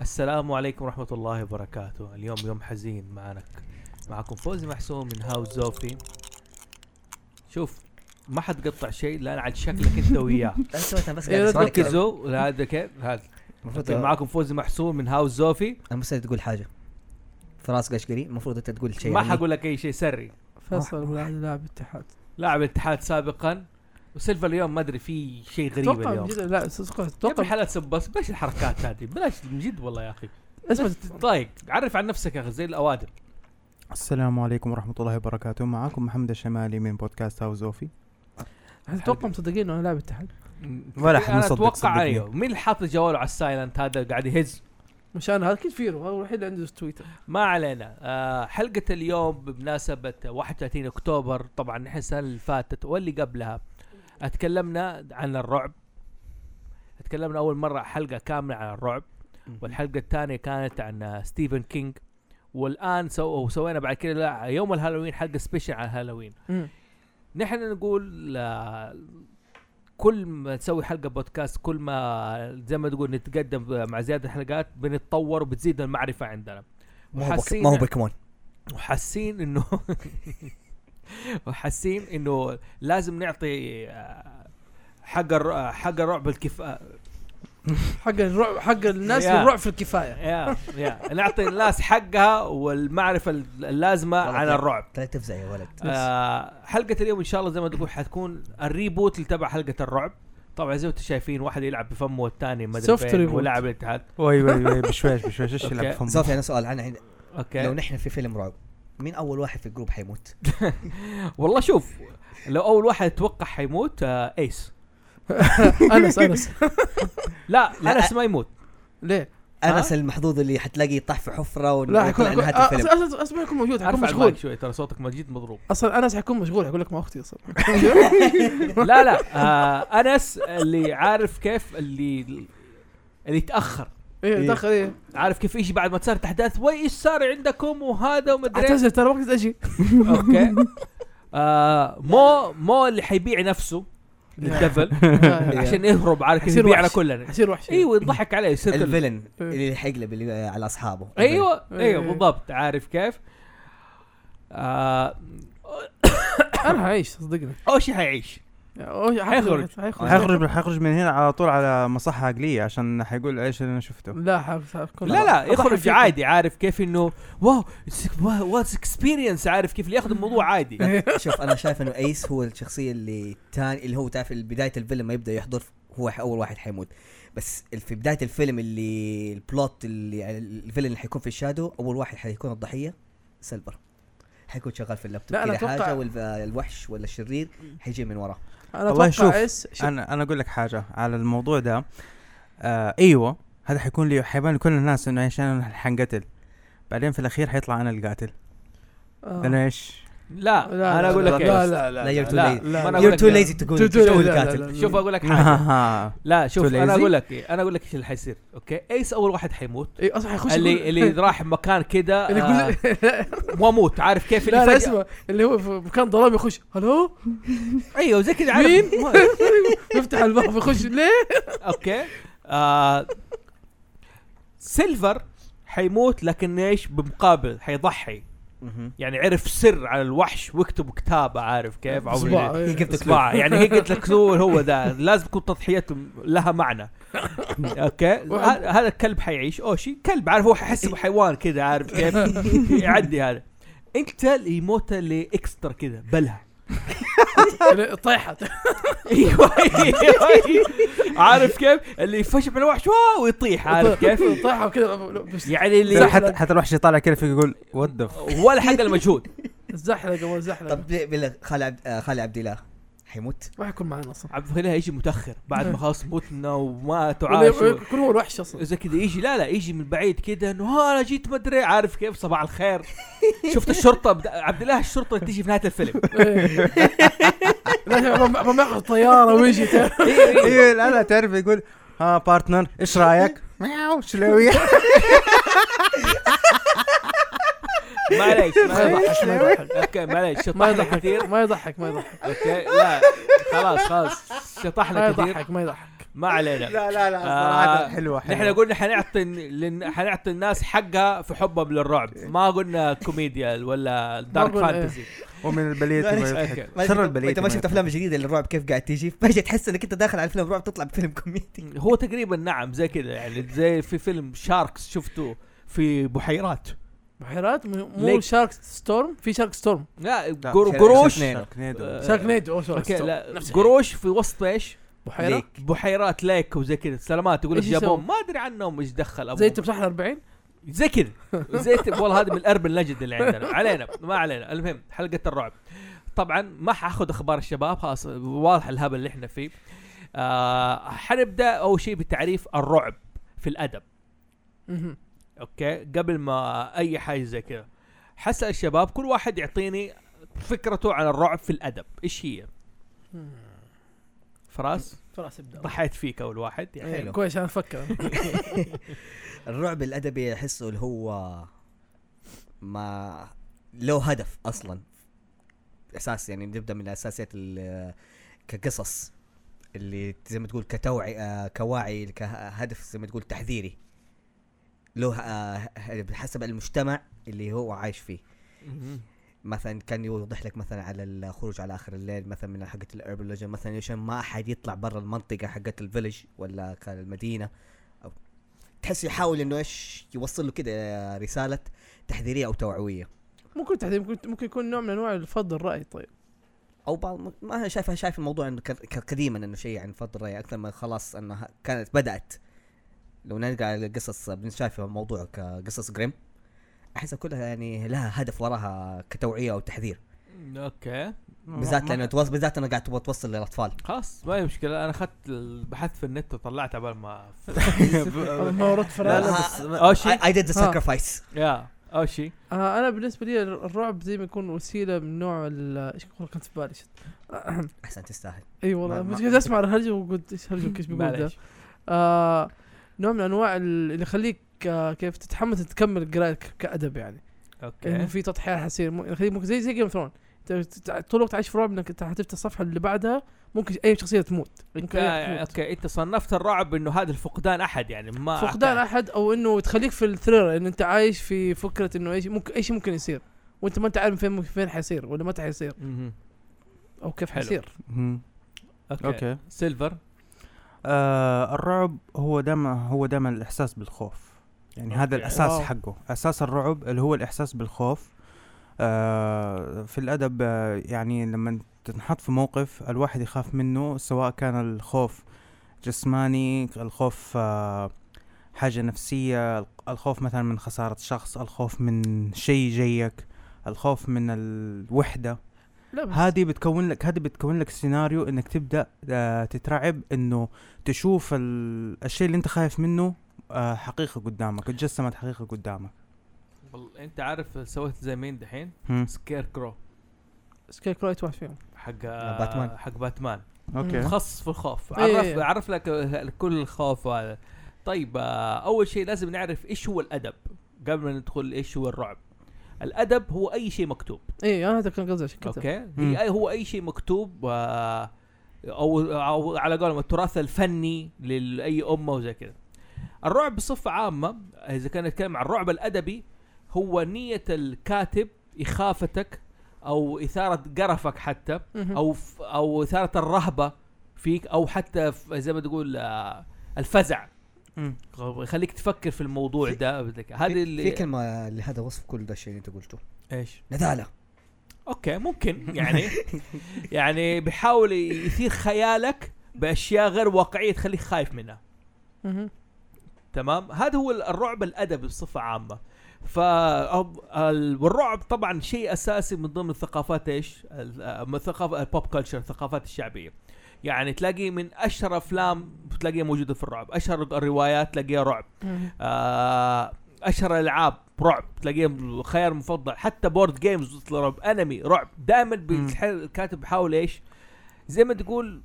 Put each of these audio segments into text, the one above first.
السلام عليكم ورحمة الله وبركاته اليوم يوم حزين معنا معكم فوزي محسوم من هاوس زوفي شوف ما حد قطع شيء لان على شكلك انت وياه يعني انا سويتها بس قاعد أسمعك. ركزوا هذا كيف هذا المفروض طيب، معك معكم فوزي محسوم من هاوس زوفي انا مستعد تقول حاجه فراس قشقري المفروض انت تقول شيء يعني. ما عني. حقول لك اي شيء سري فيصل بن لاعب اتحاد لاعب الاتحاد سابقا وسيلفا اليوم ما ادري في شيء غريب اتوقع من اليوم جد لا اتوقع يا ابن اتوقع الحلال سبس بلاش الحركات هذه بلاش من جد والله يا اخي اسمع طيب عرف عن نفسك يا اخي زي الاوادم السلام عليكم ورحمة الله وبركاته معكم محمد الشمالي من بودكاست هاوس زوفي اتوقع مصدقين انه لاعب اتحاد ولا أحد انا مصدق، اتوقع صدقني. ايوه مين اللي حاط جواله على السايلنت هذا قاعد يهز مش انا هذا اكيد فيرو هو الوحيد اللي عنده تويتر ما علينا آه حلقة اليوم بمناسبة 31 اكتوبر طبعا نحن السنة اللي فاتت واللي قبلها اتكلمنا عن الرعب اتكلمنا اول مرة حلقة كاملة عن الرعب والحلقة الثانية كانت عن آه، ستيفن كينج والان سو سوينا بعد كده لا، يوم الهالوين حلقة سبيشل عن الهالوين نحن نقول آه، كل ما تسوي حلقه بودكاست كل ما زي ما تقول نتقدم مع زياده الحلقات بنتطور وبتزيد المعرفه عندنا ما هو بك- وحاسين- ما هو بوكيمون وحاسين انه وحاسين انه لازم نعطي آه، حق الر- آه، حق الرعب الكف آه، حق الرعب حق الناس يا. الرعب في الكفايه يا يا نعطي الناس حقها والمعرفه اللازمه والله عن طيب. الرعب لا تفزع يا ولد آه حلقة اليوم إن شاء الله زي ما تقول حتكون الريبوت اللي تبع حلقة الرعب طبعا زي ما انتم شايفين واحد يلعب بفمه والثاني ما ادري Soft فين reboot. ولاعب الاتحاد ايوه ايوه بشويش بشويش ايش اللي أوكي. بفهم زوفي انا يعني سؤال انا عندي لو اوكي نحن في فيلم رعب مين اول واحد في الجروب حيموت؟ والله شوف لو اول واحد اتوقع حيموت آه ايس انس انس لا, لا، انس ما يموت ليه؟ انس المحظوظ اللي حتلاقيه طاح في حفره ون- لا آه، ويطلع حيكون عن حيكون- نهايه الفيلم اصلا أصلاً- اصلا ما يكون موجود حيكون ارفع المايك مشغول شوي ترى صوتك مجيد مضروب اصلا انس حيكون مشغول حيقول لك مع اختي اصلا لا لا آه انس اللي عارف كيف اللي اللي تاخر ايه دخل ايه عارف كيف يجي بعد ما صارت احداث وي ايش صار عندكم وهذا ومدري إيش. اعتذر ترى وقت اجي اوكي آه مو مو اللي حيبيع نفسه للدفل يا- يا. عشان يهرب عارف كيف حيصير يبيع على وحش. كلنا حيصير وحش ايوه يضحك عليه يصير كل- الفيلن اللي حيقلب اللي- على اصحابه ايوه ايوه إيه. بالضبط عارف كيف آه انا حعيش صدقني اول شيء حيعيش أوه، حيخرج. حيخرج حيخرج حيخرج من هنا على طول على مصحة عقلية عشان حيقول ايش اللي انا شفته لا حيكون لا لا يخرج عادي عارف كيف انه واو واتس اكسبيرينس عارف كيف اللي ياخذ الموضوع عادي إيه. شوف انا شايف انه ايس هو الشخصيه اللي تاني اللي هو تعرف بدايه الفيلم ما يبدا يحضر هو ح- اول واحد حيموت بس ال- في بدايه الفيلم اللي البلوت اللي يعني الفيلم اللي حيكون في الشادو اول واحد حيكون الضحيه سيلفر حيكون شغال في اللابتوب لا، أنا كذا أتوقع- حاجه والوحش ولا الشرير حيجي من وراه انا والله شوف، اتوقع ايس شوف، انا انا اقول لك حاجة على الموضوع ده آه ايوه هذا حيكون لي حيبان لكل الناس انه ايش انا حنقتل بعدين في الاخير حيطلع انا القاتل آه. انا ايش لا لا، لا، انا اقول لك لا إيش. لا لا لا you're too لا، lazy ما أنا أقول you're لك too لا. lazy to go Too- too- to go لا، لا، القاتل لا. شوف اقول لك حاجه ايوه لا شوف Too انا lazy؟ اقول لك إيه، انا اقول لك ايش اللي حيصير اوكي ايس اول واحد حيموت اي اصلا حيخش اللي يقول- اللي راح مكان كده اللي آه، يقول واموت عارف كيف لا اللي لا فجأة اسمع اللي هو في مكان ظلام يخش الو ايوه زي كذا عارف مين؟ مو- يفتح الباب يخش ليه؟ اوكي آه سيلفر حيموت لكن ايش بمقابل حيضحي مهم. يعني عرف سر على الوحش واكتب كتابه عارف كيف إصبع، او إيه. He give the clue. اصبع يعني هي قلت لك هو هو ده لازم تكون تضحيته لها معنى اوكي ه- هذا الكلب حيعيش اوشي كلب عارف هو حيحسبه حيوان كذا عارف كيف يعدي هذا انت اللي يموت اللي اكسترا كذا بلها اللي طيحت ايوه ايوه عارف كيف اللي يفشل من الوحش واو ويطيح عارف كيف طيحه وكذا بس يعني لا، اللي حتى حتى الوحش يطالع كده يقول ود ولا حق المجهود الزحلقه ما الزحلقه طب ليه- بالله خالي عبد آه، خالي عبد الله حيموت ما حيكون معنا اصلا عبد الفتاح يجي متاخر بعد ما خلاص متنا وما تعاش و- نعم. ولا- كل هو الوحش اصلا زي كذا يجي لا لا يجي من بعيد كذا انه ها انا جيت مدري عارف كيف صباح الخير شفت الشرطه بد... عبد الله الشرطه تجي في نهايه الفيلم إيه. لا شوف، ما- ما- ما ياخذ طياره ويجي تعرف. ايوه لا لا تعرف يقول "آه، ها بارتنر ايش رايك؟ مياو شلوية معليش ما طيب، يضحك ما يضحك اوكي معليش ما شطحنا كثير يضحك ما يضحك ما يضحك اوكي لا خلاص خلاص شطحنا ما كثير يضحك ما يضحك ما علينا لا لا لا صراحة صراحه حلوه نحن قلنا حنعطي لن... حنعطي الناس حقها في حبهم للرعب إيه. ما قلنا كوميديا ولا دارك قلنا فانتسي ومن البليت معلش. ما إيه. يضحك. أوكي. شر البلية انت ما ما شفت يضحك. افلام جديده للرعب كيف قاعد تيجي فجاه تحس انك انت داخل على فيلم رعب تطلع بفيلم كوميدي هو تقريبا نعم زي كذا يعني زي في فيلم شاركس شفته في بحيرات بحيرات م- مو ليك. شارك ستورم في شارك ستورم لا لا، آه، قرو- شارك- قروش شاركنيدو. شاركنيدو. آه، شارك نيدو أو شارك اوكي ستورم. لا نفس الشيء. قروش في وسط ايش؟ بحيرات ليك. بحيرات ليك وزي كذا سلامات يقول لك إيش يسوي؟ جابوهم ما ادري عنهم ايش دخل زي ابوهم تمساح ال 40 زي كذا زي ت- والله هذه من الاربن ليجند اللي عندنا علينا ما علينا المهم حلقه الرعب طبعا ما حاخذ اخبار الشباب خلاص واضح الهبل اللي احنا فيه آه حنبدا اول شيء بتعريف الرعب في الادب مهم. اوكي قبل ما اي حاجه زي كذا حسأل الشباب كل واحد يعطيني فكرته عن الرعب في الادب ايش هي فراس خلاص ابدا ضحيت فيك اول واحد يعني إيه، حلو. كويس انا افكر الرعب الادبي احسه اللي هو ما له هدف اصلا اساس يعني نبدا من اساسيات ال- كقصص اللي زي ما تقول كتوعي آه، كواعي كهدف زي ما تقول تحذيري له آه، حسب المجتمع اللي هو عايش فيه مهم. مثلا كان يوضح لك مثلا على الخروج على اخر الليل مثلا من حقه الاربن ليجن مثلا عشان ما احد يطلع برا المنطقه حقت الفيلج ولا كان المدينه او تحس يحاول انه ايش يوصل له كده رساله تحذيريه او توعويه ممكن تحديد ممكن ممكن يكون نوع من انواع الفض الراي طيب او بعض ما انا شايف شايف الموضوع انه ك- ك- قديما انه شيء يعني عن فضل الراي اكثر من خلاص انها كانت بدات لو نرجع على قصص بنشاف الموضوع كقصص جريم احسها كلها يعني لها هدف وراها كتوعيه او تحذير اوكي بالذات لانه توص- بالذات انا قاعد تبغى توصل للاطفال خلاص ما هي مشكله انا اخذت البحث في النت وطلعت عبال ما ما ورد لا فراغ لا لا، بس اول شيء I, I did the ها. sacrifice يا اول شيء آه انا بالنسبه لي الر- الرعب زي ما يكون وسيله من نوع ال- ايش والله كنت في بالي شت. احسن تستاهل اي ما- والله ما- بس كنت اسمع الهرجه وقلت ايش هرجه كيف بيقول ده معليش آه نوع من انواع ال- اللي يخليك آه كيف تتحمس تكمل قراءتك كادب يعني انه اوكي في تضحيات حصير مو- يخليك ممكن زي زي جيم ثرون طول الوقت عايش في رعب انك انت حتفتح الصفحه اللي بعدها ممكن اي شخصيه تموت انت ممكن أي تموت. اوكي انت صنفت الرعب انه هذا الفقدان احد يعني ما فقدان احد او انه تخليك في الثرير ان انت عايش في فكره انه ايش ممكن اي شيء ممكن يصير وانت ما انت عارف فين فين حيصير ولا متى حيصير مهم. او كيف حلو. حيصير مم. اوكي, أوكي. اوكي سيلفر آه الرعب هو دائما هو دائما الاحساس بالخوف يعني هذا أوكي. الاساس واو. حقه اساس الرعب اللي هو الاحساس بالخوف آه في الادب آه يعني لما تنحط في موقف الواحد يخاف منه سواء كان الخوف جسماني الخوف آه حاجة نفسية الخوف مثلا من خسارة شخص الخوف من شيء جايك الخوف من الوحدة لا بس هذه بتكون لك هذه بتكون لك سيناريو انك تبدا آه، تترعب انه تشوف ال- الشيء اللي انت خايف منه آه، حقيقه قدامك اتجسمت حقيقه قدامك والله انت عارف سويت زي مين دحين هم. سكير كرو سكاي كرايت واحد فيهم حق آه، باتمان. حق باتمان اوكي متخصص في الخوف إيه. عرف عرف لك كل الخوف هذا طيب آه، اول شيء لازم نعرف ايش هو الادب قبل ما ندخل ايش هو الرعب الادب هو اي شيء مكتوب اي انا إيه، آه، هذا كان قصدي عشان كذا اوكي مم. هي أي- هو اي شيء مكتوب آه، او او على قولهم التراث الفني لاي امه وزي كذا الرعب بصفه عامه اذا كان نتكلم عن الرعب الادبي هو نيه الكاتب اخافتك او اثاره قرفك حتى مهم. او ف- او اثاره الرهبه فيك او حتى ف- زي ما تقول آه، الفزع مم. يخليك تفكر في الموضوع في- ده هذه في, في اللي كلمه لهذا وصف كل ده الشيء اللي انت قلته ايش نذاله اوكي ممكن يعني يعني بيحاول يثير خيالك باشياء غير واقعيه تخليك خايف منها مهم. تمام هذا هو الرعب الادبي بصفه عامه ف أب- ال- والرعب طبعا شيء اساسي من ضمن الثقافات ايش؟ ال- آه، من الثقافه البوب كلتشر الثقافات الشعبيه يعني تلاقيه من اشهر افلام تلاقيها موجوده في الرعب اشهر الروايات تلاقيها رعب مهم. آه، اشهر العاب رعب تلاقيهم خيار مفضل حتى بورد جيمز رعب انمي رعب دائما بيتح- الكاتب بيحاول ايش زي ما تقول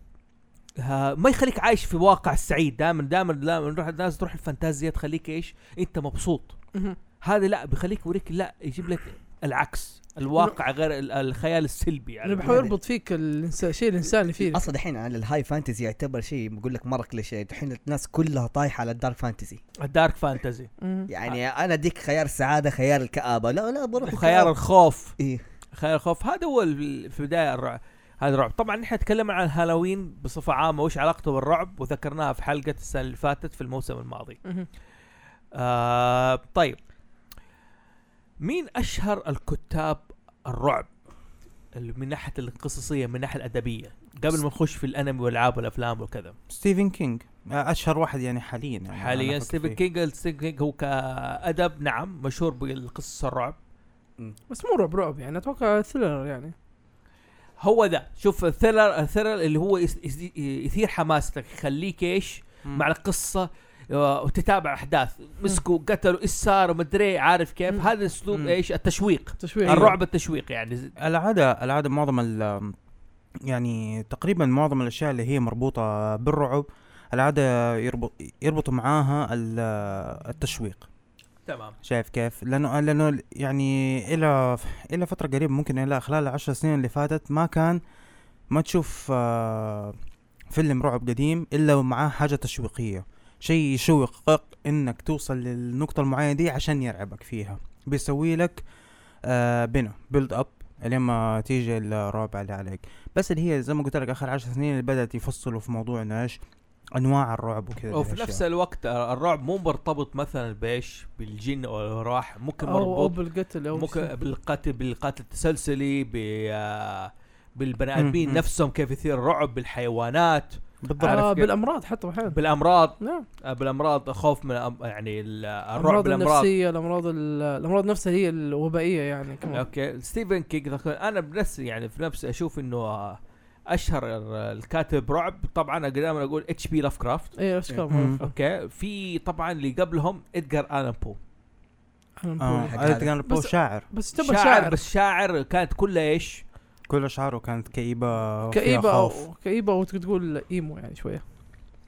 آه، ما يخليك عايش في واقع سعيد دائما دائما دائما نروح الناس تروح الفانتازيا تخليك ايش انت مبسوط مهم. هذا لا بيخليك يوريك لا يجيب لك العكس الواقع غير ال- الخيال السلبي انا يعني بحاول اربط فيك الانسان الشيء الانسان اللي فيه اصلا دحين على الهاي فانتزي يعتبر شيء بقول لك مره كليشيه دحين الناس كلها طايحه على الدارك فانتزي الدارك فانتزي مم. يعني انا ديك خيار السعاده خيار الكابه لا لا بروح خيار الكآبة. الخوف إيه. خيار الخوف هذا هو ال- في البدايه الرعب هذا الرعب طبعا نحن تكلمنا عن هالوين بصفه عامه وش علاقته بالرعب وذكرناها في حلقه السنه اللي فاتت في الموسم الماضي مم. آه طيب مين اشهر الكتاب الرعب ال- من ناحيه القصصيه من ناحيه الادبيه قبل ما نخش في الانمي والالعاب والافلام وكذا ستيفن كينج آه، اشهر واحد يعني حاليا يعني حاليا أنا أفكر ستيفن فيه. كينج ستيفن كينج هو كادب نعم مشهور بالقصص الرعب بس مو رعب رعب يعني اتوقع ثريلر يعني هو ده شوف الثرر الثرر اللي هو يس- يس- يثير حماستك يخليك ايش مم. مع القصه آه، وتتابع احداث مسكوا قتلوا ايش صار ومدري عارف كيف مم. هذا اسلوب مم. أيوه. ايش التشويق تشويه الرعب التشويق يعني ز- العادة العادة معظم ال يعني تقريبا معظم الأشياء اللي هي مربوطة بالرعب العادة يربط يربطوا معاها ال- آه، التشويق تمام شايف كيف؟ لأنه لأنه يعني إلى إلى فترة قريبة ممكن إلى خلال العشر سنين اللي فاتت ما كان ما تشوف آه، فيلم رعب قديم إلا ومعاه حاجة تشويقية شيء يشوقك إنك توصل للنقطة المعينة دي عشان يرعبك فيها بيسوي لك آه بنا بيلد اب لما تيجي الرعب اللي عليك بس اللي هي زي ما قلت لك اخر عشر سنين اللي بدات يفصلوا في موضوع انه ايش انواع الرعب وكذا وفي الأشياء. نفس الوقت آه، الرعب مو مرتبط مثلا بايش بالجن او الراح ممكن او او مربوط بالقتل او ممكن بشيء. بالقتل بالقتل التسلسلي ب آه، بالبني مم، ادمين مم. نفسهم كيف يثير الرعب بالحيوانات بالضبط عارف آه كيف؟ بالامراض حتى احيانا بالامراض نعم آه، بالامراض خوف من الأم- يعني ال- الرعب الامراض بالامراض النفسيه الامراض ال- الامراض نفسها هي الوبائيه يعني كمان اوكي ستيفن كينج ذكر- انا بنفسي يعني في نفسي اشوف انه آه، اشهر ال- الكاتب رعب طبعا أنا دائما اقول اتش بي لاف كرافت اي نفس مم. الكلام اوكي في طبعا اللي قبلهم ادجار الان بو آه حق ألان هذا. ديون بو بس- شاعر بس شاعر, يعتبر شاعر بس شاعر كانت كلها ايش؟ كل اشعاره كانت كئيبه وفيها كئيبه خوف. او كئيبه وتقول تقول ايمو يعني شويه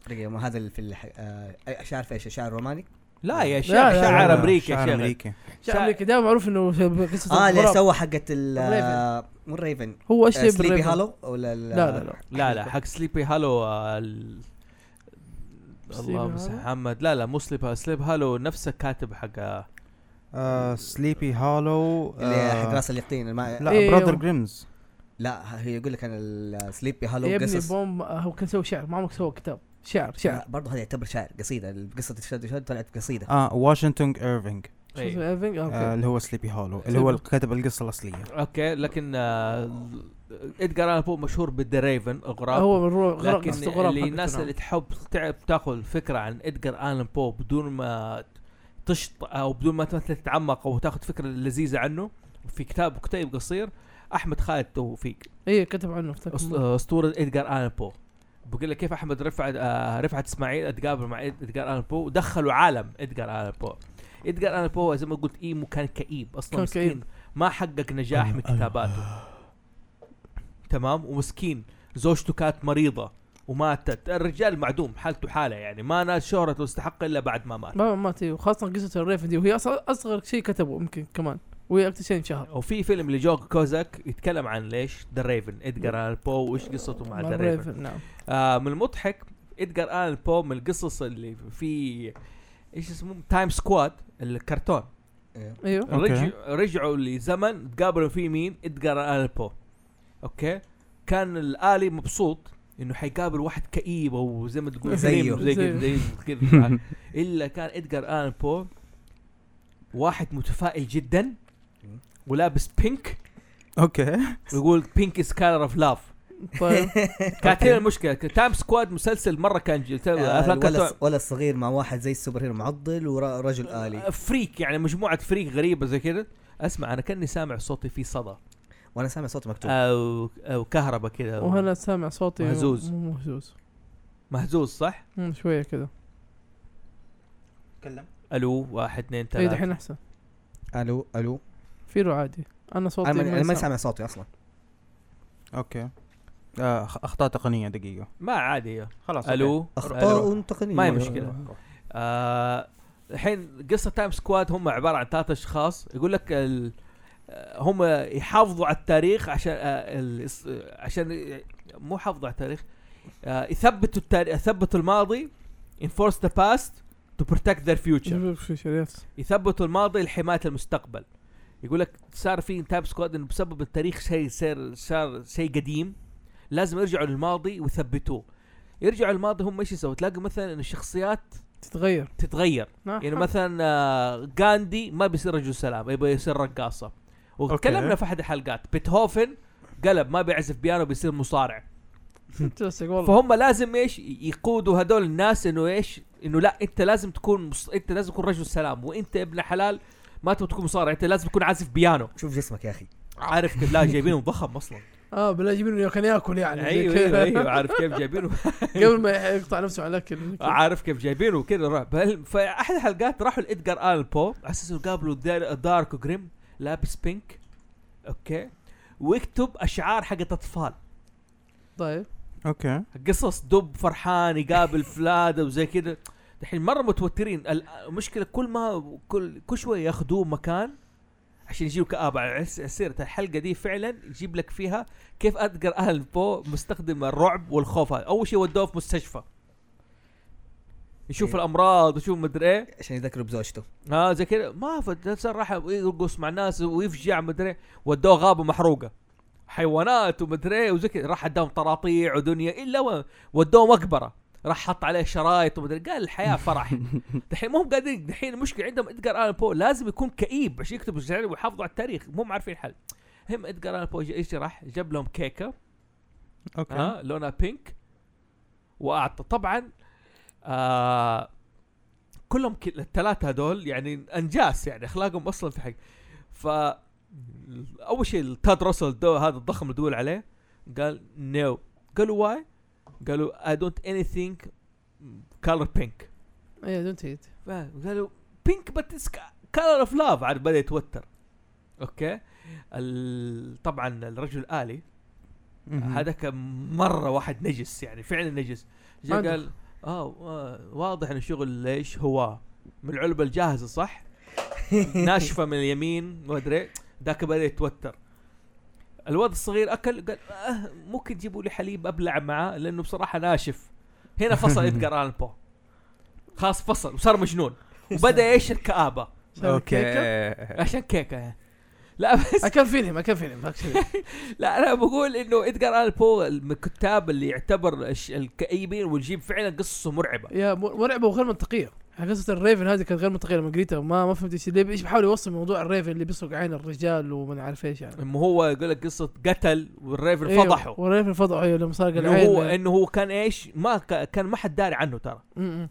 دقيقة، ما هذا اللي في الح... آه... أي- شعر في ايش شعر روماني لا يا لا، شاعر لا، شاعر لا. امريكي يا شاعر شيخ امريكي شاعر- آه، شاعر امريكي دائما معروف انه قصه اه اللي الغراب. سوى حقت ال آه، مو الريفن هو ايش اللي سليبي بالريفن؟ هالو ولا ال- لا لا لا آه، لا لا حق سليبي هالو آه، ال- سليبي الله هالو؟ محمد لا لا مو سليبي سليب هالو نفس الكاتب حق آه، آه، سليبي هالو اللي حق راس اليقطين الما... لا. آه، لا إيه، براذر هو- جريمز لا هي يقول لك انا السليبي هالو يا ابني قصص بوم آه، هو كان سوى شعر ما عمرك سوى كتاب شعر شعر لا، برضه هذا يعتبر شعر قصيدة قصة الشادو شادو طلعت بقصيدة اه واشنطن ايرفينج شو إيه. اسمه؟ إيفنج؟ آه، آه أوكي. اللي هو سليبي هالو اللي سليبي. هو اللي كتب القصه الاصليه اوكي لكن آه، ادجار الان بو مشهور بالدريفن الغراب هو الرو- غراب لكن قصة غراب اللي حقته، الناس نعم. اللي تحب تعب تاخذ فكره عن ادجار الان بو بدون ما تشط او بدون ما مثلا تتعمق او تاخذ فكره لذيذه عنه في كتاب كتيب قصير احمد خالد توفيق اي كتب إيه، عنه افتكر أس- اسطوره ادجار الان بو بقول لك كيف احمد رفعت آه، رفعت اسماعيل اتقابل مع إد- ادجار الان بو ودخلوا عالم ادجار الان بو ادجار الان بو زي ما قلت ايمو كان كئيب اصلا كان مسكين كئيب. آه، ما حقق نجاح من كتاباته تمام ومسكين زوجته كانت مريضه وماتت الرجال معدوم حالته حاله يعني ما نال شهرته واستحق الا بعد ما مات ما مات إيه، وخاصه قصه الريفن دي وهي اصلا اصغر شيء كتبه يمكن كمان وهي اكثر شيء انشهر وفي فيلم لجوك كوزاك يتكلم عن ليش ذا ريفن ادجار الان بو وايش قصته مع مع ذا ريفن الريفن، نعم آه من المضحك ادجار الان بو من القصص اللي في ايش اسمه تايم سكواد الكرتون إيه. ايوه أوكي. رجع رجعوا لزمن تقابلوا فيه مين ادجار الان بو اوكي كان الالي مبسوط انه حيقابل واحد كئيب او زي ما تقول زيه. غريب، زي كده- زي كده. الا كان ادجار الان بو واحد متفائل جدا ولابس بينك اوكي ويقول بينك از كالر اوف لاف طيب كانت هنا المشكله تايم سكواد مسلسل مره كان جل... آه، افلام كرتون ولا ولا الصغير مع واحد زي السوبر هيرو معضل ورجل آلي فريك يعني مجموعه فريك غريبه زي كده اسمع انا كاني سامع صوتي فيه صدى وانا سامع صوت مكتوب او او كهرباء كده أو وهنا سامع صوتي مهزوز. مو مهزوز مهزوز صح؟ مم، شويه كذا تكلم الو واحد اثنين اي ثلاثه إيه، دحين احسن آه. الو الو فيلو عادي انا صوتي انا ما- أنا ما يسمع. سامع صوتي اصلا اوكي آه خ- اخطاء تقنيه دقيقه ما عادي خلاص أوكي. الو ألو. اخطاء تقنيه ما هي مشكله آه، الحين قصه تايم سكواد هم عباره عن ثلاثة اشخاص يقول لك ال- آه، هم يحافظوا على التاريخ عشان آه، الإس- آه، عشان ي- مو حافظوا على التاريخ آه، يثبتوا التاريخ يثبتوا الماضي enforce the past to protect their future يثبتوا الماضي لحمايه المستقبل يقول لك صار في تاب سكواد انه بسبب التاريخ شيء صار صار شيء قديم لازم يرجعوا للماضي ويثبتوه يرجعوا للماضي هم ايش يسووا تلاقي مثلا ان الشخصيات تتغير تتغير يعني مثلا آه، غاندي ما بيصير رجل سلام يبغى يصير رقاصه وتكلمنا أوكي. في احد الحلقات بيتهوفن قلب ما بيعزف بيانو بيصير مصارع تلصق والله فهم لازم ايش يقودوا هذول الناس انه ايش انه لا انت لازم تكون مص... انت لازم تكون رجل سلام وانت ابن حلال ما تبغى تكون مصارع انت لازم تكون عازف بيانو شوف جسمك يا اخي عارف كيف لا جايبينه ضخم اصلا اه بالله جيبينه كان ياكل يعني زي ايوه كده. ايوه ايوه عارف كيف جايبينه قبل ما يقطع نفسه على الاكل عارف كيف جايبينه وكذا رعب هل- فاحد الحلقات راحوا لادجار الان بو على اساس إنه قابلوا دار- دارك وجريم لابس بينك اوكي ويكتب اشعار حقت اطفال طيب اوكي قصص دب فرحان يقابل فلادة وزي كده الحين مره متوترين ال- المشكله كل ما كل كل شويه ياخذوه مكان عشان يجيبوا كآبة على عس- سيرة الحلقة دي فعلا يجيب لك فيها كيف أدقر أهل بو مستخدم الرعب والخوف هذا أول شيء ودوه في مستشفى يشوف إيه. الأمراض ويشوف مدري إيه عشان يذكروا بزوجته ها آه، زي كذا ما فت- صار راح يرقص مع ناس ويفجع مدري إيه. ودوه غابه محروقه حيوانات ومدري إيه وزي كذا راح اداهم طراطيع ودنيا الا و- ودوه مقبره راح حط عليه شرايط ومدري إيه. قال الحياه فرح دحين مو هم قادرين دحين المشكله عندهم ادجار الان بو لازم يكون كئيب عشان يكتبوا الشعر ويحافظوا على التاريخ مو هم عارفين حل هم ادجار الان بو ج- ايش راح جاب لهم كيكه اوكي آه، ها لونها بينك واعطى طبعا آه كلهم كل الثلاثه هذول يعني انجاس يعني اخلاقهم اصلا في حق ف اول شيء تاد راسل دو هذا الضخم اللي دول عليه قال نو قالوا واي قالوا اي دونت اني ثينك كلر بينك اي دونت هيت قالوا بينك بت اتس كلر اوف لاف عاد بدا يتوتر اوكي ال- طبعا الرجل الالي مهم. هذاك مره واحد نجس يعني فعلا نجس جا عندك. قال اه وا- واضح انه شغل ليش هو من العلبه الجاهزه صح؟ ناشفه من اليمين ما ادري ذاك بدا يتوتر الولد الصغير اكل قال آه ممكن تجيبوا لي حليب ابلع معاه لانه بصراحه ناشف هنا فصل ادجار الان بو خلاص فصل وصار مجنون وبدا يعيش الكابه عشان كيكه يعني. لا بس اكل فيلم اكل فيلم لا انا بقول انه ادجار الان بو من الكتاب اللي يعتبر الش- الكئيبين والجيب فعلا قصصه مرعبه يا مر- مرعبه وغير منطقيه يعني قصة الريفن هذه كانت غير منطقية لما قريتها ما ما فهمت ايش ليه ايش بحاول يوصل موضوع الريفن اللي بيسرق عين الرجال وما عارف ايش يعني اما هو يقول لك قصه قتل والريفر أيوه، فضحه والريفن فضحه ايوه لما سرق انه هو العين انه هو كان ايش ما ك- كان ما حد داري عنه ترى م- م.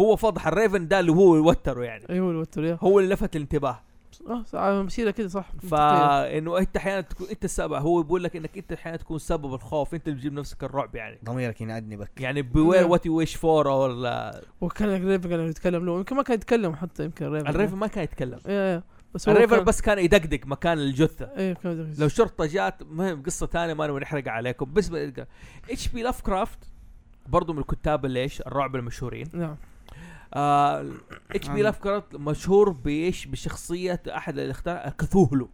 هو فضح الريفن ده اللي هو وتره يعني ايوه الوتر يا هو اللي لفت الانتباه اه صع- مسيرة كده صح منطقية. فانه انت احيانا تكون انت السبب هو بيقول لك انك انت احيانا تكون سبب الخوف انت اللي تجيب نفسك الرعب يعني ضميرك ينعدني بك يعني beware نعم. what you wish for ولا وكان الريفن كان يتكلم له يمكن ما كان يتكلم حتى يمكن الريفن الريفن ما كان يتكلم ايه ايه بس هو الريفر نعم. كان- بس كان يدقدق مكان الجثه ايه كان لو شرطه جات مهم قصه ثانيه ما نبغى نحرق عليكم بس بقى- اتش بي لاف كرافت برضو من الكتاب اللي ايش الرعب المشهورين نعم آه، اتش بي عن- لاف كرافت مشهور بايش بشخصيه احد اللي اختار كثوهلو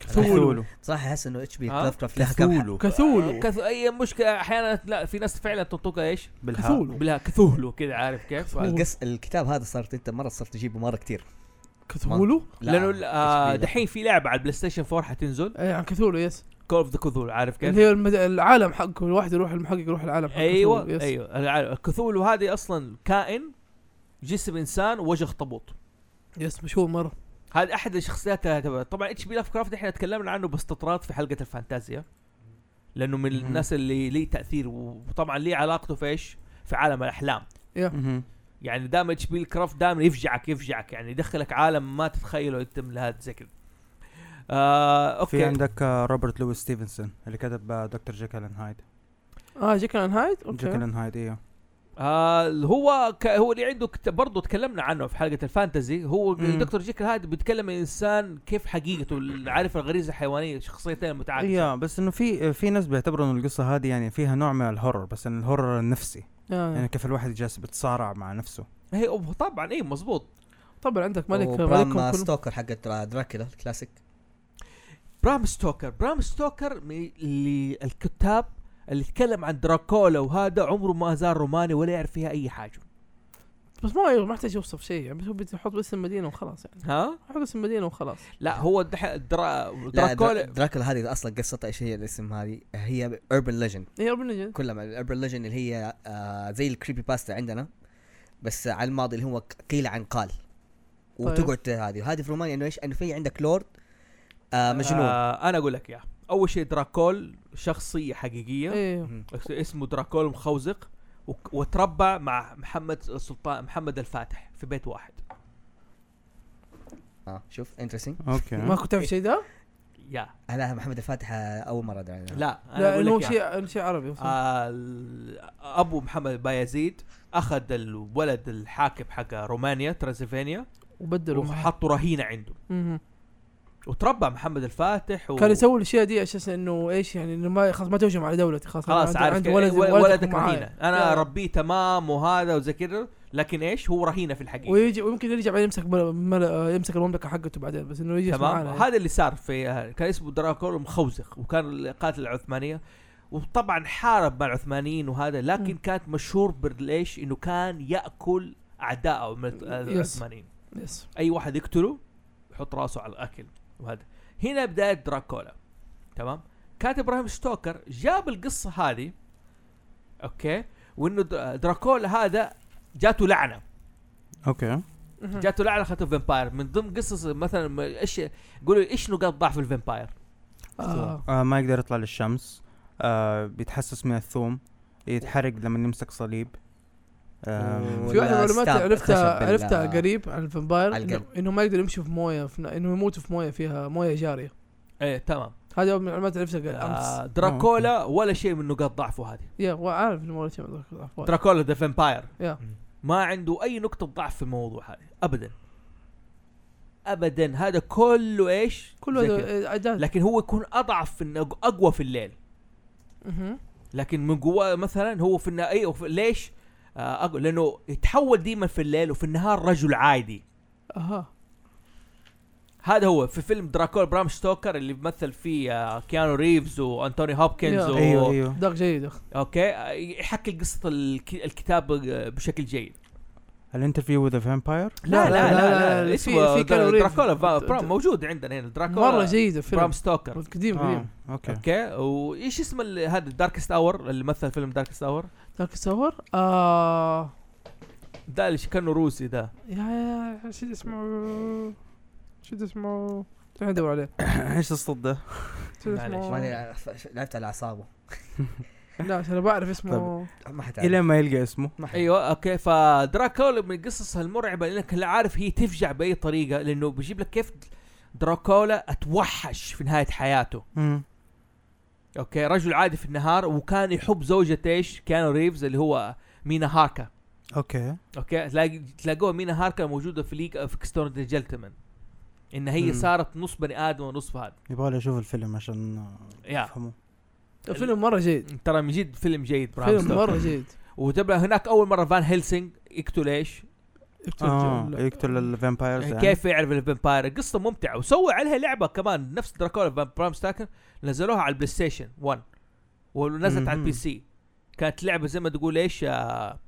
كثولو. صراحه احس انه اتش بي ها؟ كلاف كرافت لها كم حلقة. كثولو كث... اي مشكله احيانا لا في ناس فعلا تنطقها ايش بالها كثولو بلا كثوهلو كذا عارف كيف كثولو. القص الكتاب هذا صارت انت مره صرت تجيبه مره كثير كثولو لا، لانه آه، HB لا. دحين في لعبه على البلاي ستيشن 4 حتنزل ايه عن كثولو يس كول اوف ذا كثولو عارف كيف اللي هي المد... العالم حقه الواحد يروح المحقق يروح العالم حقه ايوه كثولو، يس. ايوه كثولو هذه اصلا كائن جسم انسان ووجه اخطبوط يس مشهور مره هذا احد الشخصيات اللي هتبقى. طبعا اتش بي لاف كرافت احنا تكلمنا عنه باستطراد في حلقه الفانتازيا لانه من مهم. الناس اللي ليه تاثير وطبعا ليه علاقته في ايش؟ في عالم الاحلام مهم. يعني دائما اتش بي كرافت دائما يفجعك يفجعك يعني يدخلك عالم ما تتخيله انت من هذا زي كذا آه في اوكي عندك آه، روبرت لويس ستيفنسون اللي كتب آه، دكتور جيكل اند هايد اه جيكل اند هايد جيكل اوكي اند هايد ايوه آه هو ك هو اللي عنده كت... برضه تكلمنا عنه في حلقه الفانتزي هو مم. الدكتور جيكل هذا بيتكلم الانسان كيف حقيقته عارف الغريزه الحيوانيه شخصيتين متعاكسه ايوه بس انه في في ناس بيعتبروا انه القصه هذه يعني فيها نوع من الهورر بس انه الهورر النفسي آه. يعني كيف الواحد جالس بيتصارع مع نفسه هي أوه، طبعا اي مزبوط طبعا عندك ملك ملك ملكهم برام كلهم. ستوكر حقت درا- دراكولا الكلاسيك برام ستوكر برام ستوكر من اللي الكتاب اللي يتكلم عن دراكولا وهذا عمره ما زار روماني ولا يعرف فيها اي حاجه بس ما ما يحتاج يوصف شيء يعني بس هو بيحط بس المدينه وخلاص يعني ها حط اسم المدينه وخلاص لا هو دح... درا... لا درا- دراكولا دراكولا هذه اصلا قصتها ايش هي الاسم هذه هي urban legend هي ربنا جد كلها من الاربن ليجن اللي هي آه زي الكريبي باستا عندنا بس على الماضي اللي هو ك- قيل عن قال وتقعد هذه هذه في رومانيا انه ايش انه في عندك لورد آه مجنون آه آه انا اقول لك اياه اول شيء دراكول شخصيه حقيقيه ايه اسمه دراكول مخوزق وك- وتربع مع محمد السلطان محمد الفاتح في بيت واحد آه، شوف انترستنج ما اوكي كنت تعرف شيء ذا؟ يا انا محمد الفاتح آه، اول مره ادري عنها لا انا لا اقول إنه هو لك إياه. شيء شيء عربي آه، ال- ابو محمد بايزيد اخذ الولد الحاكم حق رومانيا ترانسلفانيا وبدلوا وحطوا رهينه عنده مهم. وتربى محمد الفاتح و... كان يسوي الاشياء دي اساسا انه ايش يعني انه ما خلاص ما تهجم على دولتي خلاص خلاص أنا عارف عندي كده. ولد ول- ولدك ولدك معايا رهينه انا يا. ربيه تمام وهذا وزي كده لكن ايش هو رهينه في الحقيقه ويجي ويمكن يرجع بعدين يمسك مل... مل... آه، يمسك المملكه حقته بعدين بس انه يجي تمام معانا يعني. هذا اللي صار في كان اسمه دراكول مخوزق وكان القاتل العثمانيه وطبعا حارب مع العثمانيين وهذا لكن مم. كانت مشهور بالليش انه كان ياكل اعدائه من الت- العثمانيين يس اي واحد يقتله يحط راسه على الاكل وهذا هنا بدايه دراكولا تمام كاتب ابراهيم ستوكر جاب القصه هذه اوكي وانه در- دراكولا هذا جاته لعنه اوكي مهم. جاته لعنه خاطر فامباير من ضمن قصص مثلا ما- ايش يقولوا ايش نقاط ضعف الفامباير آه. آه ما يقدر يطلع للشمس آه بيتحسس من الثوم يتحرق لما يمسك صليب آه في واحدة من ولا المعلومات ستاب عرفتها خشب بال- عرفتها قريب عن الفامباير على القلب. إنه- انه ما يقدر يمشي في مويه في... ن- انه يموتوا في مويه فيها مويه جاريه ايه تمام هذا من المعلومات اللي عرفتها قريب امس آه دراكولا ولا شيء من نقاط ضعفه هذه يا هو عارف انه مويه جاريه دراكولا ذا فامباير يا. ما عنده اي نقطه ضعف في الموضوع هذا ابدا ابدا هذا كله ايش كله زي كده. هذا- آه، عداد لكن هو يكون اضعف في النج... اقوى في الليل مهم. لكن من جواه مثلا هو في النا... أي... في... ليش آه أقول لانه يتحول ديما في الليل وفي النهار رجل عادي اها هذا هو في فيلم دراكول برام ستوكر اللي مثل فيه آه كيانو ريفز وانتوني هوبكنز Yeah. و... ايوه ايوه دق جيد يا اخي اوكي آه، يحكي قصه الك... الكتاب آه، بشكل جيد الانترفيو وذ فامباير لا لا لا, لا, لا, في- اسمه في كيانو ريفز. دراكولا د- برام د- موجود عندنا هنا دراكولا مره جيد الفيلم برام ستوكر قديم آه. قديم اوكي اوكي وايش اسم ال- هذا الداركست اور اللي مثل فيلم داركست اور دارك ساور آه ده اللي كانه روسي ده يا يا يا، شو اسمه شو اسمه خلينا ندور عليه ايش الصوت ده؟ شو معليش. اسمه ماني آه، ف- لعبت على اعصابه لا عشان أنا بعرف اسمه ما الى حتعرف ما يلقى اسمه ما حتعرف. ايوه اوكي فدراكولا من قصصها المرعبه لانك لا عارف هي تفجع باي طريقه لانه بيجيب لك كيف دراكولا اتوحش في نهايه حياته مم. اوكي رجل عادي في النهار وكان يحب زوجة ايش كيانو ريفز اللي هو مينا هاركا اوكي اوكي تلاقي تلاقوها مينا هاركا موجوده في ليج اوف كستون ذا جنتلمان ان هي مم. صارت نص بني ادم ونص هذا يبغى لي اشوف الفيلم عشان يا. افهمه الفيلم مره جيد ترى من جد فيلم جيد برام فيلم ستوكر. مره جيد وتبقى هناك اول مره فان هيلسينج يقتل ايش؟ اه لا. يقتل الفامبايرز يعني. كيف يعرف الفامباير قصه ممتعه وسووا عليها لعبه كمان نفس دراكولا فان- برام ستاكر نزلوها على البلاي ستيشن 1 ونزلت على مهم. البي سي كانت لعبه زي ما تقول ايش آه،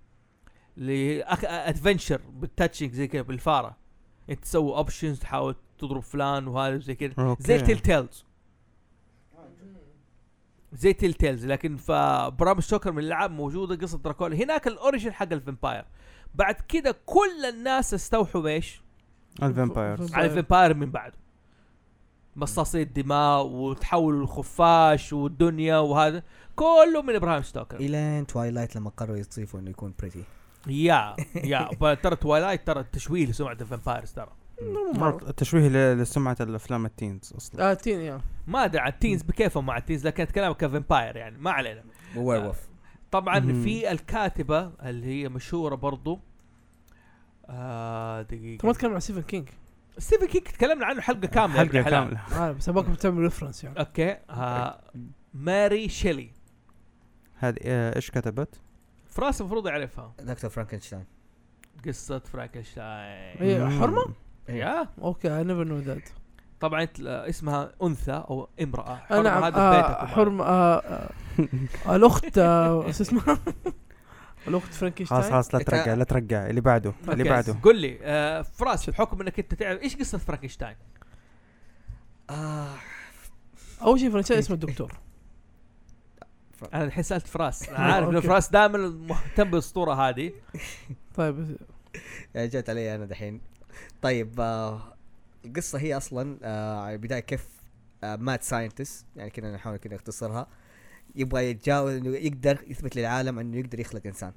ل- أخ- آه، ادفنشر بالتاتشنج زي كذا بالفاره انت تسوي اوبشنز تحاول تضرب فلان وهذا زي كذا أوكي. زي تيل تيلز زي تيل تيلز لكن فبرام ستوكر من الالعاب موجوده قصه دراكولا هناك الاوريجن حق الفامباير بعد كده كل الناس استوحوا ايش؟ الفامبايرز على الفامباير من بعده مصاصي الدماء وتحولوا الخفاش والدنيا وهذا كله من ابراهيم ستوكر الين توايلايت لما قرروا يضيفوا انه يكون بريتي يا يا ترى توايلايت ترى تشويه لسمعه الفامبايرز ترى مو مرة. مرة تشويه ل- لسمعه الافلام التينز اصلا اه تين يا ما ادري عن التينز بكيفهم مع التينز لكن اتكلم كفامباير يعني ما علينا وير وولف طبعا مهم. في الكاتبه اللي هي مشهوره برضو آه انت ما دقيقه تتكلم عن ستيفن كينج ستيفن كينج تكلمنا عنه حلقه كامله يا ابن حلقه الحلال. كامله عارف بس ابغاكم تعملوا ريفرنس يعني اوكي آه ماري شيلي هذه آه، ايش كتبت؟ فراس المفروض يعرفها دكتور فرانكنشتاين قصه فرانكشتاين هي مم. إيه، حرمة؟ يا اوكي اي نيفر نو ذات طبعا تل- اسمها انثى او امراه حرمة انا هذا في بيتك آه طبعاً. حرم آه آه الاخت آه شو اسمها الاخت خلاص فرانكشتاين خلاص لا ترجع لا ترجع اللي بعده اللي أوكي. بعده قل لي آه فراس بحكم انك انت تعرف ايش قصه فرانكشتاين؟ آه اول شيء فرانكشتاين اسمه الدكتور انا الحين سالت فراس أنا عارف انه أوكي. فراس دائما مهتم بالاسطوره هذه طيب جات يعني علي انا دحين طيب آه القصه هي اصلا آه على البدايه كيف آه مات ساينتست يعني كنا نحاول كذا نختصرها يبغى يتجاوز انه يقدر يثبت للعالم انه يقدر يخلق انسان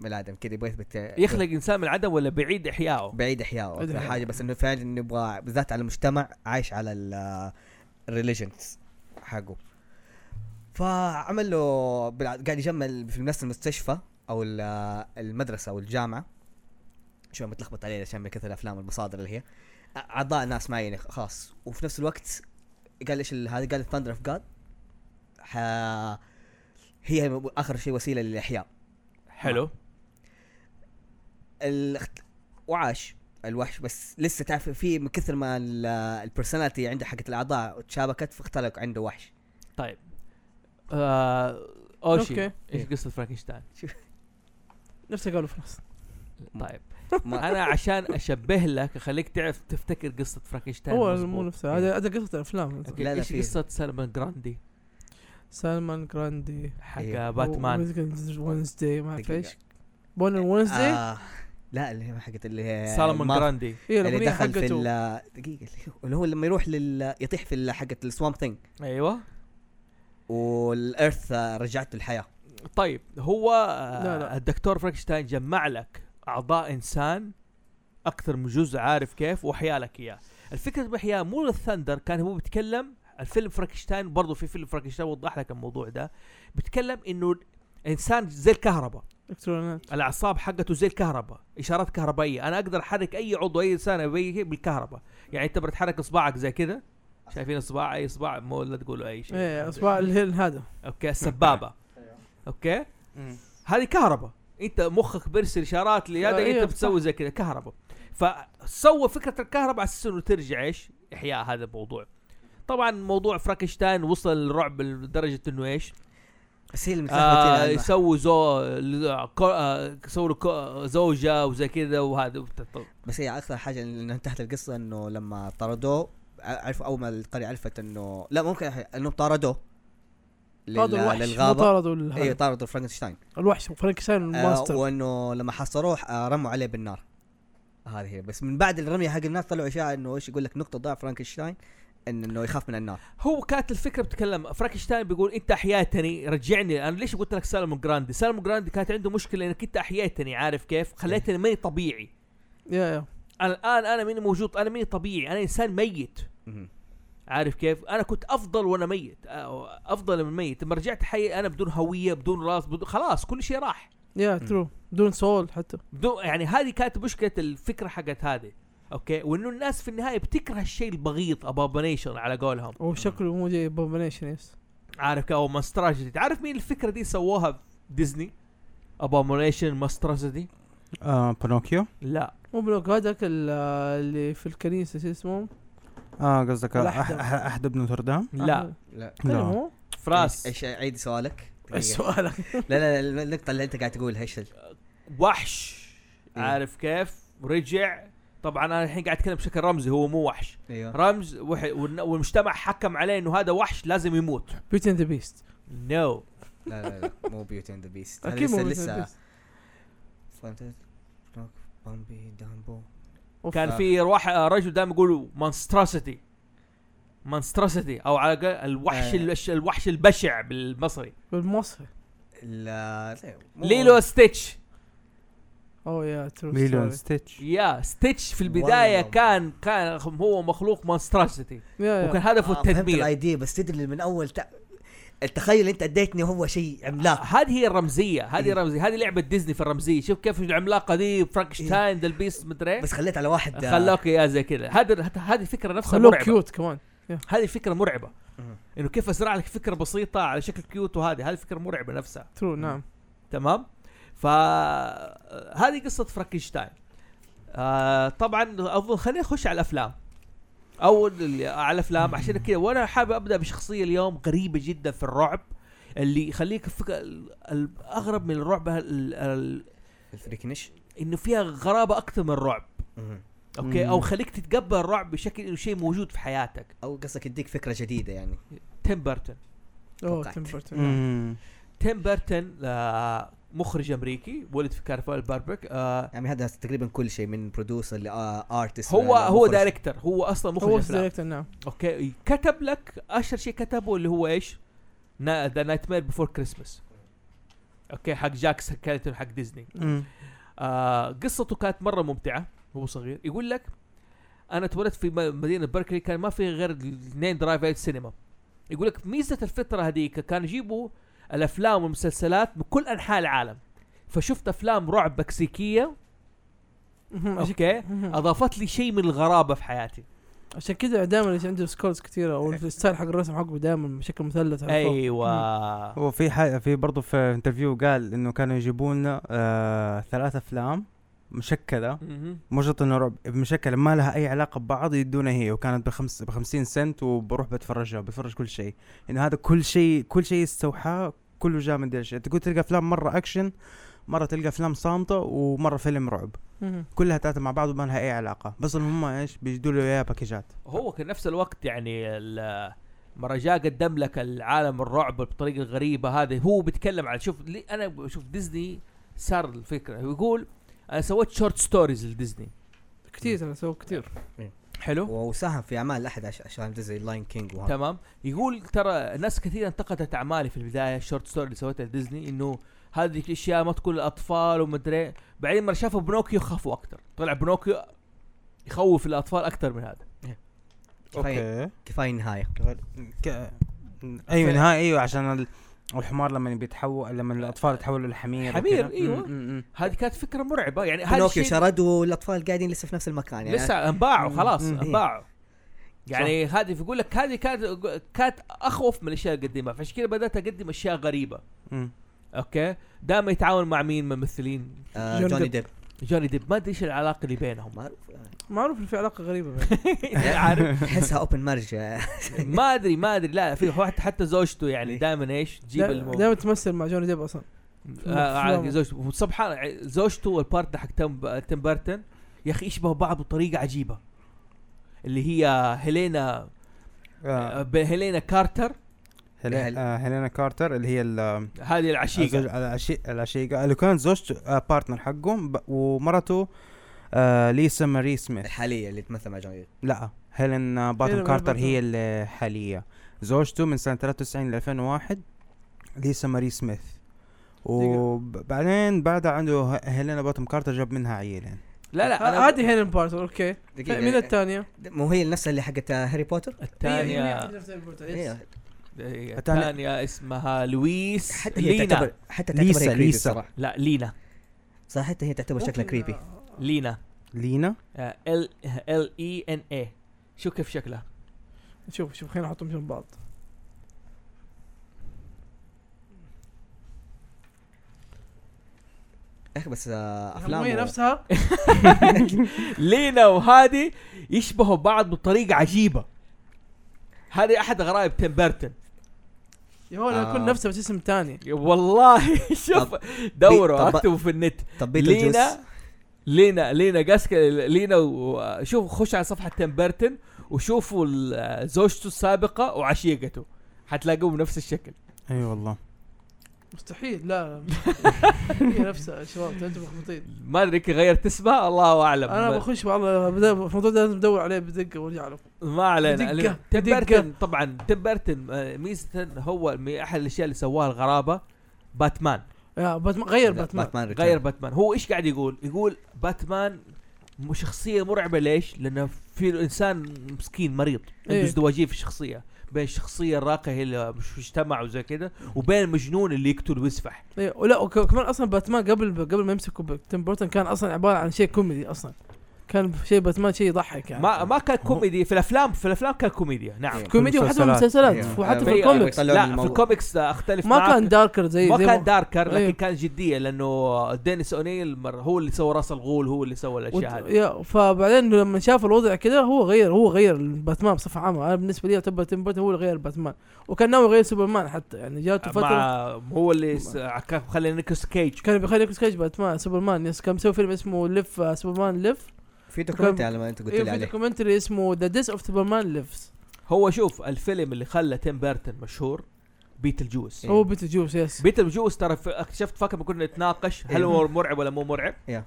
من العدم كذا يبغى يثبت يخلق انسان من العدم ولا بعيد احيائه بعيد احياء بعيد ولا إحياءه. حاجه بس انه فعلا نبغى بالذات على المجتمع عايش على الريليجنز حقه فعمل له بالع- قاعد يجمل في نفس المستشفى او ال- المدرسه او الجامعه شوي متلخبط عليه عشان من كثر الافلام والمصادر اللي هي أ- اعضاء ناس معينه خاص وفي نفس الوقت قال ايش ال- هذا قال ثاندر اوف جاد هي اخر شيء وسيله للاحياء حلو الاخت... وعاش الوحش بس لسه تعرف في من كثر ما ال- البرسوناليتي عنده حقت الاعضاء تشابكت فاختلق عنده وحش طيب آه اوشي أوكي. إيه. ايش قصه فرانكشتاين؟ نفسي قالوا فراس طيب ما انا عشان اشبه لك اخليك تعرف تفتكر قصه فرانكشتاين هو مظبوط. مو إيه. نفسه هذا هذا قصه الافلام أوكي، لا، لا، ايش في- قصه سلمان جراندي سالمان جراندي حق إيه. باتمان ونزداي ما اعرف دقيقة. ايش بون ونزداي آه لا اللي هي حقت اللي هي سلمان المافيا. جراندي هي اللي الاغنيه دخل في إيه، حقته ال- دقيقه اللي هو- اللي هو لما يروح لل يطيح في ال- حقت السوام ثينج ايوه والارث آه، رجعته الحياه طيب هو آه، لا، لا. الدكتور فرانكشتاين جمع لك اعضاء انسان اكثر من جزء عارف كيف واحيا لك اياه الفكره باحياء مو للثندر كان هو بيتكلم الفيلم فرانكشتاين برضو في فيلم فرانكشتاين وضح لك الموضوع ده بيتكلم انه الانسان زي الكهرباء الكترونات الاعصاب حقته زي الكهرباء اشارات كهربائيه انا اقدر احرك اي عضو اي انسان أبي بالكهرباء يعني انت بتحرك اصبعك زي كذا شايفين اصبع اي اصبع مو لا تقولوا اي شيء ايه اصبع الهيل هذا اوكي السبابه اوكي هذه كهرباء انت مخك بيرسل اشارات لهذا آه، إيه، انت بتسوي زي كذا كهرباء فسوى فكره الكهرباء على اساس انه ترجع ايش احياء هذا الموضوع طبعا موضوع فرانكشتاين وصل للرعب لدرجه انه ايش؟ بس هي اللي آه متلخبطين أنا. يسووا زو ل- كو- آه، يسووا له كو- زوجه وزي كذا وهذا وت- ط- بس هي اكثر حاجه انه انتهت القصه انه لما طردوه ع- عرفوا اول ما القريه عرفت انه لا ممكن انه طردوه لل- طاردوا الوحش مو للغابه طاردوا ال- ايوه طاردوا فرانكشتاين الوحش فرانكشتاين آه الماستر وانه لما حصروه آه رموا عليه بالنار هذه هي بس من بعد الرميه حق النار طلعوا اشاعه انه ايش يقول لك نقطه ضعف فرانكشتاين إن انه يخاف من النار هو كانت الفكره بتتكلم فرانكشتاين بيقول انت احييتني رجعني انا ليش قلت لك سالمون جراندي؟ سالمون جراندي كانت عنده مشكله انك انت احييتني عارف كيف؟ خليتني ماني طبيعي يا يا انا الان انا مين موجود انا مين طبيعي انا انسان ميت مهم. عارف كيف انا كنت افضل وانا ميت أو افضل من ميت لما رجعت حي انا بدون هويه بدون راس بدون خلاص كل شيء راح يا مم. ترو بدون سول حتى بدون يعني هذه كانت مشكله الفكره حقت هذه اوكي وانه الناس في النهايه بتكره الشيء البغيض ابابنيشن على قولهم هو شكله مو جاي بومبنيشن يس عارف كيف او ماستراجيدي تعرف مين الفكره دي سووها في ديزني ابابنيشن ماستراجيدي آه بنوكيو لا مو بلوك هذاك ال- اللي في الكنيسه شو اسمه اه قصدك آه، الأحدب. أح- أح- احدب نوتردام آه. لا إيه. لا حلو لا أيوه، مو فراس ايش عيد سؤالك دقيقة. ايش سؤالك لا لا لا النقطه اللي انت قاعد تقولها ايش ال- وحش إيه. عارف كيف رجع طبعا انا الحين قاعد اتكلم بشكل رمزي هو مو وحش ايوه رمز وح... والن- والمجتمع حكم عليه انه هذا وحش لازم يموت بيوتي اند ذا بيست نو no. لا لا لا مو بيوتي اند ذا بيست اكيد مو لسه بيوتي لسه اند فهمت؟ بنوك، بامبي دامبو كان آه. في واحد رجل دائما يقولوا مانستراسيتي مانستراسيتي او على الاقل الوحش آه. الش- الوحش البشع بالمصري بالمصري لا لا، مو- ليلو ستيتش اوه يا ترو ليلو ستيتش يا ستيتش في البدايه والله. كان كان هو مخلوق مانستراسيتي وكان يا هدفه آه، فهمت التدمير الايديا بس تدري من اول تع- التخيل انت اديتني هو شيء عملاق هذه هي الرمزيه هذه إيه. الرمزيه هذه لعبه ديزني في الرمزيه شوف كيف العملاقه دي فرانكشتاين ذا البيست مدري إيه. بس خليت على واحد آه، خلاك يا زي كذا هذا هذه الفكره نفسها خلوه مرعبه كيوت كمان هذه فكره مرعبه مم. انه كيف ازرع لك فكره بسيطه على شكل كيوت وهذه هذه فكره مرعبه نفسها ترو نعم تمام ف هذه قصه فرانكشتاين آه طبعا اظن خلينا نخش على الافلام او اللي على الافلام عشان كذا وانا حابب ابدا بشخصيه اليوم غريبه جدا في الرعب اللي يخليك فك... الاغرب من الرعب ال... ال... الفريكنش انه فيها غرابه اكثر من الرعب مهم. اوكي او مم. خليك تتقبل الرعب بشكل انه شيء موجود في حياتك او قصدك يديك فكره جديده يعني تيم بيرتون اوه توقعت. تيم بيرتون مم. تيم بيرتون آه مخرج امريكي ولد في كاليفورنيا باربك آه يعني هذا تقريبا كل شيء من آه، برودوسر لارتست هو هو دايركتر هو اصلا مخرج هو أفلام. دايركتر نعم اوكي كتب لك اشهر شيء كتبه اللي هو ايش؟ ذا نايت مير بيفور كريسمس اوكي حق جاك كاريتون حق ديزني مم. آه قصته كانت مره ممتعه هو صغير يقول لك انا اتولدت في م- مدينه بيركلي كان ما في غير اثنين درايف ايت سينما يقول لك ميزه الفتره هذيك كان يجيبوا الافلام والمسلسلات من كل انحاء العالم فشفت افلام رعب مكسيكيه مهم. عشان- اوكي مهم. اضافت لي شيء من الغرابه في حياتي عشان كذا دائما يصير عنده سكولز كثيره والستايل حق الرسم حقه دائما بشكل مثلث على فوق. ايوه وفي حاجة في برضه في انترفيو قال انه كانوا يجيبوا لنا آه ثلاث افلام مشكله مهم. مو شرط انه رعب مشكله ما لها اي علاقه ببعض يدونا هي وكانت بخمس ب 50 سنت وبروح بتفرجها بتفرج كل شيء انه هذا كل شيء كل شيء استوحاه كله جاء من ديرش تقول تلقى افلام مره اكشن مره تلقى افلام صامته ومره فيلم رعب مهم. كلها تاتا مع بعض وما لها اي علاقه بس إن هم ايش بيجدوا له اياها باكجات هو في نفس الوقت يعني ال- مرة جاء قدم لك العالم الرعب بالطريقة الغريبة هذه هو بيتكلم عن شوف لي أنا بشوف ديزني صار الفكرة يقول أنا سويت شورت ستوريز لديزني كثير ترى سووا كثير حلو وساهم في اعمال احد عش- عشان زي لاين كينج وهذا تمام يقول ترى ناس كثيرة انتقدت أعمالي في البداية الشورت ستوري اللي سويتها لديزني إنه هذه الأشياء ما تكون للأطفال ومدري بعدين مرة شافوا بنوكيو خافوا أكثر طلع بنوكيو يخوف الأطفال أكثر من هذا كفايه طيب. كفايه نهايه ك... ايوه نهائي ايوه عشان ال- الحمار لما بيتحول لما الاطفال يتحولوا لحمير حمير، وكده. أيوة. م- م- م. هذه كانت فكرة مرعبة يعني هذا بينوكيو الشيء شرد والاطفال قاعدين لسه في نفس المكان يعني لسه انباعوا مم. خلاص مم. إيه. انباعوا يعني هذه يقول لك هذه كانت كانت اخوف من الاشياء اللي اقدمها فعشان كذا بدات اقدم اشياء غريبه م. اوكي دائما يتعاون مع مين من الممثلين آه جوني جوني ديب. ديب جوني ديب ما ادري ايش العلاقه اللي بينهم معروف آه. معروف إن في علاقه غريبه يعني عارف احسها اوبن مارج ما ادري ما ادري لا في واحد حتى زوجته يعني إيه. ليه؟ دائما ايش تجيب الموضوع دائما تمثل مع جوني ديب اصلا آه أفلام. عارف زوجته سبحان الله، يعني زوجته والبارتنر حق تم تيم بيرتون يا اخي يشبهوا بعض بطريقه عجيبه اللي هي هيلينا آه، هيلينا كارتر هيلين- آه، هيلينا كارتر اللي هي ال- هذه العشيقه الزوج- العشي- العشيقه اللي كانت زوجته آه، بارتنر حقه ب- ومرته آه، ليسا ماري سميث الحاليه اللي تمثل مع جوني ديب لا هيلين آه، باتل هيلين كارتر باتل. هي الحاليه زوجته من سنه 93 ل 2001 ليسا ماري سميث وبعدين بعدها عنده ه- هيلينا باتم كارتر جاب منها عيلين لا لا أنا- هذه هيلين بارتر اوكي دقيقة، مين الثانيه؟ مو هي نفسها اللي حقت آه، هاري بوتر؟ الثانية هي. ثانيه دقيقة. الثانية- الثانية اسمها لويس حتى هي لينا تعتبر حتى ليسا- تعتبر هي creepy ليسا. الصراحة. لا لينا صح حتى هي تعتبر شكلها كريبي لينا آه، لينا ال ال اي ان اي E شو كيف شكلها شوف شوف خلينا نحطهم جنب بعض يا اخي بس آه، افلام هي و- نفسها لينا وهذه يشبهوا بعض بطريقة عجيبة هذه احد غرائب تيم بيرتون يا هو لو تكون آه. نفسها بس اسم ثاني والله شوف دوروا طب- اكتبوا في النت طب بيتل جوس لينا لينا لينا قاسك لينا وشوف خش على صفحة تيم بيرتون وشوفوا ال- زوجته السابقة وعشيقته حتلاقوهم نفس الشكل اي أيوة والله مستحيل لا لا. هي نفسها يا شباب انتم مخبطين ما ادري يمكن غيرت اسمها الله اعلم انا ما- بخش والله بدا- الموضوع ده لازم ادور عليه بدقه وارجع له ما علينا بدقة- علينا. تيم بدقة. بيرتون طبعا تيم بيرتون آه، ميزه هو من احد الاشياء اللي سواها الغرابه باتمان يا باتمان غير لا، باتمان ريتيرن. غير باتمان هو ايش قاعد يقول يقول باتمان م- شخصيه مرعبه ليش لانه في انسان مسكين مريض عنده إيه. ازدواجيه في الشخصيه بين الشخصيه الراقيه اللي مش في مجتمع وزي كده وبين المجنون اللي يقتل ويسفح إيه، ولا وك- وكمان اصلا باتمان قبل قبل ما يمسكوا ب- تيم بورتن كان اصلا عباره عن شيء كوميدي اصلا كان شيء باتمان شيء يضحك يعني ما ما كان كوميدي في الافلام في الافلام كان كوميديا نعم إيه. كوميديا وحتى في المسلسلات إيه. وحتى في في- الكوميكس طلعوا من لا في الموضوع. الكوميكس آه، اختلف ما معاك. كان داركر زي ما طيب، زي كان داركر لكن أيوه. كان جديه لانه دينيس اونيل مر- هو اللي سوى راس الغول هو اللي سوى وت- الاشياء هذه يا فبعدين لما شاف الوضع كده هو غير هو غير باتمان بصفه عامه انا بالنسبه لي اعتبر تيم بورتن هو اللي غير باتمان وكان ناوي يغير سوبرمان حتى يعني جاته فتره مع هو اللي س- كان خلى نيكوس كيج كان بيخلي نيكولاس كيج باتمان سوبرمان يس كان مسوي فيلم اسمه لف آه، سوبرمان لف في دوكيومنتري على ما انت قلت إيه، لي في عليه دوكيومنتري اسمه ذا ديس اوف سوبرمان ليفز هو شوف الفيلم اللي خلى تيم بيرتون مشهور بيتل جوس إيه. هو بيتر جوس يس بيتل جوس ترى ف- اكتشفت فاكر لما كنا نتناقش هل هو مرعب ولا مو مرعب؟ يا.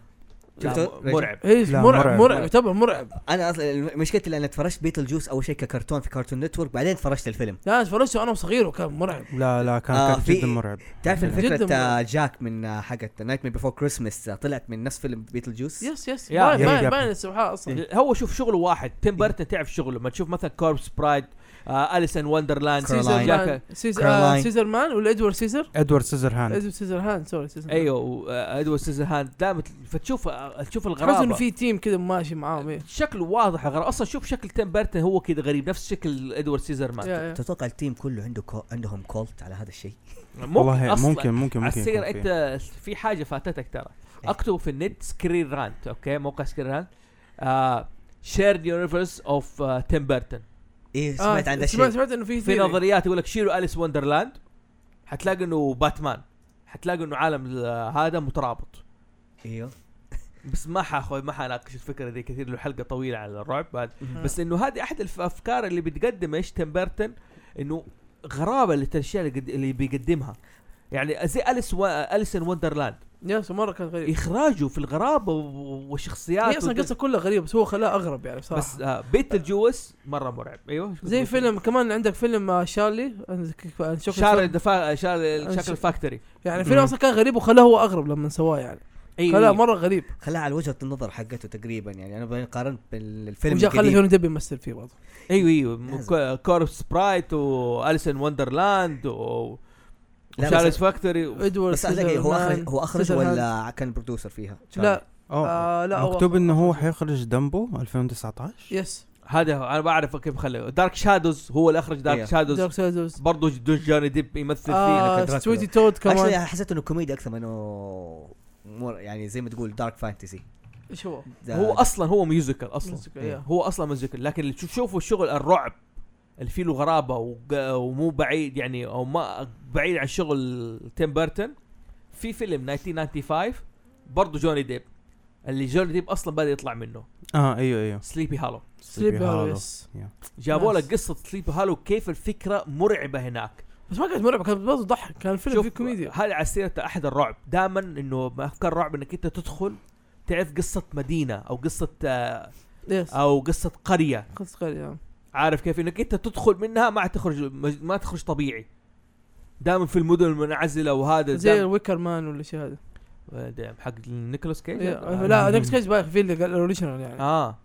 لا، شفته؟ م- مرعب هي لا، إيه، مرعب مرعب. مرعب يعتبر مرعب انا اصلا مشكلتي لان تفرجت بيتل جوس اول شيء ككرتون في كارتون نتورك بعدين تفرجت الفيلم لا انا فرجته انا وصغير وكان مرعب لا لا كان آه، كان في- جدا مرعب تعرف جداً الفكرة آه، مرعب. جاك من آه، حقت نايت مير بيفور كريسمس آه، طلعت من نفس فيلم بيتل جوس يس يس يا- باين يا باين رجال. باين السبحان اصلا هو شوف شغله واحد تيم بيرتون تعرف شغله لما تشوف مثلا كوربس برايد آه اليسن وندرلاند كرولاين. سيزر مان جاك- سيزر آه، كرولاين. سيزر مان ولا ادوارد سيزر ادوارد سيزر هاند ادوارد سيزر هان سوري سيزر هان. ايوه ادوارد سيزر هاند دائما فتشوف آه، تشوف تحس انه الغرابه في تيم كذا ماشي معاهم ايه شكله واضح غريب اصلا شوف شكل تيم بيرتون هو كذا غريب نفس شكل ادوارد سيزر مان يا- يا. تتوقع التيم كله عنده كو... عندهم كولت على هذا الشيء ممكن والله أصلاً ممكن ممكن على ممكن يكون السير فيه. انت في حاجه فاتتك ترى إيه. اكتب في النت سكرين رانت اوكي موقع سكرين رانت آه شيرد يونيفرس اوف تيم بيرتون ايه آه، سمعت عن ذا سمعت الشيء سمعت انه في آه، في theory. نظريات يقول لك شيلوا اليس وندرلاند حتلاقي انه باتمان حتلاقي انه عالم ال- هذا مترابط ايوه بس ما حاخذ ما حناقش الفكره دي كثير له حلقه طويله على الرعب بعد بس انه هذه احد الافكار اللي بتقدم ايش تيم بيرتون انه غرابه اللي الاشياء اللي قد- اللي بيقدمها يعني زي اليس و... اليس إن وندرلاند يس مره كان غريب اخراجه في الغرابه و- هي والشخصيات اصلا وكده. القصه كلها غريبه بس هو خلاها اغرب يعني بصراحه بس آه بيت الجوس مره مرعب ايوه زي فيلم كمان عندك فيلم آه، شارلي عن شكل شارع شارلي. الدفا... شارع أنا ش- شكل الفاكتوري يعني فيلم اصلا كان غريب وخلاه هو اغرب لما سواه يعني إيه. أيوه، خلاه مره غريب خلاه على وجهه النظر حقته تقريبا يعني انا بين- قارنت بالفيلم وجاء خلى القديم جوني ديب يمثل فيه برضه ايوه ايوه م- لازم. كو- كورب سبرايت واليسن وندرلاند و لا، بس- شارلز فاكتوري ادوارد بس أدري هو اخرج هو اخرج سيزرهاند. ولا كان برودوسر فيها؟ لا اه آه، لا هو مكتوب أخرج. انه هو حيخرج دمبو 2019 يس هذا هو، انا بعرف كيف خليه دارك شادوز هو اللي اخرج دارك إيه. شادوز دارك سايدرز برضه جون جوني ديب يمثل فيه أنا آه كنت راكبه. ستويتي تود اكشلي كمان حسيت انه كوميدي اكثر من انه مور- يعني زي ما تقول دارك فانتسي ايش هو؟ ده- هو اصلا هو ميوزيكال اصلا Musical، إيه. هو اصلا ميوزيكال لكن اللي تشوفوا الشغل الرعب اللي فيه له غرابه وق- ومو بعيد يعني او ما بعيد عن شغل تيم بيرتون في فيلم 1995 برضه جوني ديب اللي جوني ديب اصلا بدا يطلع منه اه ايوه ايوه سليبي هالو سليب هولو. يس جابوا ناس. لك قصه سليب هالو كيف الفكره مرعبه هناك بس ما كانت مرعبه كانت برضه ضحك كان الفيلم فيه كوميديا هذا على سيره احد الرعب دائما انه ما افكار رعب انك انت تدخل تعرف قصه مدينه او قصه آه، يس او قصه قريه قصة قليلة عارف كيف انك انت تدخل منها ما تخرج ما تخرج طبيعي دائما في المدن المنعزله وهذا زي زي الويكر مان ولا شيء هذا دايم حق نيكولاس كيج إيه، آه. لا نيكس كيج بايخ في الاوريجنال يعني اه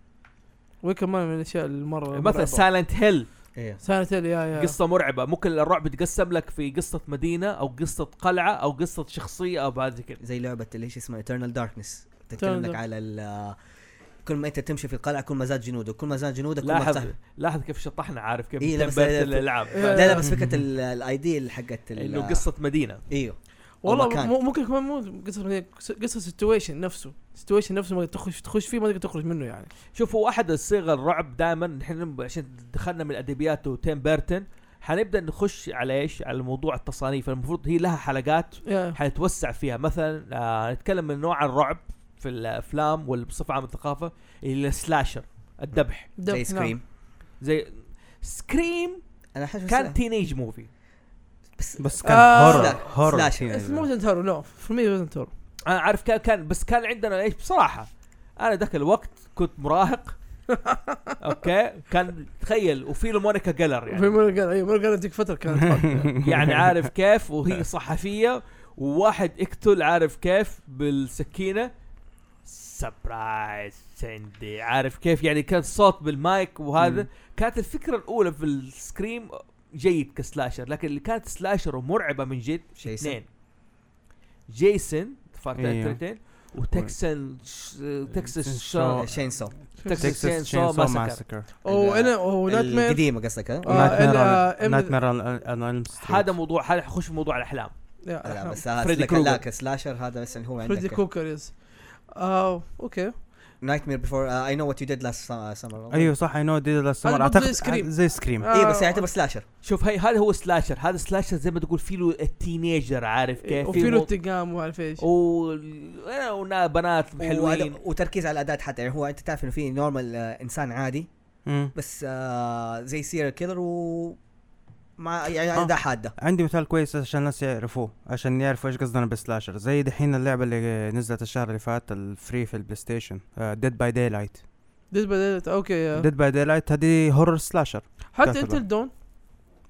ويكر مان من الاشياء المره مثلا سايلنت هيل إيه. سانتيل يا يا قصه مرعبه ممكن الرعب يتقسم لك في قصه مدينه او قصه قلعه او قصه شخصيه او بعد زي كذا زي لعبه اللي ايش اسمها ايترنال داركنس تتكلم Dark- لك على ال- كل ما انت تمشي في القلعه كل ما زاد جنودك كل ما زاد جنودك كل ما لاحظ تصح- لاحظ كيف شطحنا عارف كيف إيه، لا، بس تنبهت لا، لا، الالعاب إيه. لا لا بس فكره الايديا حقت ال- انه قصه مدينه ايوه والله والله مو- ممكن كمان مو قصه قصه سيتويشن نفسه سيتويشن نفسه ما تخش تخش فيه ما تقدر تخرج منه يعني شوف هو احد الصيغ الرعب دائما نحن عشان دخلنا من الادبيات وتيم بيرتون حنبدا نخش على ايش؟ على موضوع التصانيف المفروض هي لها حلقات يا. حنتوسع فيها مثلا آه نتكلم من نوع الرعب في الافلام والبصفه عامه الثقافه الى السلاشر الذبح دب- زي نعم. سكريم زي سكريم انا حاسس كان تينيج موفي بس بس كان آه، هورر سلا- هورر سلاش اسمه يعني. موزن تارو لا في مي موزن تارو انا عارف كان, كان بس كان عندنا ايش بصراحه انا ذاك الوقت كنت مراهق اوكي كان تخيل وفي له مونيكا جيلر في يعني مورجان ايوه مورجان ديك فتره كانت طالعة. يعني عارف كيف وهي صحفيه وواحد اقتل عارف كيف بالسكينه سبرايز سندي عارف كيف يعني كان صوت بالمايك وهذا مم. كانت الفكره الاولى في السكريم جيد كسلاشر لكن اللي كانت سلاشر ومرعبه من جد جيسون اثنين جيسون أيوه. فاكر وتكسن ش... تكساس شو شو- شين سو تكساس تكساس شينسو تشينسو ماسكر ماسكر وانا ونايت مير القديمه قصدك ها؟ آه، إلا- إم- نايتمير اون الم هذا موضوع هذا حخش في موضوع الاحلام لا يا بس هذا فريدي لك- كروجر. لا سلاشر هذا بس هو فريدي عندك كوكر يس آه، اوكي نايت مير بيفور اي نو وات يو ديد لاست سمر ايوه صح اي نو ديد لاست هذا سمر برضه زي اعتقد سكريم. زي سكريم آه، اي إيه، بس يعني يعتبر سلاشر شوف هي هذا هو سلاشر هذا سلاشر زي ما تقول فيه له التينيجر عارف كيف وفي له مو- Oh. انتقام وما اعرف ايش و إيه، ونا- بنات حلوين وأد- وتركيز على الاداء حتى يعني هو انت تعرف انه في نورمال انسان عادي مم. بس آه زي سيريال كيلر و مع يعني آه. اداء حاده عندي مثال كويس عشان الناس يعرفوه عشان يعرفوا ايش قصدنا بالسلاشر زي دحين اللعبه اللي نزلت الشهر اللي فات الفري في آه، البلاي ستيشن ديد باي داي لايت ديد بدلت اوكي يا. ديد باي داي لايت هذه هورر سلاشر حتى تعتبر. انتل دون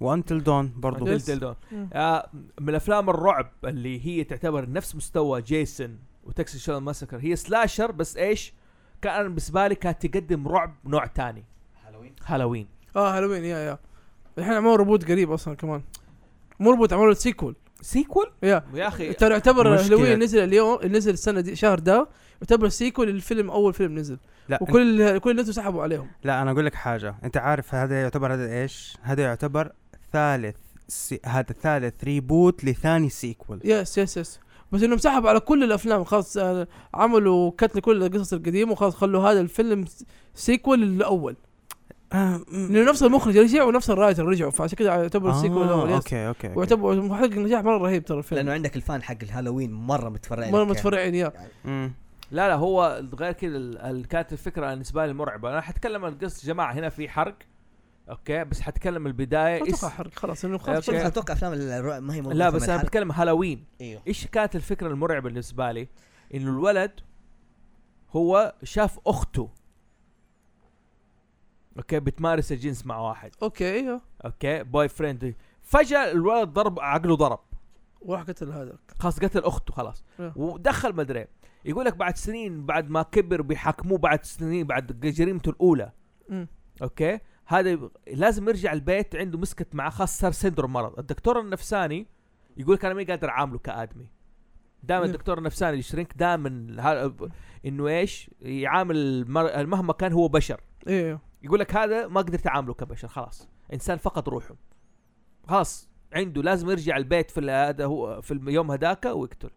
وانتل دون برضو Until- دل- دل- دل. آه، من افلام الرعب اللي هي تعتبر نفس مستوى جيسون وتكساس شون ماسكر هي سلاشر بس ايش؟ كان بالنسبه لي كانت تقدم رعب نوع تاني هالوين هالوين اه هالوين يا يا الحين عملوا ريبوت قريب اصلا كمان مو ريبوت عملوا سيكول سيكول يا يا اخي ترى يعتبر مشكلة. هالوين نزل اليوم نزل السنه دي الشهر ده يعتبر سيكول للفيلم اول فيلم نزل لا إيه. وكل كل الناس سحبوا عليهم لا انا اقول لك حاجه انت عارف هذا يعتبر هذا ايش هذا يعتبر ثالث سي... هذا ثالث ريبوت لثاني سيكول يس يس يس بس انهم سحبوا على كل الافلام خلاص آه، عملوا كت لكل القصص القديمه وخلاص خلوا هذا الفيلم س- سيكول الاول آه م- لانه نفس المخرج رجع ونفس الرايتر رجعوا فعشان كذا يعتبر السيكول الاول آه يس اوكي اوكي, أوكي. ويعتبر محقق نجاح مره رهيب ترى لانه الفيلم عندك الفان حق الهالوين مره متفرعين مره لك. يعني. متفرعين يا مم. لا لا هو غير كذا ال- ال- كانت الفكره بالنسبه لي مرعبه انا حتكلم عن قصه جماعه هنا في حرق اوكي بس حتكلم البدايه اتوقع إيش- حرق خلاص انه خلاص أوكي. شوف اتوقع افلام الرعب ما هي مربوطة لا بس إيه، بالحرق. انا بتكلم هالوين ايوه ايش كانت الفكره المرعبه بالنسبه لي؟ انه الولد هو شاف اخته اوكي بتمارس الجنس مع واحد اوكي ايوه اوكي بوي فريند فجاه الولد ضرب عقله ضرب وراح قتل هذاك خلاص قتل اخته خلاص Yeah. ودخل مدري يقول لك بعد سنين بعد ما كبر بيحاكموه بعد سنين بعد جريمته الاولى مم. اوكي هذا يبغ- لازم يرجع البيت عنده مسكت معاه خاص صار سندروم مرض الدكتور النفساني يقول لك انا ما قادر اعامله كادمي دائما Yeah. الدكتور النفساني الشرينك دائما ها- انه ايش يعامل المر- مهما كان هو بشر ايوه يقول لك هذا ما قدرت اعامله كبشر خلاص انسان فقد روحه خلاص عنده لازم يرجع البيت في ال- هذا هو في اليوم هذاك ويقتل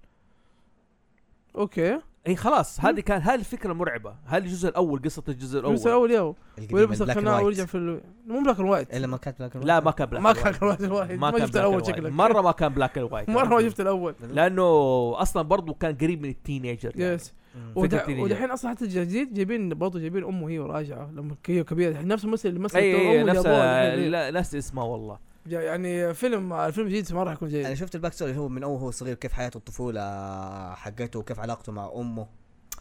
اوكي اي خلاص هذه كان هذه الفكره مرعبه هذا الجزء الاول قصه الجزء الفيلم الاول الاول ياهو القديم ويلبس البلاك القناع وايت. ويرجع في ال... مو بلاك اند وايت الا ما كانت بلاك لا ما كان بلاك ما and white. كان الوايت الواحد ما كان شفت بلاك الاول and white. شكلك مره ما كان بلاك اند وايت مره ما شفت الاول لانه اصلا برضو كان قريب من التينيجر يعني. يس مم. فكرة ودع- تينيجر. ودحين اصلا حتى الجديد جايبين برضه جايبين امه هي وراجعه لما هي كبيره الحين نفس الممثل اللي مثل اي دور اي أمه نفس جابوها الحين. لا نفس اسمه والله جا- يعني فيلم الفيلم الجديد ما راح يكون انا يعني جيد شفت الباك ستوري هو من اول هو صغير كيف حياته الطفوله حقته وكيف علاقته مع امه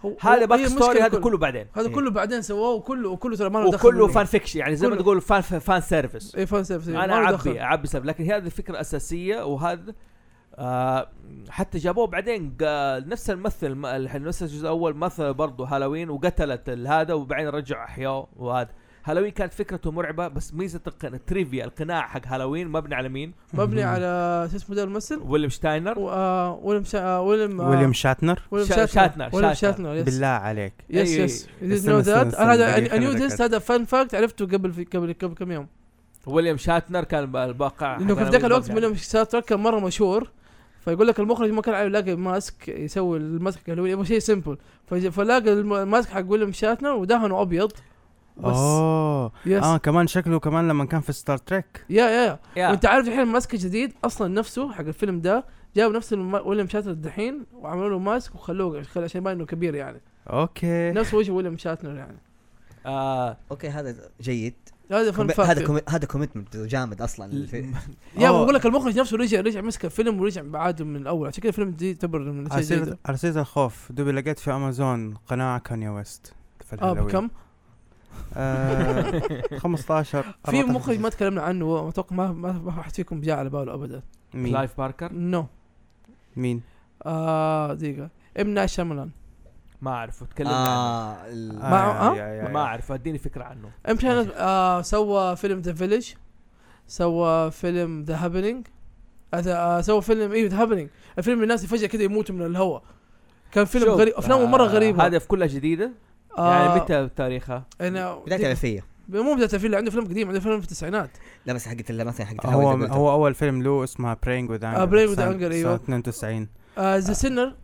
هو- هذا هو- هي باك المشكلة ستوري هذا كله بعدين هذا إيه. كله بعدين سواه وكله وكله ترى ما له دخل وكله منه. إيه، فان فيكشن يعني زي ما كله. تقول فان فان سيرفيس اي فان سيرفيس انا اعبي اعبي سبب لكن هذه الفكره الاساسيه وهذا آه حتى جابوه بعدين قال- نفس الممثل م- الح- نفس الجزء الاول مثل برضه هالوين وقتلت ال- هذا وبعدين رجع احياه وهذا هالوين كانت فكرته مرعبه بس ميزه الق- التريفيا القناع حق هالوين مبني على مين؟ مبني على شو اسمه ده الممثل ويليام شتاينر و- آه، ويليام شا- آه، ويليام آه، ويليام شاتنر ويليام شاتنر شا- شاتنر، ويليام شاتنر. شاتنر يس بالله عليك يس أي- يس يو استنى، نو استنى، ذات استنى، هذا دقيقة، نيو خليني ذس هذا فان فاكت عرفته قبل في قبل قبل كم يوم ويليام شاتنر كان الباقع لانه في ذاك الوقت فيلم ستار كان مره مشهور فيقول لك المخرج ما كان عارف يلاقي ماسك يسوي الماسك اللي هو يبغى شيء سمبل فج- فلاقى الم- الماسك حق ويليام شاتنر ودهنه ابيض بس اوه يس اه كمان شكله كمان لما كان في ستار تريك يا يا يا وانت وانت عارف الحين الماسك الجديد اصلا نفسه حق الفيلم ده جابوا نفس الم- ويليام شاتنر الدحين وعملوا له ماسك وخلوه خل- عشان يبان انه كبير يعني اوكي نفس وجه ويليام شاتنر يعني آه اوكي هذا جيد هذا فن كومي- فاكت هذا كومي- هذا كوميتمنت جامد اصلا الفي- يا أوه. بقول لك المخرج نفسه رجع رجع مسك الفيلم ورجع بعاده من الاول عشان كذا الفيلم جديد يعتبر من على الاشياء سيرة الجيده على سيرة الخوف دوبي لقيت في امازون قناع كانيا ويست في اه الهالوين. بكم؟ آه 15 في مخرج ما تكلمنا عنه واتوقع ما ما ما واحد فيكم جاء على باله ابدا مين؟ كلايف باركر نو مين؟ آه دقيقه ام نايت شاملان ما اعرفه تكلمنا عنه آه، ال- ما- آه؟ يا- يا- يا- ما اعرف اديني فكره عنه ام شاملان آه سوى فيلم ذا فيلج سوى فيلم ذا آه، إيه، هابينج آه سوى فيلم ايوه ذا هابينج الفيلم اللي الناس فجاه كذا يموتوا من الهواء كان فيلم شوف، غريب افلامه آه، مره غريبه هدف كلها جديده آه، يعني متى تاريخها انا بدايه الالفيه مو بدايه الفيلم عنده فيلم قديم عنده فيلم في التسعينات لا بس حقت لا مثلا حقت هو الهواء هو اول فيلم له اسمها Praying with Anger آه، Praying with سنة- Anger، أيوة. سنة 92 ذا سينر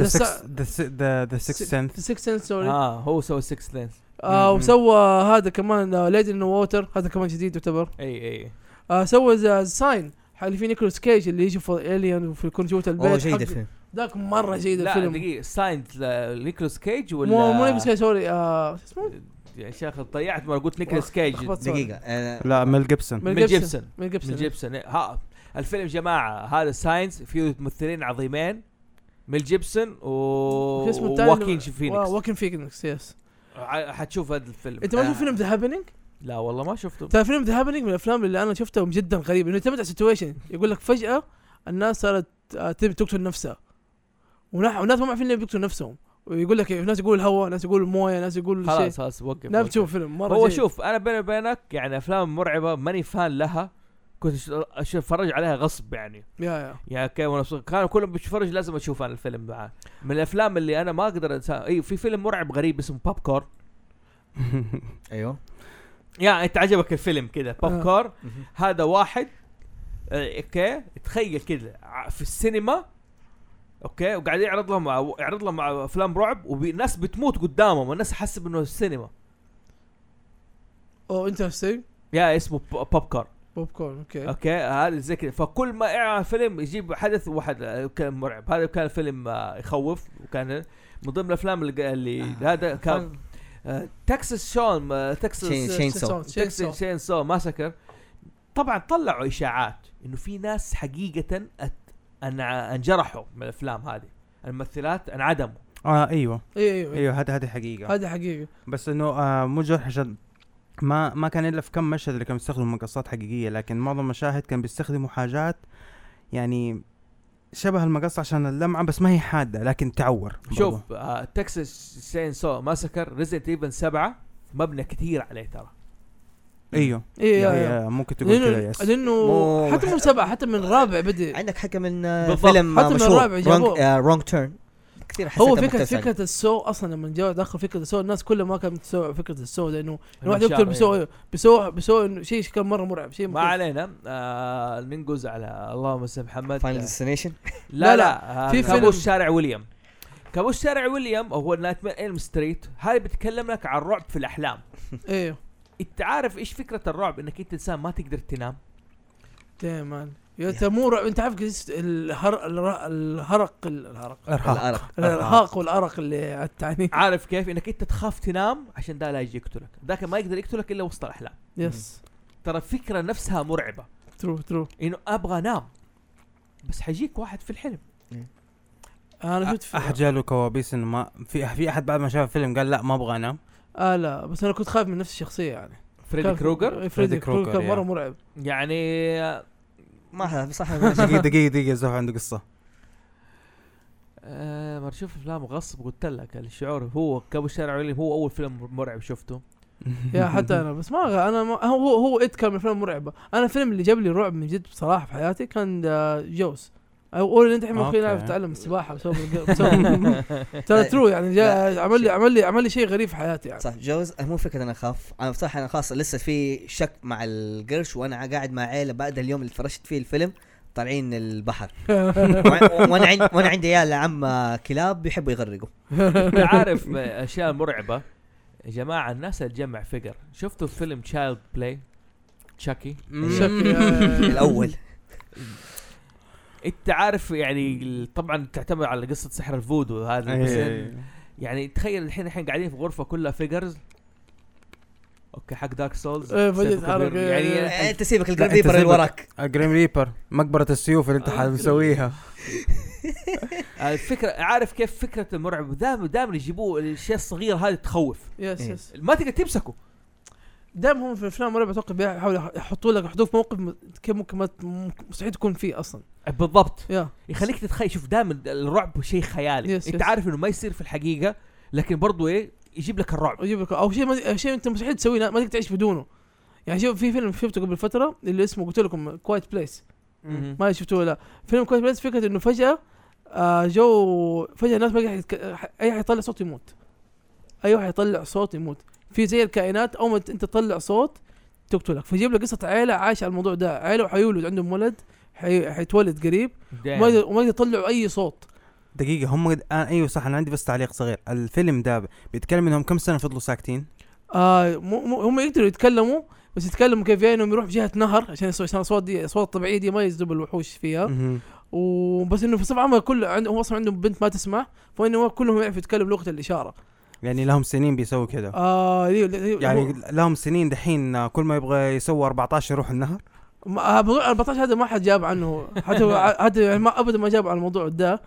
The سا- Sixth- The Si- The- The Sixth Sense ذا سيكس سنس سوري اه هو سوى 6 لينز آه مم. وسوى هذا كمان آه، ليدي ان ووتر هذا كمان جديد يعتبر اي اي آه سوى ذا ساين اللي فيه نيكولاس كيج اللي يشوف الين وفي الكمبيوتر البيت والله جيد حقه. الفيلم ذاك مره جيد لا الفيلم دقيقه ساينت نيكولاس كيج ولا مو مو نيكولاس كيج سوري آه شو اسمه يا شيخ ضيعت ما قلت نيكولاس كيج لخبطت سوري. دقيقه أنا- لا ميل جيبسون من ميل جيبسون. جيبسون من من جيبسون جيبسون إيه، ها الفيلم جماعه هذا ساينس فيه ممثلين عظيمين ميل جيبسون و شو اسمه الثاني واكين فينيكس واكين فينيكس يس ع- حتشوف هذا الفيلم انت ما آه. شفت فيلم ذا هابينج؟ لا والله ما شفته ترى فيلم ذا هابينج من الافلام اللي انا شفتهم جدا غريب انه يعتمد على السيتويشن يقول لك فجاه الناس صارت آه، تبي تقتل نفسها ونح- والناس ما عارفين ليه بيقتلوا نفسهم ويقول لك إيه، ناس يقول الهواء ناس يقول المويه ناس يقول شيء خلاص خلاص وقف نعم وقف. تشوف فيلم مره هو جيد. شوف انا بيني وبينك يعني افلام مرعبه ماني فان لها كنت أش- أش- اتفرج عليها غصب يعني يا يا يعني كان وانا صغير كانوا كلهم بيتفرج لازم اشوف انا الفيلم معاه من الافلام اللي انا ما اقدر انساها اي في فيلم مرعب غريب اسمه باب كور ايوه يعني انت عجبك الفيلم كذا باب آه. كور مهم. هذا واحد آه، اوكي تخيل كذا ع- في السينما اوكي وقاعد يعرض لهم يعرض لهم افلام رعب والناس بتموت قدامهم الناس حسب انه السينما او انترستنج يا اسمه ب- باب كور بوب كورن اوكي اوكي هذا زي كذا فكل ما يعمل فيلم يجيب حدث واحد كان مرعب هذا كان فيلم آه، يخوف وكان من ضمن الافلام اللي, اللي هذا كان آه، تكساس شون آه، شين- تكساس شين سو. تكساس شين سو ماسكر طبعا طلعوا اشاعات انه في ناس حقيقه أت... أن... انجرحوا من الافلام هذه الممثلات انعدموا اه ايوه ايوه ايوه ايوه هذا هذه حقيقه هذا حقيقي بس انه آه مو جرح جد ما ما كان الا في كم مشهد اللي كانوا بيستخدموا مقصات حقيقيه لكن معظم المشاهد كان بيستخدموا حاجات يعني شبه المقص عشان اللمعه بس ما هي حاده لكن تعور برضو. شوف آه، تكساس شين سو ماسكر ريزنت ايفن 7 مبنى كثير عليه ترى ايوه ايوه يعني ايوه آه، ممكن تقول كذا لانه يس لانه مو- حتى مو سبعه حتى من رابع بدي عندك حاجه من آه، بالضبط. فيلم حتى آه، من مشهور الرابع جابوه. رونج تيرن كثير حسيتها هو فكره مختلفة فكره السو اصلا لما جاء دخل فكره السو الناس كلها ما كانت تستوعب فكره السو لانه الواحد المشاعر يقتل يعني. إيه. بسو بسو بسو إنه شيء كان مره مرعب شيء ما مخيف. علينا آه ننقز على اللهم صل على محمد فاينل ديستنيشن لا، لا لا, في في فيلم- كابوس شارع ويليام كابوس شارع ويليام هو نايت مان الم ستريت هذا بيتكلم لك عن الرعب في الاحلام ايوه انت عارف ايش فكره الرعب انك انت انسان ما تقدر تنام دائما يا انت مو رعب انت عارف قصة الهر... الر- الهرق الهرق ارهاق الارق آه. الارهاق والارق اللي على التعني عارف كيف انك انت تخاف تنام عشان ده لا يجي يقتلك ذاك ما يقدر يقتلك الا وسط الاحلام يس ترى الفكره نفسها مرعبه ترو ترو انه ابغى انام بس حيجيك واحد في الحلم انا شفت في- احد جاله كوابيس انه ما في في احد بعد ما شاف الفيلم قال لا ما ابغى انام اه لا بس انا كنت خايف من نفس الشخصيه يعني فريدي كان- كروجر إيه، فريدي فريدي كروجر كان كروجر، مره يا. مرعب يعني ما أعرف صح دقيقه دقيقه دقيقه زوف عنده قصه آه ما اشوف افلام غصب قلت لك الشعور هو كابوس شارع ويليام هو اول فيلم مرعب شفته يا حتى انا بس ما انا ما هو هو, هو ات كان من الافلام المرعبه انا الفيلم اللي جاب لي رعب من جد بصراحه في حياتي كان آه، ذا جوز او اول انت الحين ممكن أوكي. اعرف اتعلم السباحه بسبب بسبب- ترى ترو يعني جاء عمل لي عمل لي عمل لي شيء غريب في حياتي يعني إيه، صح جوز أنا مو فكره انا اخاف انا بصراحه انا خاص لسه في شك مع القرش وانا قاعد مع عيله بعد اليوم اللي فرشت فيه الفيلم طالعين البحر وع- وانا عندي وانا عندي عيال عم كلاب بيحبوا يغرقوا انت عارف اشياء مرعبه يا جماعه الناس تجمع فقر شفتوا فيلم تشايلد بلاي تشاكي الاول انت عارف يعني ال- طبعا تعتمد على قصه سحر الفودو هذا إيه. بس إيه. إن- يعني تخيل الحين الحين قاعدين في غرفه كلها فيجرز اوكي حق دارك سولز إيه، بدأت أتحرك، إيه، إيه. يعني انت سيبك لا، القرب أنت يبر اللي سيبك. وراك جريم ريبر مقبره السيوف اللي انت آه، مسويها الفكره عارف كيف فكره المرعب دائما دائما يجيبوه الاشياء الصغيره هذه تخوف يس إيه. يس ما تقدر تمسكه دائما هم في الافلام المرعبه اتوقع بيحاولوا يحطوا لك يحطوه في موقف م- كيف ممكن ما ت- ممكن- مستحيل تكون فيه اصلا بالضبط يا يخليك تتخيل شوف دائما الرعب شيء خيالي يس، انت يس. عارف انه ما يصير في الحقيقه لكن برضو ايه يجيب لك الرعب يجيب لك او شيء ما شيء انت مستحيل تسويه لا- ما تقدر تعيش بدونه يعني شوف في فيلم شفته قبل Mm-hmm. فتره اللي اسمه قلت لكم كوايت بليس ما شفتوه ولا لا. فيلم كويس بس فكره انه فجاه آه جو فجاه الناس ما قاعد يتك- ح- اي حيطلع صوت يموت اي واحد يطلع صوت يموت في زي الكائنات اول ما انت تطلع صوت تقتلك فجيب لك قصه عائله عايش على الموضوع ده عائله وحيولد عندهم ولد حي... حيتولد قريب وما يقدر- وما يطلعوا اي صوت دقيقة هم الآن أيوه صح أنا عندي بس تعليق صغير الفيلم ده بيتكلم إنهم كم سنة فضلوا ساكتين آه مو مو هم يقدروا يتكلموا بس يتكلموا كيف يعني انهم يروحوا في جهه نهر عشان يسوي- عشان الاصوات دي الاصوات الطبيعيه دي ما يجذب الوحوش فيها مهم. وبس انه في صف عمر كله عنده هو اصلا عندهم بنت ما تسمع فانه كلهم يعرفوا يتكلموا لغه الاشاره يعني لهم سنين بيسووا كذا آه ليه- ليه- يعني هو- لهم سنين دحين آه، كل ما يبغى يسوي 14 يروح النهر ما- آه، موضوع 14 هذا ما حد جاب عنه حتى حتى يعني ما ابدا ما جاب عن الموضوع ده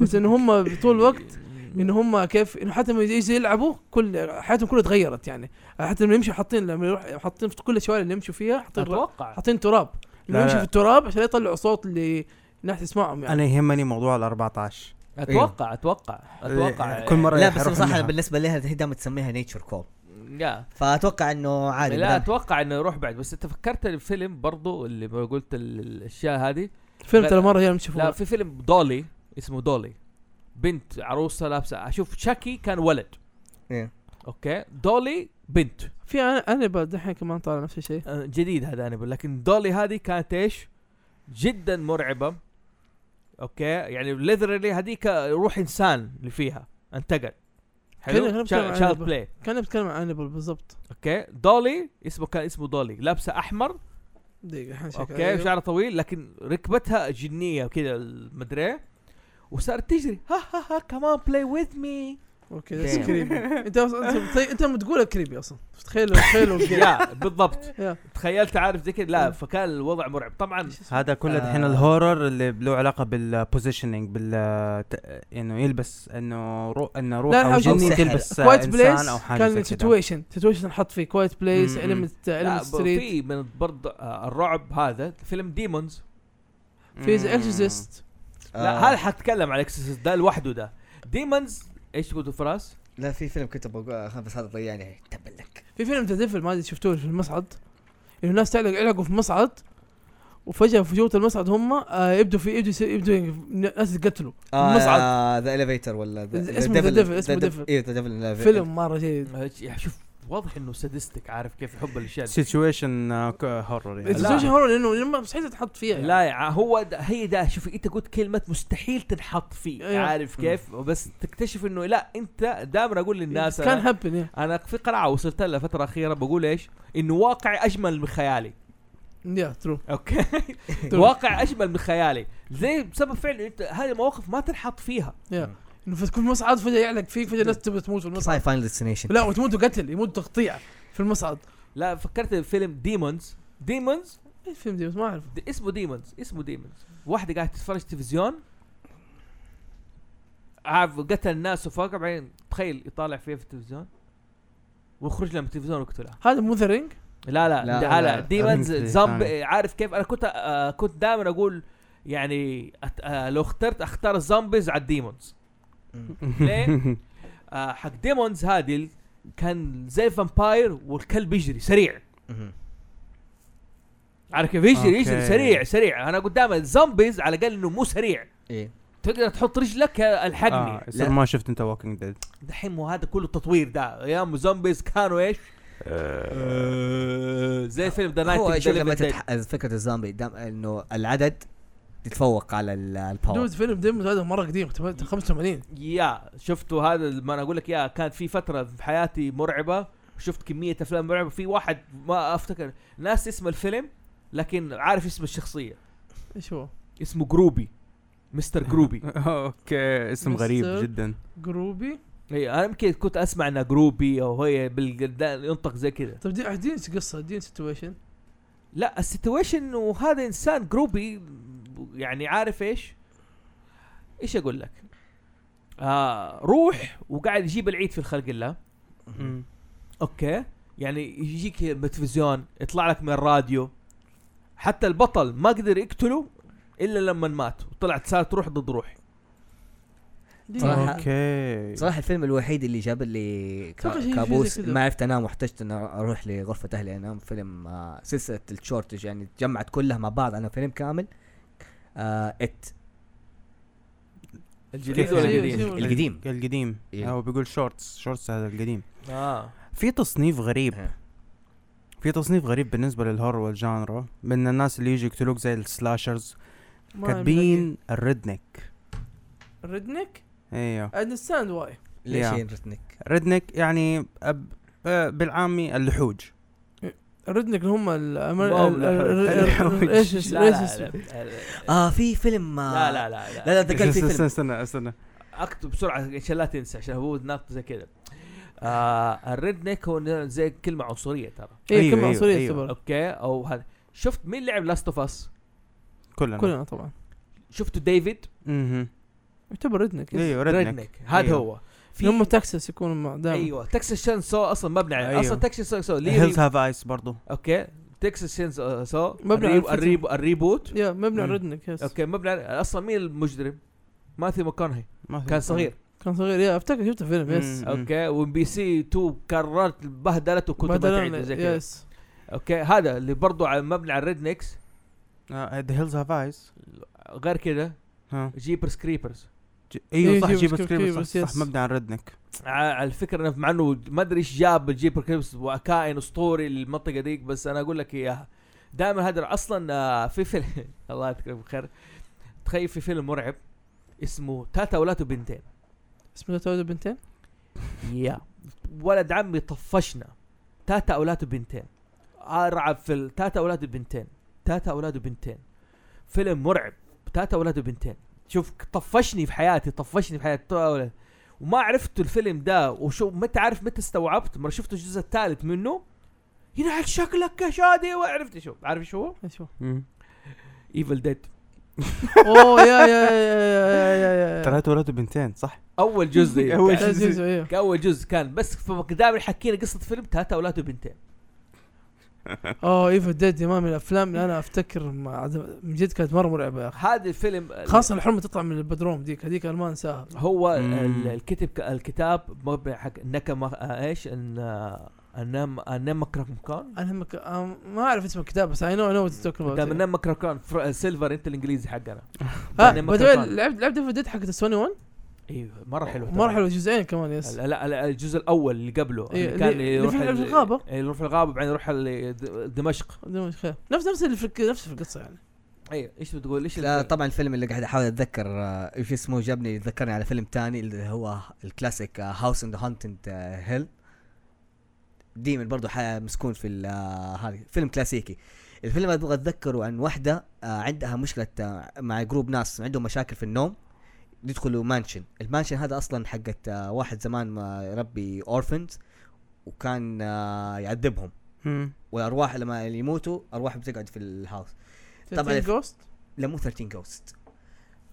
بس انه هم طول الوقت انه هم كيف انه حتى لما يجي يلعبوا كل حياتهم كلها تغيرت يعني حتى لما يمشوا حاطين لما يروح حاطين في كل الشوارع اللي يمشوا فيها حاطين را- اتوقع حاطين تراب لا، لما يمشوا لا. في التراب عشان يطلعوا صوت اللي الناس تسمعهم يعني أنا يهمني موضوع ال 14 اتوقع اتوقع اتوقع إيه. يعني كل مرة لا بس يروح بصراحه النهر. بالنسبه لها هي دائما تسميها نيتشر كول لا فاتوقع انه عادي لا مدام- اتوقع انه يروح بعد بس انت فكرت الفيلم برضو اللي قلت ال- الاشياء هذه فيلم لا- ترى مره يعني لا تشوفوه في فيلم دولي اسمه دولي بنت عروسه لابسه اشوف شاكي كان ولد إيه. اوكي دولي بنت في انا انا بعد دحين كمان طالع نفس الشيء آه، جديد هذا انيبل لكن دولي هذه كانت ايش؟ جدا مرعبه اوكي يعني ليذرلي هذيك روح انسان اللي فيها انتقل كنا- كنا حلو بنتكلم عن شارد Annabelle. بلاي كان بتكلم عن انيبل بالضبط اوكي دولي اسمه كان اسمه دولي لابسه احمر دقيقه الحين شكلها- اوكي شعرها طويل لكن ركبتها جنيه كذا مدري وصارت تجري ها ها ها كمان بلاي وذ مي اوكي إيه. ذاتس Damn. كريبي انت أصلاً- انت انت لما تقولها كريبي اصلا تخيل تخيل يا بالضبط يا. تخيلت عارف زي كذا لا فكان الوضع مرعب طبعا هذا كله دحين آه. الهورر اللي له علاقة بالبوزيشننج بال ت- إنه يلبس إنه رو إنه روح لا، أو حاجة- جني سحر. تلبس آه، كوايت بليس إنسان أو حاجة زي كان كده. سيتويشن سيتويشن حط فيه كوايت بليس مم، علمت لا، علم ب- ستريت في من برضه آه، الرعب هذا فيلم ديمونز في مم. اكزيست لا آه، هذا حتكلم على اكسسوس ده لوحده ده ديمونز ايش تقول فراس؟ لا في فيلم كنت بقول آه، بس هذا ضيعني تبلك في فيلم ذا ديفل ما ادري شفتوه في المصعد إنه الناس تعلق علقوا في مصعد وفجاه في جوه المصعد هم آه يبدوا في يبدوا يصير- يبدوا ناس يتقتلوا المصعد. ذا اليفيتر آه، ولا اسمه The Devil، اسمه Devil. اي ذا ديفل فيلم مره جيد آه، يا شوف واضح انه سادستك عارف كيف يحب الاشياء دي. سيتويشن هورر يعني لا. السيتويشن هورر لانه لأنه مستحيل تتحط فيها يعني. لا يا هو ده هي ده شوف انت قلت كلمه مستحيل تنحط فيه أيوة. عارف كيف بس تكتشف انه لا انت دائما اقول للناس كان أنا, هابن انا في قناعه وصلت لها فتره اخيره بقول ايش؟ انه واقع اجمل من خيالي يا ترو اوكي واقع اجمل من خيالي زي بسبب فعل انت هذه مواقف ما تنحط فيها يا انه في كل مصعد فجاه يعلق فيك فجاه الناس تبي تموت في المصعد ساي فاينل ديستنيشن لا وتموت قتل يموت تقطيع في المصعد لا فكرت بفيلم ديمونز ديمونز ايه الفيلم دي بس ما اعرفه د- اسمه ديمونز اسمه ديمونز واحدة قاعدة تتفرج تلفزيون عارف قتل ناس وفوق بعدين تخيل يطالع فيها في التلفزيون ويخرج لها من التلفزيون ويقتلها هذا مو ذا رينج لا لا لا، لا, لا, لا. ديمونز أرنب زومبي ثاني. عارف كيف انا كنت آه كنت دائما اقول يعني أت آه لو اخترت اختار الزومبيز على الديمونز ليه؟ آه حق ديمونز هذه كان زي الفامباير والكلب يجري سريع عارف كيف يجري يجري أوكي. سريع سريع انا قدام الزومبيز على الاقل انه مو سريع ايه تقدر تحط رجلك يا الحقني آه، يصير ما شفت انت ووكينج ديد دحين مو هذا كله تطوير ده ايام زومبيز كانوا ايش؟ آه. آه، زي فيلم ذا هو نايت شوف لما تتح... فكره الزومبي دام انه العدد يتفوق على ال- دود الباور فيلم ديمز هذا مره قديم 85 يا شفتوا هذا ما انا اقول لك يا كان في فتره في حياتي مرعبه شفت كميه افلام مرعبه في واحد ما افتكر ناس اسم الفيلم لكن عارف اسم الشخصيه ايش هو؟ اسمه جروبي مستر جروبي اوكي اسم غريب مستر. جدا جروبي اي انا إيه، يمكن كنت اسمع انها جروبي او هي بالقدان ينطق زي كذا طب طيب، دي اديني قصه اديني سيتويشن لا السيتويشن انه هذا انسان جروبي يعني عارف ايش؟ ايش اقول لك؟ آه روح وقاعد يجيب العيد في الخلق الله اوكي يعني يجيك من التلفزيون يطلع لك من الراديو حتى البطل ما قدر يقتله الا لما مات وطلعت صارت روح ضد روح صراحة- اوكي صراحه الفيلم الوحيد اللي جاب لي كا- إيه. صراحة شيء- شيء كابوس زي كده. ما عرفت انام واحتجت ان اروح لغرفه اهلي انام فيلم آه سلسله الشورتج يعني جمعت كلها مع بعض انا فيلم كامل آه ات الجديد كيف ولا يعني؟ القديم؟ القديم القديم إيه. هو بيقول شورتس شورتس هذا القديم اه في تصنيف غريب إيه. ها. في تصنيف غريب بالنسبه للهور والجانرا من الناس اللي يجي يقتلوك زي السلاشرز ما كاتبين الريدنك ملاقي. ريدنيك ايوه اندستاند واي ليش Yeah. ينرتنك ريدنك يعني أب... آه، بالعامي اللحوج الريدنيك اللي هم ال- الأمر- واو، ال- ال- ال- الحوش. ال- ايش ايش لا لا ايش لا اسمه؟ آه. لا اه في فيلم لا لا لا لا لا لا تذكرت في استنى فيلم استنى استنى, استنى. اكتب بسرعه عشان لا تنسى عشان هو ناط زي كذا آه الريد نيك هو زي كلمه عنصريه ترى اي أيوه، كلمه أيوه، عنصريه أيوه. تعتبر. اوكي او هذا شفت مين لعب لاست اوف اس؟ كلنا كلنا كلنا طبعا شفتوا ديفيد اها يعتبر ريدنيك ايوه ريد ريدنك نيك هذا أيوه. هو في هم تكساس يكونوا مع دائما ايوه تكساس شين سو اصلا مبني عليه أيوه. اصلا تكساس شين سو ليه هيلز هاف ايس برضه اوكي تكساس شين سو مبني على الريب- الفيلم. الريب الريبوت يا مبني على مم. ريدنيك يس اوكي مبني على اصلا مين المجرم؟ ماثيو ماكونهي كان صغير كان صغير يا افتكر شفته فيلم يس مم. اوكي وام بي سي 2 كررت بهدلته وكنت بعدين بتعيد زي كذا يس اوكي هذا اللي برضو على مبني على الريد نيكس ذا هيلز هاف ايس غير كذا جيبرز كريبرز ايوه إيه، صح جيبس جيبس كريبس، كريبس صح, يس. صح مبني على ريدنك ع- على الفكره انه مع انه ما ادري ايش جاب الجيبر كريبس وكائن اسطوري للمنطقه ديك بس انا اقول لك اياها دائما هذا اصلا آه، في فيلم الله يذكره بالخير تخيل في فيلم مرعب اسمه تاتا ولاته بنتين اسمه تولد بنتين يا ولد عمي طفشنا تاتا اولاده بنتين ارعب في ال- تاتا اولاده بنتين تاتا اولاده بنتين فيلم مرعب تاتا اولاده بنتين شوف طفشني في حياتي طفشني في حياتي تاتا أولاده. وما عرفت الفيلم ده وشو متى عارف متى استوعبت مرة شفت الجزء الثالث منه ينعل شكلك يا شادي وعرفت شو عارف ايش هو؟ إيش هو؟ ايفل ديد اوه يا يا يا يا يا- يا يا ثلاثة ولد وبنتين صح اول جزء أول كان- جزء. جزء، أيوه. اول جزء كان بس فدائما حكينا قصه فيلم تاتا اولاده بنتين اوه ايفل ديد يا مان من الافلام اللي انا افتكر مع- من جد كانت مره مرعبه يا اخي هذا الفيلم خاصه الحلم تطلع من البدروم ديك هذيك أنا ما انساها هو مم. ال- الكتب الكتاب مبني حق آه، نكما ايش ان انام انام مكركان انا مك... آه، ما اعرف اسم الكتاب بس اي نو نو دام تتوكل انام مكركان فر- سيلفر انت الانجليزي حقنا أنام مكركان. لعبت لعبت ايفل ديد حقت السوني 1 ايوه مره حلو مره حلوه جزئين كمان يس لا لا لا، الجزء الاول اللي قبله إيه، اللي كان اللي- يروح اللي في- ال- في الغابة. إيه، يروح الغابه بعدين يروح ال- د- دمشق دمج خير. نفس نفس اللي في الك- نفس في القصه يعني ايوه ايش بتقول ايش لا الفيلم؟ طبعا الفيلم اللي قاعد احاول اتذكر آه، ايش اسمه جابني ذكرني على فيلم تاني اللي هو الكلاسيك آه، هاوس اند هانتنت هيل آه، ديمن برضه ح- مسكون في ال- آه، هذه فيلم كلاسيكي الفيلم ابغى اتذكره عن واحده آه، عندها مشكله آه، مع جروب ناس عندهم مشاكل في النوم يدخلوا مانشن المانشن هذا اصلا حقت آه، واحد زمان ما يربي اورفنز وكان آه، يعذبهم والارواح لما يموتوا ارواحهم بتقعد في الهاوس طبعاً. جوست لا مو 13 جوست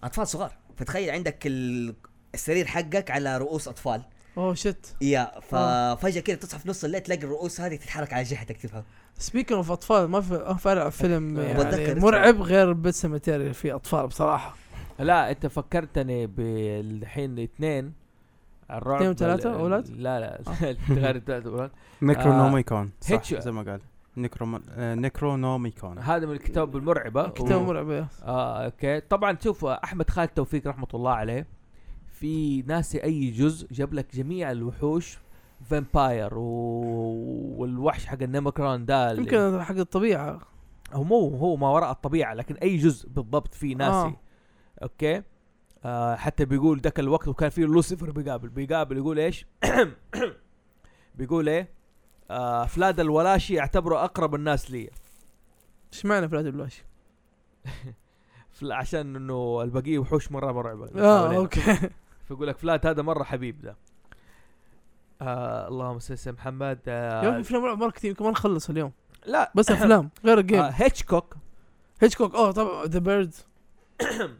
اطفال صغار فتخيل عندك ال- السرير حقك على رؤوس اطفال اوه شت يا آه. ففجاه كده تصحى في نص الليل تلاقي الرؤوس هذه تتحرك على جهتك تفهم سبيكر اوف اطفال ما في ما في ألعب فيلم أه، يعني بتذكر مرعب غير بيت سيمتيري في اطفال بصراحه لا انت فكرتني بالحين اثنين الرعب اثنين وثلاثة ال- أولاد؟ آه. لا لا غير الثلاثة اولاد نيكرونوميكون صح هيتش- زي ما قال نيكروم- آه، نيكرونوميكون هذا من الكتاب المرعبه كتاب و- مرعب يا. اه اوكي طبعا شوف احمد خالد توفيق رحمه الله عليه في ناسي اي جزء جاب لك جميع الوحوش فامباير و... والوحش حق النيمكرون ده اللي- يمكن حق الطبيعه هو مو هو ما وراء الطبيعه لكن اي جزء بالضبط في ناسي آه. اوكي آه حتى بيقول ذاك الوقت وكان في لوسيفر بيقابل بيقابل يقول ايش بيقول ايه آه فلاد الولاشي يعتبره اقرب الناس لي ايش معنى فلات البلاش؟ فل- عشان انه البقيه وحوش مره مرعبه اه حوالينا. اوكي فيقول لك فلات هذا مره حبيب ده آه اللهم صل على محمد يا اخي آه فيلم رعب مره كثير يمكن ما نخلص اليوم لا بس افلام غير آه الجيم هيتشكوك هيتشكوك اوه طبعا ذا بيرد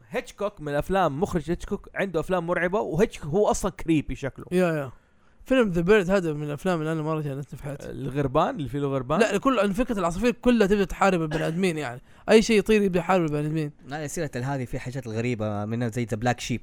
هيتشكوك من افلام مخرج هيتشكوك عنده افلام مرعبه وهيتشكوك هو اصلا كريبي شكله يا يا فيلم ذا بيرد هذا من الافلام اللي انا مره جننتني في آه. حياتي الغربان اللي فيه له غربان لا كل أن فكره العصافير كلها تبدا تحارب البني ادمين يعني اي شيء يطير يبدا يحارب البني ادمين على سيرة هذه في حاجات غريبة منها زي ذا بلاك شيب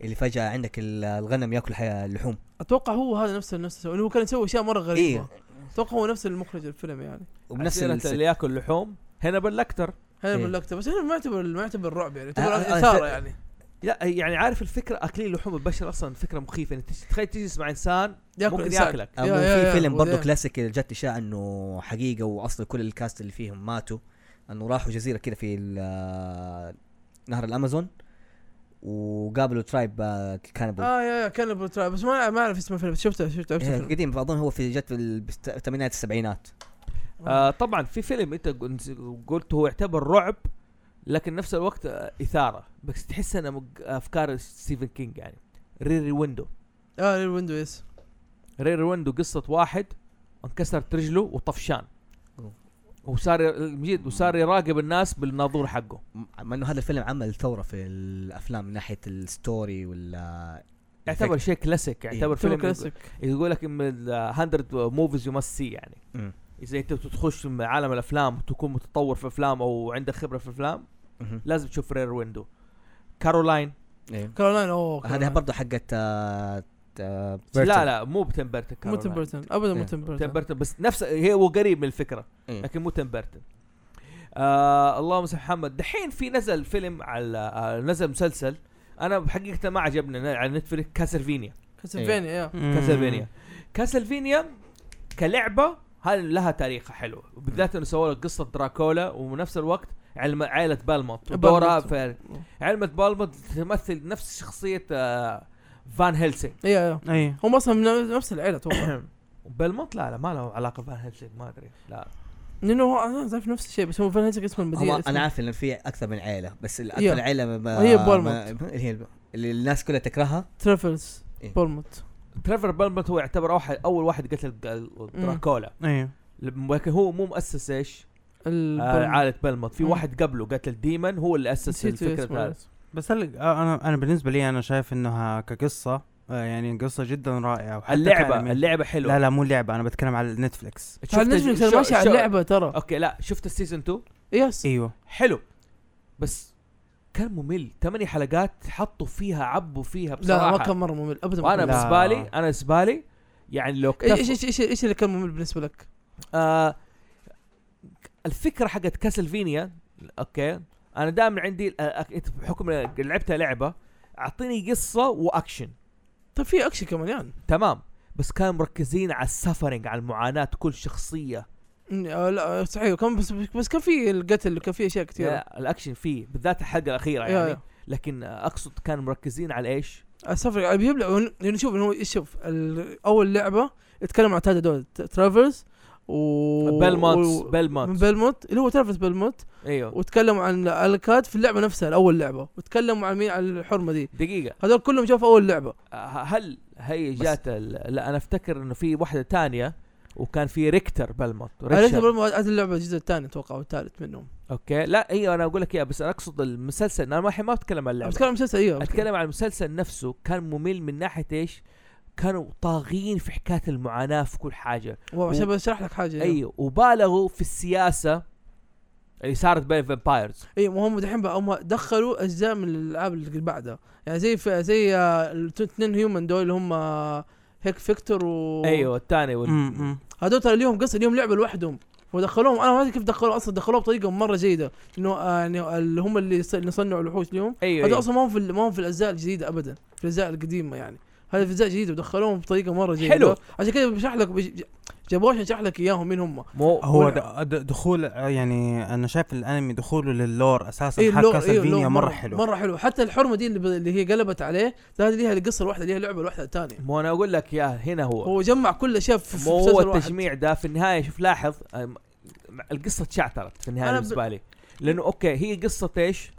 اللي فجأة عندك ال- الغنم ياكل حي- اللحوم اتوقع هو هذا نفس نفس اللي هو كان يسوي اشياء مره غريبه إيه. اتوقع هو نفس المخرج الفيلم يعني وبنفس عسيرة الس- اللي ياكل لحوم هنا لكتر هنا إيه. من اللقطه بس هنا ما يعتبر ما يعتبر رعب يعني يعتبر آه، آه، اثاره آه، يعني لا يعني عارف الفكره اكلين لحوم البشر اصلا فكره مخيفه انت يعني تخيل تجلس مع انسان ياكل ممكن إنسان. ياكلك يا- يا- في يا، فيلم برضه وبعدين؟ كلاسيك جت اشاعه انه حقيقه واصلا كل الكاست اللي فيهم ماتوا انه راحوا جزيره كده في ال- نهر الامازون وقابلوا آه، ترايب كانبل اه يا يا كان ترايب بس ما ما اعرف اسم الفيلم بس شفته إيه، شفته شفته الفيلم. قديم اظن هو في جت في الثمانينات السبعينات آه طبعا في فيلم انت قلت هو يعتبر رعب لكن نفس الوقت آه اثاره بس تحس انه مج- افكار ستيفن كينج يعني ريري ويندو اه للويندو يس ريري ويندو قصه واحد انكسرت رجله وطفشان أوه. وصار المجيد وصار يراقب الناس بالناظور حقه مع انه هذا الفيلم عمل ثوره في الافلام من ناحيه الستوري ولا يعتبر شيء كلاسيك يعتبر فيلم فيلم كلاسيك يقول لك 100 موفيز يو ماست سي يعني مم. اذا انت تخش من عالم الافلام تكون متطور في افلام او عندك خبره في افلام مهم. لازم تشوف رير ويندو كارولاين إيه. كارولاين اوه هذه برضه حقت آه، آه، بيرتون. لا لا مو بتيم بيرتن مو تيم كارولاين بيرتون ابدا مو إيه. تيم تيم بيرتون بيرتن بس نفس هي هو قريب من الفكره إيه. لكن مو تيم بيرتن آه اللهم صل على محمد دحين في نزل فيلم على آه نزل مسلسل انا بحقيقه ما عجبني أنا على نتفلكس كاسلفينيا كاسلفينيا يا كاسلفينيا كاسلفينيا كلعبه هل لها تاريخها حلو بالذات انه سووا لك قصه دراكولا وبنفس الوقت علم عائله بالمونت ودورها في علمة بالمونت تمثل نفس شخصيه آه فان هيلسينج يا يا اي هم اصلا من نفس العيله اتوقع بالمونت لا لا ما له علاقه بفان هيلسينج ما ادري لا لانه هو انا عارف نفس الشيء بس هو فان هيلسك اسم المدينه هو اسمه- انا عارف انه في اكثر من عيله بس يا. إيه. الاكثر عيله ما- ما هي ما- بولموت. اللي هي الب- اللي الناس كلها تكرهها ترافلز إيه. بولموت تريفر بالمونت هو يعتبر واحد اول واحد قتل ج- دراكولا اي لكن هو مو مؤسس ايش؟ آه البولموت. عائله بالمونت في مم. واحد قبله قتل ديمن هو اللي اسس نسيت اسمه. الفكره هذه بس هل آه، انا انا بالنسبه لي انا شايف انها كقصه آه، يعني قصه جدا رائعه وحتى يعني اللعبه كأنمي- اللعبه حلوه لا لا مو لعبه انا بتكلم على نتفلكس شفت ترى نتفلكس شو- انا ماشي على شو- اللعبه ترى اوكي لا شفت السيزون 2 يس ايوه حلو بس كان ممل ثمانية حلقات حطوا فيها عبوا فيها لا بصراحه ما كان مره ممل ابدا ما وانا كان لا. بالنسبه لي انا بالنسبه لي يعني لو ممل. ايش اكتفوا ايش ايش ايش اللي كان ممل بالنسبه لك؟ آه الفكره حقت كاسلفينيا اوكي انا دائما عندي آه، أك- بحكم إني لعبتها لعبه اعطيني قصه واكشن طيب في اكشن كمان يعني تمام بس كانوا مركزين على السفرنج على المعاناه كل شخصيه أمم، آه، لا صحيح كان بس بس كان في القتل كان في اشياء كثيره آه، الاكشن فيه بالذات الحلقه الاخيره يا- آه، يعني يا. لكن آه، اقصد كانوا مركزين على ايش؟ السفر بيجيب لك لانه يعني شوف إنه هو شوف ال- اول لعبه يتكلم عن ثلاثه دول ت- ترافرز و بيلمونت و- من بيلمونت بيلموت اللي هو ترافرز بيلموت ايوه وتكلموا عن الكات في اللعبه نفسها الاول لعبه وتكلموا عن مين على الحرمه دي دقيقه هذول كلهم جوا في اول لعبه آه، هل هي جات ال- لا انا افتكر انه في واحده تانية وكان في ريكتر بلمونت عليك ريكتر. بيلموت هذه اللعبه الجزء الثاني اتوقع او الثالث منهم اوكي لا ايوه انا اقول لك اياها بس انا اقصد المسلسل انا ما الحين ما بتكلم عن اللعبه بتكلم عن مسلسل ايوه اتكلم عن المسلسل نفسه كان ممل من ناحيه ايش؟ كانوا طاغين في حكايه المعاناه في كل حاجه عشان بشرح لك حاجه ايوه ايوه وبالغوا في السياسه اللي صارت بين الفامبايرز ايوه ما هم دحين بقى هم دخلوا اجزاء من الالعاب اللي بعدها يعني زي في زي آه، الاثنين هيومن دول اللي هم آه، هيك فيكتور و ايوه الثاني وال... أمم، أمم. هذول ترى ليهم قصه ليهم لعبه لوحدهم ودخلوهم انا ما ادري كيف دخلوهم اصلا دخلوه بطريقه مره جيده انه آه، يعني اللي هم اللي ص- اللي صنعوا الوحوش ليهم ايوه, هذول أيوة. اصلا ما هم في ال- ما هم في الاجزاء الجديده ابدا في الاجزاء القديمه يعني هذا في اجزاء جديده ودخلوهم بطريقه مره جيده حلو. عشان كذا بشرح لك بج- ج- جابوه عشان اشرح لك اياهم مين هم مو هو هو د- د- دخول آه، يعني انا شايف الانمي دخوله للور اساسا إيه، حق اللو- كاسلفينيا اللو- مره حلو مره حلو حتى الحرمه دي اللي, ب... اللي هي قلبت عليه هذه ليها القصه الواحده ليها لعبه لوحدها الثانيه مو انا اقول لك يا هنا هو هو جمع كل شيء في في مو مسلسل هو واحد. التجميع ده في النهايه شوف لاحظ أم، القصه تشعترت في النهايه أنا ب- بالنسبه لي لانه اوكي هي قصه ايش؟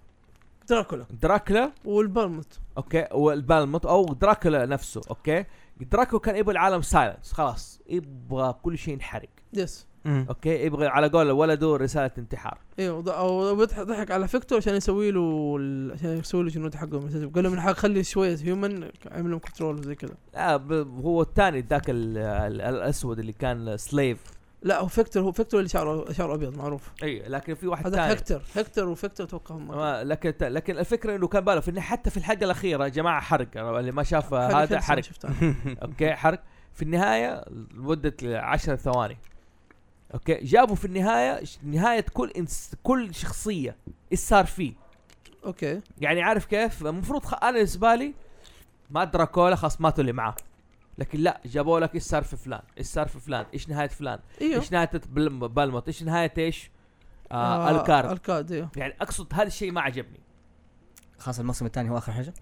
دراكولا دراكلا والبالموت اوكي والبالموت او دراكولا نفسه اوكي دراكولا كان يبغى العالم سايلنس خلاص يبغى كل شيء ينحرق يس أمم. اوكي يبغى على قول ولده رساله انتحار ايوه وض- أو وضح- ضحك على فيكتور عشان يسوي له ال- عشان يسوي له جنود حقهم قال لهم إنه خلي شويه هيومن اعمل لهم كنترول وزي كذا لا ب- هو الثاني ذاك ال- ال- الاسود اللي كان سليف لا هو فيكتور هو فيكتور اللي شعره شعره ابيض معروف اي لكن في واحد هذا ثاني هكتر هكتر وفيكتور اتوقع هم ما- لكن الت- لكن الفكره انه كان باله في إنه حتى في الحلقه الاخيره يا جماعه حرق اللي ما شاف خلي هذا فيلسون حرق شفتها اوكي حرق في النهايه مده 10 ثواني اوكي جابوا في النهايه ش- نهايه كل إنس كل شخصيه ايش صار فيه اوكي يعني عارف كيف المفروض خ... انا بالنسبه لي ما دراكولا خلاص ماتوا اللي معاه لكن لا جابوا لك ايش صار في فلان ايش صار في فلان ايش نهايه فلان ايوه ايش نهايه بلم- بالموت ايش نهايه ايش آه آه آه، الكارد الكارد ايوه يعني اقصد هذا الشيء ما عجبني خلاص الموسم الثاني هو اخر حاجه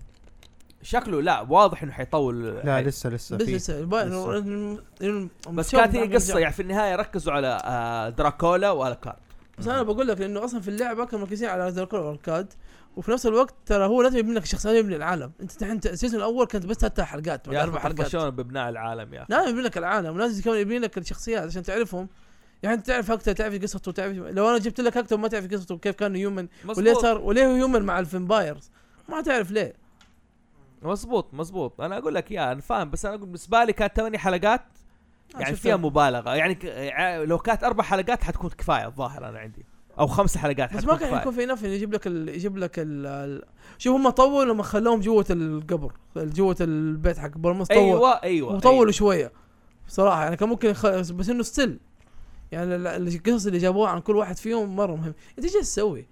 شكله لا واضح انه حيطول لا حي- لسه لسه بس في بس الباقي- لسه. الم- الم- بس المسيو كانت بتاع هي المرجع. قصه يعني في النهايه ركزوا على آه دراكولا والكارد بس انا بقول لك لانه اصلا في اللعبه كانوا مركزين على دراكولا والاركاد وفي نفس الوقت ترى هو لازم يبني لك شخصيه يبني العالم انت تحين السيزون الاول كانت بس ثلاث حلقات ولا يا اربع أخي حلقات طفشونا ببناء العالم يا اخي لازم يبني لك العالم ولازم كمان يبني لك الشخصيات عشان تعرفهم يعني انت تعرف هكتر تعرف قصته تعرف لو انا جبت لك هكتر ما تعرف قصته كيف كان هيومن وليه مظبوط صار وليه هو هيومن مع الفامبايرز ما تعرف ليه مظبوط مظبوط انا اقول لك يا انا فاهم بس انا اقول بالنسبه لي كانت ثمانية حلقات أنا يعني شفت- فيها مبالغه يعني ك... يعني لو كانت اربع حلقات حتكون كفايه الظاهر انا عندي او خمس حلقات بس حتكون ما كان كفاية. حيكون في نفع إنه يجيب لك ال... يجيب لك ال... ال... شوف هم طولوا لما خلوهم جوة القبر جوة البيت حق بولموس طول ايوه ايوه وطولوا أيوة. شويه بصراحه يعني كان ممكن خ... بس انه ستيل يعني ال- ال- القصص اللي جابوها عن كل واحد فيهم مره مهم انت ايش جالس تسوي؟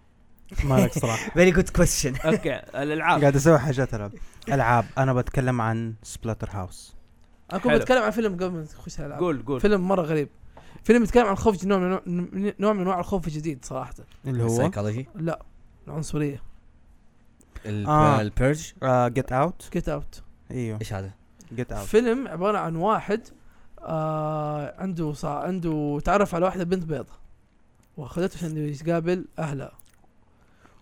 مالك صراحه فيري جود كويشن اوكي الالعاب آه. قاعد اسوي حاجات العاب العاب انا بتكلم عن سبلاتر هاوس انا كنت حلو. بتكلم عن فيلم قبل ما تخش الالعاب قول قول فيلم مره غريب فيلم يتكلم عن خوف نوع من من- نوع من انواع الخوف الجديد صراحه اللي هو السايكولوجي لا العنصريه آه. البيرج جيت اوت جيت اوت ايوه ايش هذا؟ جيت اوت فيلم عباره عن واحد آه عنده صع... عنده تعرف على واحده بنت بيضة واخذته عشان يقابل اهلها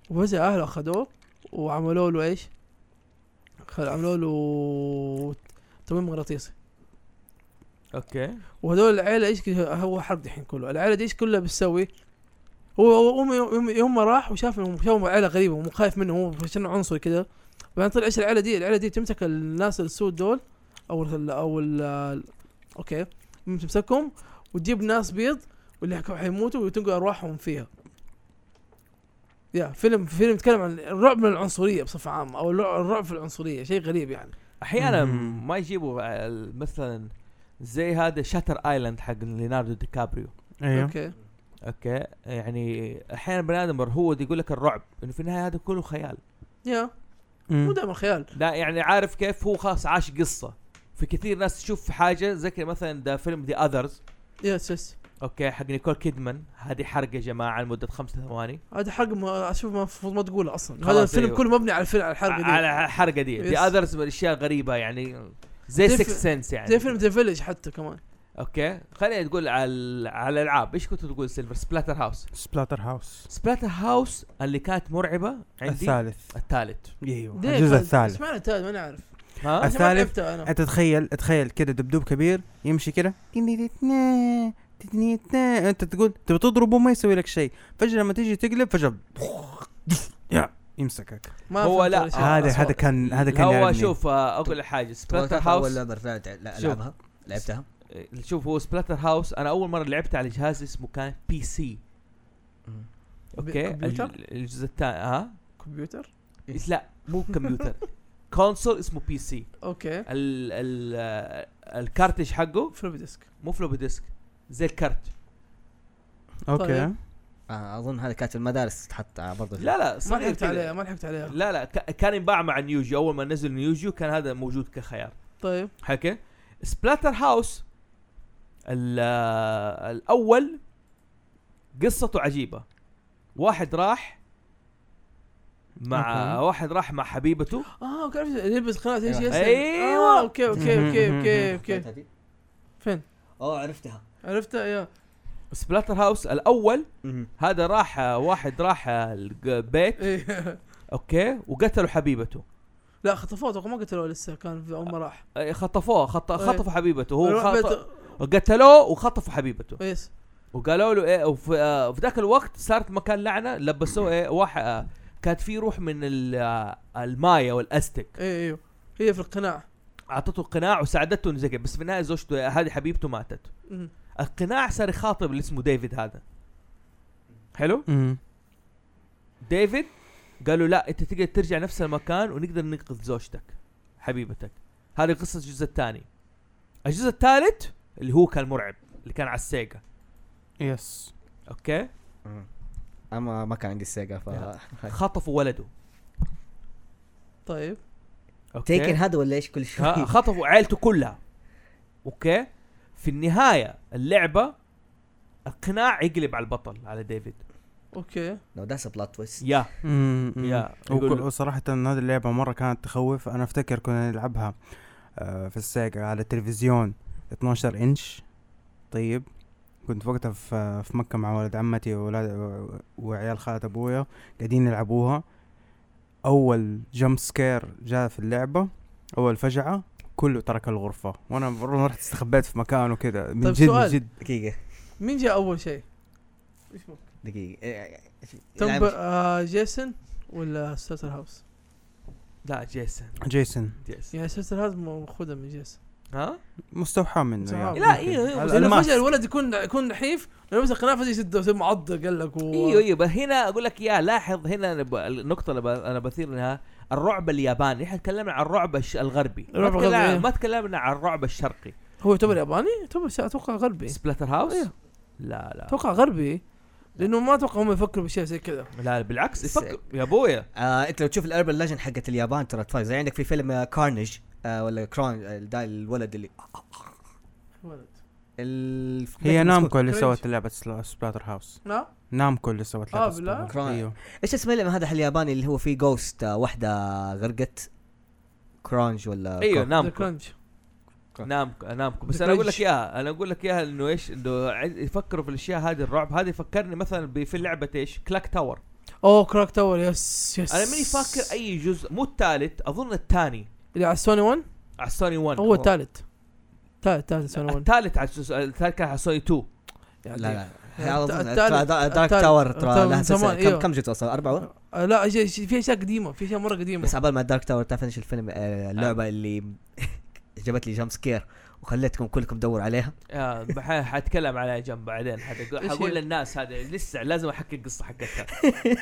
وفجاه اهله اخذوه وعملوا له ايش؟ خل- عملوا له تمويل مغناطيسي اوكي وهذول العيله ايش كده- هو حرق دحين كله العيله دي ايش كلها بتسوي؟ هو هو- هم يوم- يوم راح وشاف انهم شافوا عيله غريبه ومو خايف منهم هو عشان عنصري كده بعدين طلع ايش العيله دي؟ العيله دي تمسك الناس السود دول او ال او ال اوكي تمسكهم وتجيب ناس بيض واللي حك- حيموتوا وتنقل ارواحهم فيها. يا فيلم فيلم يتكلم عن الرعب من العنصريه بصفه عامه او الرع- الرعب في العنصريه شيء غريب يعني. احيانا مم. ما يجيبوا آه، مثلا زي هذا شاتر ايلاند حق ليناردو دي كابريو ايوه اوكي اوكي يعني احيانا بني ادم مرهود يقول لك الرعب انه في النهايه هذا كله خيال يا مم. مو دائما خيال لا يعني عارف كيف هو خلاص عاش قصه في كثير ناس تشوف حاجه زي كذا مثلا ده فيلم ذا اذرز يس يس اوكي حق نيكول كيدمان هذه حرق يا جماعه لمده خمس ثواني هذا حرق ما اشوف ما المفروض ما تقوله اصلا خلاص، هذا الفيلم أيوه. كله مبني على الفيلم على الحرق دي على الحرقه دي يس. ذا اذرز من الاشياء غريبه يعني زي زي سكس في- سنس يعني زي فيلم ذا فيلج حتى كمان اوكي خلينا تقول على ال- على الالعاب ايش كنت تقول سيلفر سبلاتر هاوس سبلاتر هاوس سبلاتر هاوس اللي كانت مرعبه عندي الثالث الثالث ايوه ليه الجزء فهد؟ الثالث ايش معنى الثالث ما نعرف ها أس- عشان ما الثالث؟ لعبته انا انت تخيل تخيل كده دبدوب كبير يمشي كده انت تقول تبي تضربه ما يسوي لك شيء فجاه لما تيجي تقلب فجاه يا، يمسكك ما هو فهمت لا، ولا شيء. هذا أصوات. هذا كان هذا كان يعني. هو يعجبني. شوف آه، اقول لك حاجه سبلاتر توقعت اول هاوس لعبه رجعت لا- شوف. العبها لعبتها إيه، شوف هو سبلاتر هاوس انا اول مره لعبت على جهاز اسمه كان بي سي اوكي كمبيوتر؟ ال- الجزء الثاني ها كمبيوتر إيه. لا مو كمبيوتر كونسول اسمه بي سي اوكي ال ال آه، الكارتج حقه فلوبي ديسك مو فلوبي ديسك زي الكارت اوكي طيب. آه، اظن هذا كانت في المدارس تحط آه، برضه لا لا ما صغير لحقت كده. عليها ما لحقت عليها لا لا ك- كان ينباع مع نيوجيو اول ما نزل نيوجيو كان هذا موجود كخيار طيب حكي سبلاتر هاوس ال- آه، الاول قصته عجيبه واحد راح مع أوكي. واحد راح مع حبيبته اه اوكي عرفت يلبس قناع ايش أيوه. يسأل آه، أيوه. اوكي اوكي اوكي اوكي اوكي هذه؟ فين اوه اه، عرفتها عرفتها يا سبلاتر هاوس الاول هذا راح آه، واحد راح آه، البيت إيه. اوكي وقتلوا حبيبته لا خطفوه اتوقع ما قتلوه لسه كان في اول ما راح آه، خطفوه خط... إيه. خطفوا حبيبته هو راح خط... بيت- قتلوه وخطفوا حبيبته يس وقالوا له ايه وفي, آه في ذاك الوقت صارت مكان لعنه لبسوه ايه واحد آه كانت في روح من ال- آه المايا والاستك اي ايوه هي في القناع اعطته قناع وساعدته انه زي كده، بس في النهايه زوجته آه، هذه حبيبته ماتت مم. القناع صار يخاطب اللي اسمه ديفيد هذا حلو مم. ديفيد قالوا لا انت تقدر ترجع نفس المكان ونقدر ننقذ زوجتك حبيبتك هذه قصه الجزء الثاني الجزء الثالث اللي هو كان مرعب اللي كان على السيجا يس اوكي اما ما كان عندي السيجا ف يا. خطفوا ولده طيب اوكي تيكن هذا ولا ايش كل شوي ها- خطفوا عائلته كلها اوكي في النهايه اللعبه القناع يقلب على البطل على ديفيد اوكي نو ذاتس بلوت تويست يا يا، يا يقول- وصراحة هذه اللعبة مرة كانت تخوف أنا أفتكر كنا نلعبها آه، في السيجا على التلفزيون 12 إنش طيب كنت وقتها في في مكة مع ولد عمتي وولاد و- وعيال خالة أبويا قاعدين يلعبوها أول جمب سكير جاء في اللعبة أول فجعة كله ترك الغرفة وأنا مرة رحت استخبيت في مكان وكذا من طيب جد من سؤال. جد دقيقه مين جاء اول شيء؟ دقيقه إيه، توم العب- ب- آه جيسون ولا ستار هاوس؟ لا جيسون جيسون جيسون يعني ستار هاوس مخذها من جيسون ها مستوحى منه مستوحى يعني. منه. لا، إيه، إيه، على لانه بس الألماس. فجاه الولد يكون يكون نحيف لو لبس القناع فجاه يشده يصير معضق قال لك و... إيوه، ايوه ايوه بس هنا اقول لك يا لاحظ هنا أنا ب- النقطه اللي ب- انا بثير لها الرعب الياباني احنا تكلمنا عن الرعب الش- الغربي ما الرعب الغربي، تكلمنا- إيه. ما تكلمنا عن الرعب الشرقي هو يعتبر ياباني؟ يعتبر س- اتوقع غربي سبلاتر هاوس إيه. لا لا اتوقع غربي لانه ما اتوقع هم يفكروا بشيء زي كذا لا بالعكس س- إيه. يفكر يا ابويا آه انت لو تشوف الاربن ليجند حقت اليابان ترى تفايز زي عندك في فيلم آه كارنج آه ولا كرون آه، ده الولد اللي ولد ال- هي نامكو اللي كرينج. سوت لعبة سلا- سبلاتر هاوس لا نامكو اللي سوت لعبة آه، بالله؟ سبلاتر. كراي. ايوه ايش اسم الفيلم هذا الياباني اللي هو فيه جوست آه واحده غرقت كرانج إيه. ولا ايوه كرون- ذا نامكو كرانش نامكو إيه. نامكو بس The انا اقول لك Crunch. اياها انا اقول لك اياها انه ايش انه عد- يفكروا في الاشياء هذه الرعب هذه فكرني مثلا ب- في لعبه ايش كلاك تاور اوه كراك تاور يس يس انا ماني فاكر اي جزء مو الثالث اظن الثاني اللي على السوني 1 على سوني 1 هو الثالث ثالث ثالث سوني 1 الثالث على الجزء- الثالث كان على سوني 2 لا يعني لا الت- هذا التالت- دارك التالت- تاور ترى التالت لها من سلسلة. زمان، كم أيوه. كم جزء اصلا اربعه آه، لا أشياء- في اشياء قديمه في اشياء مره قديمه بس عبال ما دارك تاور تعرف ايش الفيلم آه، اللعبه اللي جابت لي جامب سكير وخليتكم كلكم دوروا عليها آه بح- حاتكلم عليها جنب بعدين حتقول- إيش حقول هي؟ للناس هذا لسه لازم احكي القصه حقتها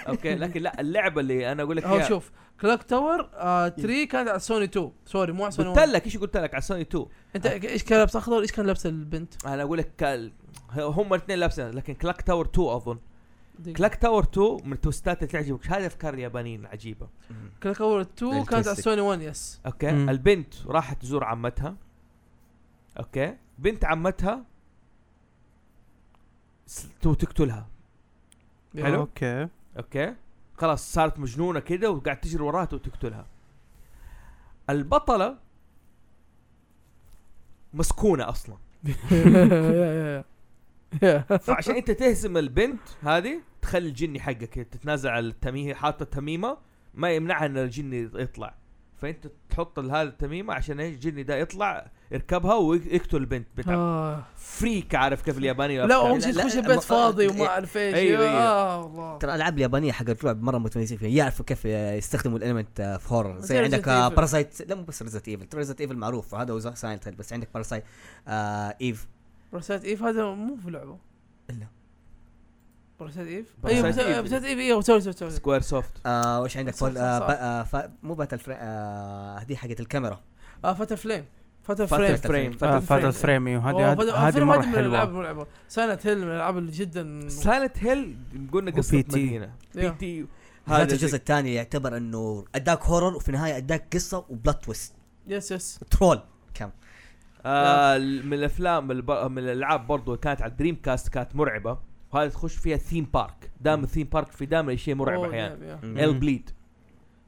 اوكي لكن لا اللعبه اللي انا اقول لك هو اياها شوف كلاك تاور آه 3 كانت على سوني 2 سوري مو على سوني قلت 1 لك ايش قلت لك على سوني 2 انت ايش كان لابس اخضر ايش كان لابس البنت؟ انا اقول لك كال- هم الاثنين لابسين لكن كلاك تاور 2 اظن دقيقة. كلاك تاور 2 من التوستات اللي تعجبك هذه افكار اليابانيين عجيبه كلاك تاور 2 كانت على التويستيك. سوني 1 يس اوكي مم. البنت راحت تزور عمتها اوكي بنت عمتها س- تو- تقتلها حلو. اوكي اوكي خلاص صارت مجنونه كده وقاعد تجري وراها وتقتلها البطله مسكونه اصلا يا- يا- يا. فعشان انت تهزم البنت هذه تخلي الجني حقك تتنازل على التميمه حاطه تميمه ما يمنعها ان الجني يطلع فانت تحط هذا التميمه عشان ايش الجني ده يطلع يركبها ويقتل البنت بتاع آه. فريك عارف كيف الياباني لا والأفكار. اهم شيء لا، تخش لا، البيت المف- فاضي إيه. وما اعرف ايش أيوة، يا- أيوة. اه والله ترى الالعاب اليابانيه حق الرعب مره متميزين فيها يعرفوا كيف يستخدموا الالمنت في هورر زي زي عندك Resident Evil. باراسايت لا مو بس ريزنت ايفل ريزنت ايفل معروف هذا هو سايلنت بس عندك آه، باراسايت ايف برسات ايف هذا مو في لعبه إلا. برسات ايف Parasite ايوه Eve. برسات ايف ايوه سوري سوري سوري سكوير سوفت آه، وش عندك صح، فول صح، آه، صح. با- آه، فا- مو باتل فريم هذه حقت الكاميرا اه فتى فليم فتى Fatal فريم Frame. فريم آه، فاتل فريم. فريم ايوه أوه، هذه فتى- هذه- آه، هذه فيلم مره واحد من الالعاب حلوه الملعبه سنة هيل من الالعاب اللي جدا سايلنت هيل قلنا قصه وPT. مدينه بي يا. تي هذا الجزء الثاني يعتبر انه اداك هورر وفي النهايه اداك قصه وبلوت تويست يس يس ترول آه نعم. من الافلام الب... من الالعاب برضو اللي كانت على الدريم كاست كانت مرعبه وهذه تخش فيها ثيم بارك دام الثيم بارك في دائما الشيء مرعب أوه، نعم. احيانا يا- يا. مم. ال بليد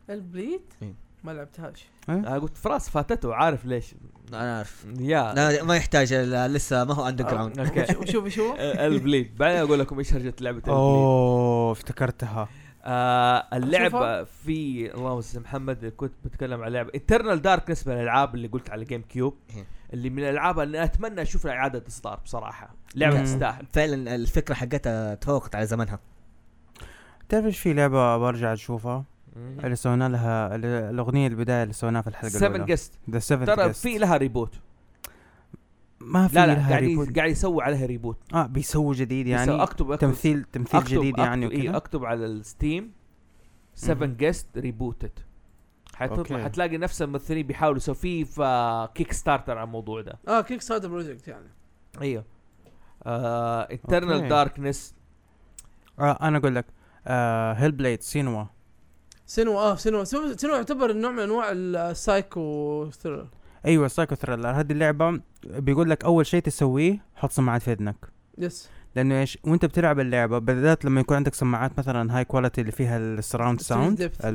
البليد إيه. ما لعبتهاش انا قلت فراس فاتته عارف ليش انا عارف يا آه، لا ما يحتاج ال- لسه ما آه، هو اندر جراوند اوكي وشوف ايش هو ال بليد بعدين اقول لكم ايش هرجه لعبه ال اوه افتكرتها آه اللعبه أشوفها؟ في اللهم صل على محمد كنت بتكلم عن لعبه انترنال داركنس من الالعاب اللي قلت على جيم كيوب إيه. اللي من الالعاب اللي اتمنى اشوف لها اعاده اصدار بصراحه لعبه مم. تستاهل فعلا الفكره حقتها تفوقت على زمنها تعرف ايش في لعبه برجع اشوفها اللي سوينا لها اللي- الاغنيه البدايه اللي سويناها في الحلقه سفن الاولى جست ذا 7 ترى في لها ريبوت ما في لا لا لها قاعد ريبوت. ي- قاعد يسوي عليها ريبوت اه بيسووا جديد يعني يعني اكتب اكتب تمثيل تمثيل اكتب جديد يعني اكتب, إيه وكذا اكتب على الستيم 7 مهم. جيست ريبوتد حتطلع أوكي. حتلاقي نفس الممثلين بيحاولوا يسووا فيه في كيك ستارتر على الموضوع ده اه كيك ستارتر بروجكت يعني ايوه انترنال إيه. أوكي. داركنس آه انا اقول لك آه هيل بليد سينوا سينما اه سينما سينما سينما يعتبر نوع من انواع السايكو ثريلر ايوه سايكو ثريلر هذه اللعبه بيقول لك اول شيء تسويه حط سماعات في اذنك يس لانه ايش وانت بتلعب اللعبه بالذات لما يكون عندك سماعات مثلا هاي كواليتي اللي فيها السراوند Surround ساوند depth.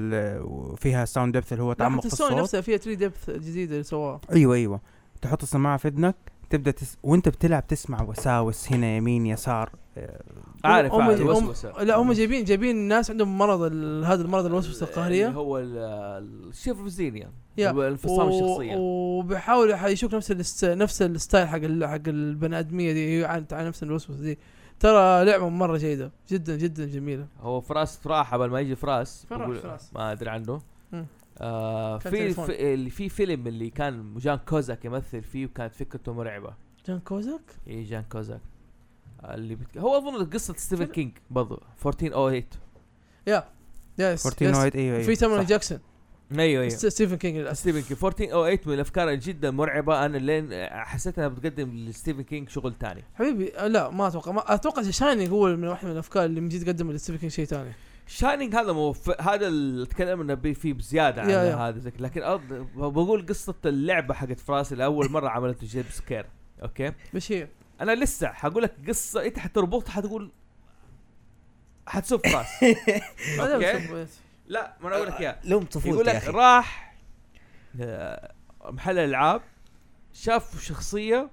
فيها ساوند ديبث اللي هو لا، تعمق حتى في سوني الصوت نفسها فيها 3 ديبث جديده اللي سواها ايوه ايوه تحط السماعه في اذنك تبدا تس... وانت بتلعب تسمع وساوس هنا يمين يسار آه، عارف هم- عارف هم- الوسوسه لا هم جايبين جايبين ناس عندهم مرض ال- هذا المرض الوسوسه اللي القهريه آه، هو ال- الشيفوزينيا يا. الانفصام الشخصيه و- وبيحاولوا حيشوف نفس الست... نفس الستايل حق ال... حق البني ادميه دي هي عن عن نفس الوسوسه دي ترى لعبه مره جيده جدا جدا جميله هو فراس فراح قبل ما يجي فراس فراح بقول- فراس. ما ادري عنه مم. آه كان في تليفون. في اللي في فيلم اللي كان جان كوزاك يمثل فيه وكانت فكرته مرعبه جان كوزاك اي جان كوزاك آه، اللي بت... هو اظن قصه ستيفن كينج oh برضه 1408 يس 14 يس وايد ايوه ايوه في صح. سامويل جاكسون ايوه ايوه ست- ستيفن كينج للاسف ستيفن كينج 1408 من الافكار الجدا مرعبه انا لين حسيت انها بتقدم لستيفن كينج شغل تاني حبيبي آه، لا ما اتوقع ما اتوقع شاينينج هو من واحد من الافكار اللي من جد قدم لستيفن كينج شيء ثاني شاينينج هذا مو هذا اللي تكلمنا بيه فيه بزياده عن يا- يا. هذا زي- لكن أرض- بقول قصه اللعبه حقت فراس اللي اول مره عملته جيب سكير اوكي بشير انا لسه حقول لك قصه انت حتربطها حتقول حتسب فراس هذا أوكي. بسبب- يس. لا ما انا اقول لك اياها لهم طفولة يقول يا لك أخي راح آه، محل العاب شاف شخصيه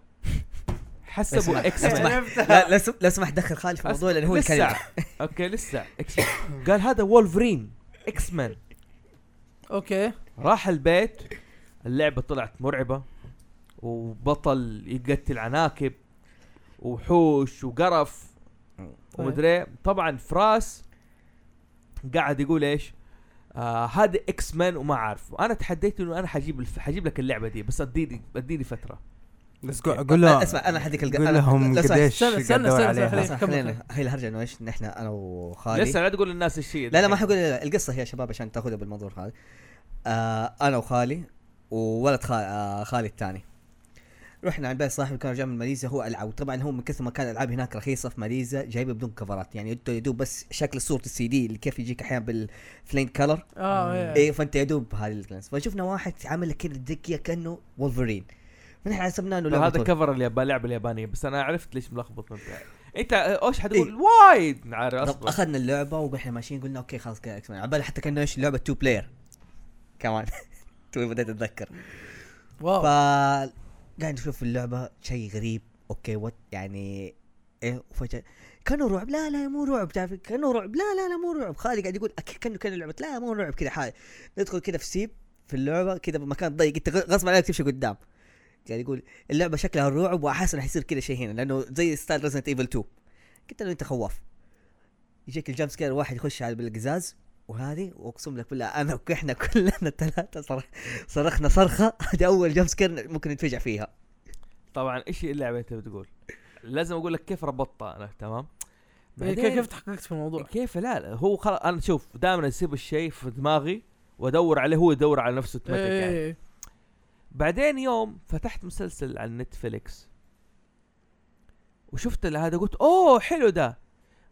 حسبوا اسمع، اكس اسمع. لا لا سم- لا سمح دخل خالد في الموضوع لأنه هو اللي كان لسه يلعب. اوكي لسه X-Men. قال هذا وولفرين اكس مان اوكي راح البيت اللعبه طلعت مرعبه وبطل يقتل عناكب وحوش وقرف ومدري طبعا فراس قاعد يقول ايش آه هذا اكس مان وما عارف انا تحديت انه انا حجيب الف... حجيب لك اللعبه دي بس اديني اديني فتره بس قو- قول لهم اسمع، أنا حديك الق- قول أنا- لهم لا، اسمع، قديش استنى، استنى، قاعد أدور استنى، استنى. عليها. اسمع، كمل، خلينا كمل. هي الهرجة انه ايش نحن انا وخالي لسه لا تقول للناس الشيء طيب. لا لا ما الحين. حقول لا، القصه هي يا شباب عشان تاخذها بالمنظور هذا آه انا وخالي وولد خال آه خالي الثاني رحنا عند بيت صاحبي كان رجع من ماليزيا هو العاب وطبعا هو من كثر ما كان الالعاب هناك رخيصه في ماليزيا جايبه بدون كفرات يعني انت يدوب بس شكل صوره السي دي اللي كيف يجيك احيانا بالفلين كلر اه إيه. ايه فانت يدوب هذه الكلمس فشفنا واحد عامل كذا دكيه كانه وولفرين من احنا حسبنا انه لعبة هذا طول. كفر اليابان لعبه اليابانيه بس انا عرفت ليش ملخبط انت انت اوش حتقول وايد نعرف إيه. طب اصبر اخذنا اللعبه واحنا ماشيين قلنا اوكي خلاص كذا اكس عبالي حتى كانه ايش لعبه تو بلاير كمان توي بديت اتذكر ف واو قاعد نشوف اللعبه شيء غريب اوكي وات يعني ايه وفجاه كانه رعب لا لا مو رعب تعرف كانه رعب لا لا لا مو رعب خالي قاعد يقول أكيد كانه كانه لعبه لا مو رعب كذا حالي ندخل كذا في سيب في اللعبه كذا بمكان ضيق انت غ- غصب عليك تمشي قدام قاعد يقول اللعبه شكلها رعب واحس انه حيصير كذا شيء هنا لانه زي ستايل ريزنت ايفل 2 قلت له انت خواف يجيك الجامب سكير واحد يخش على بالقزاز وهذه واقسم لك بالله انا واحنا كلنا الثلاثه صرخ صرخنا صرخه هذه اول جامب سكير ممكن نتفجع فيها طبعا ايش اللعبه انت بتقول لازم اقول لك كيف ربطتها انا تمام إيه، بعدين كيف كيف تحققت في الموضوع كيف لا, لا هو خلاص انا شوف دائما اسيب الشيء في دماغي وادور عليه هو يدور على نفسه إيه، اوتوماتيك يعني إيه. بعدين يوم فتحت مسلسل على نتفليكس وشفت اللي هذا قلت اوه حلو ده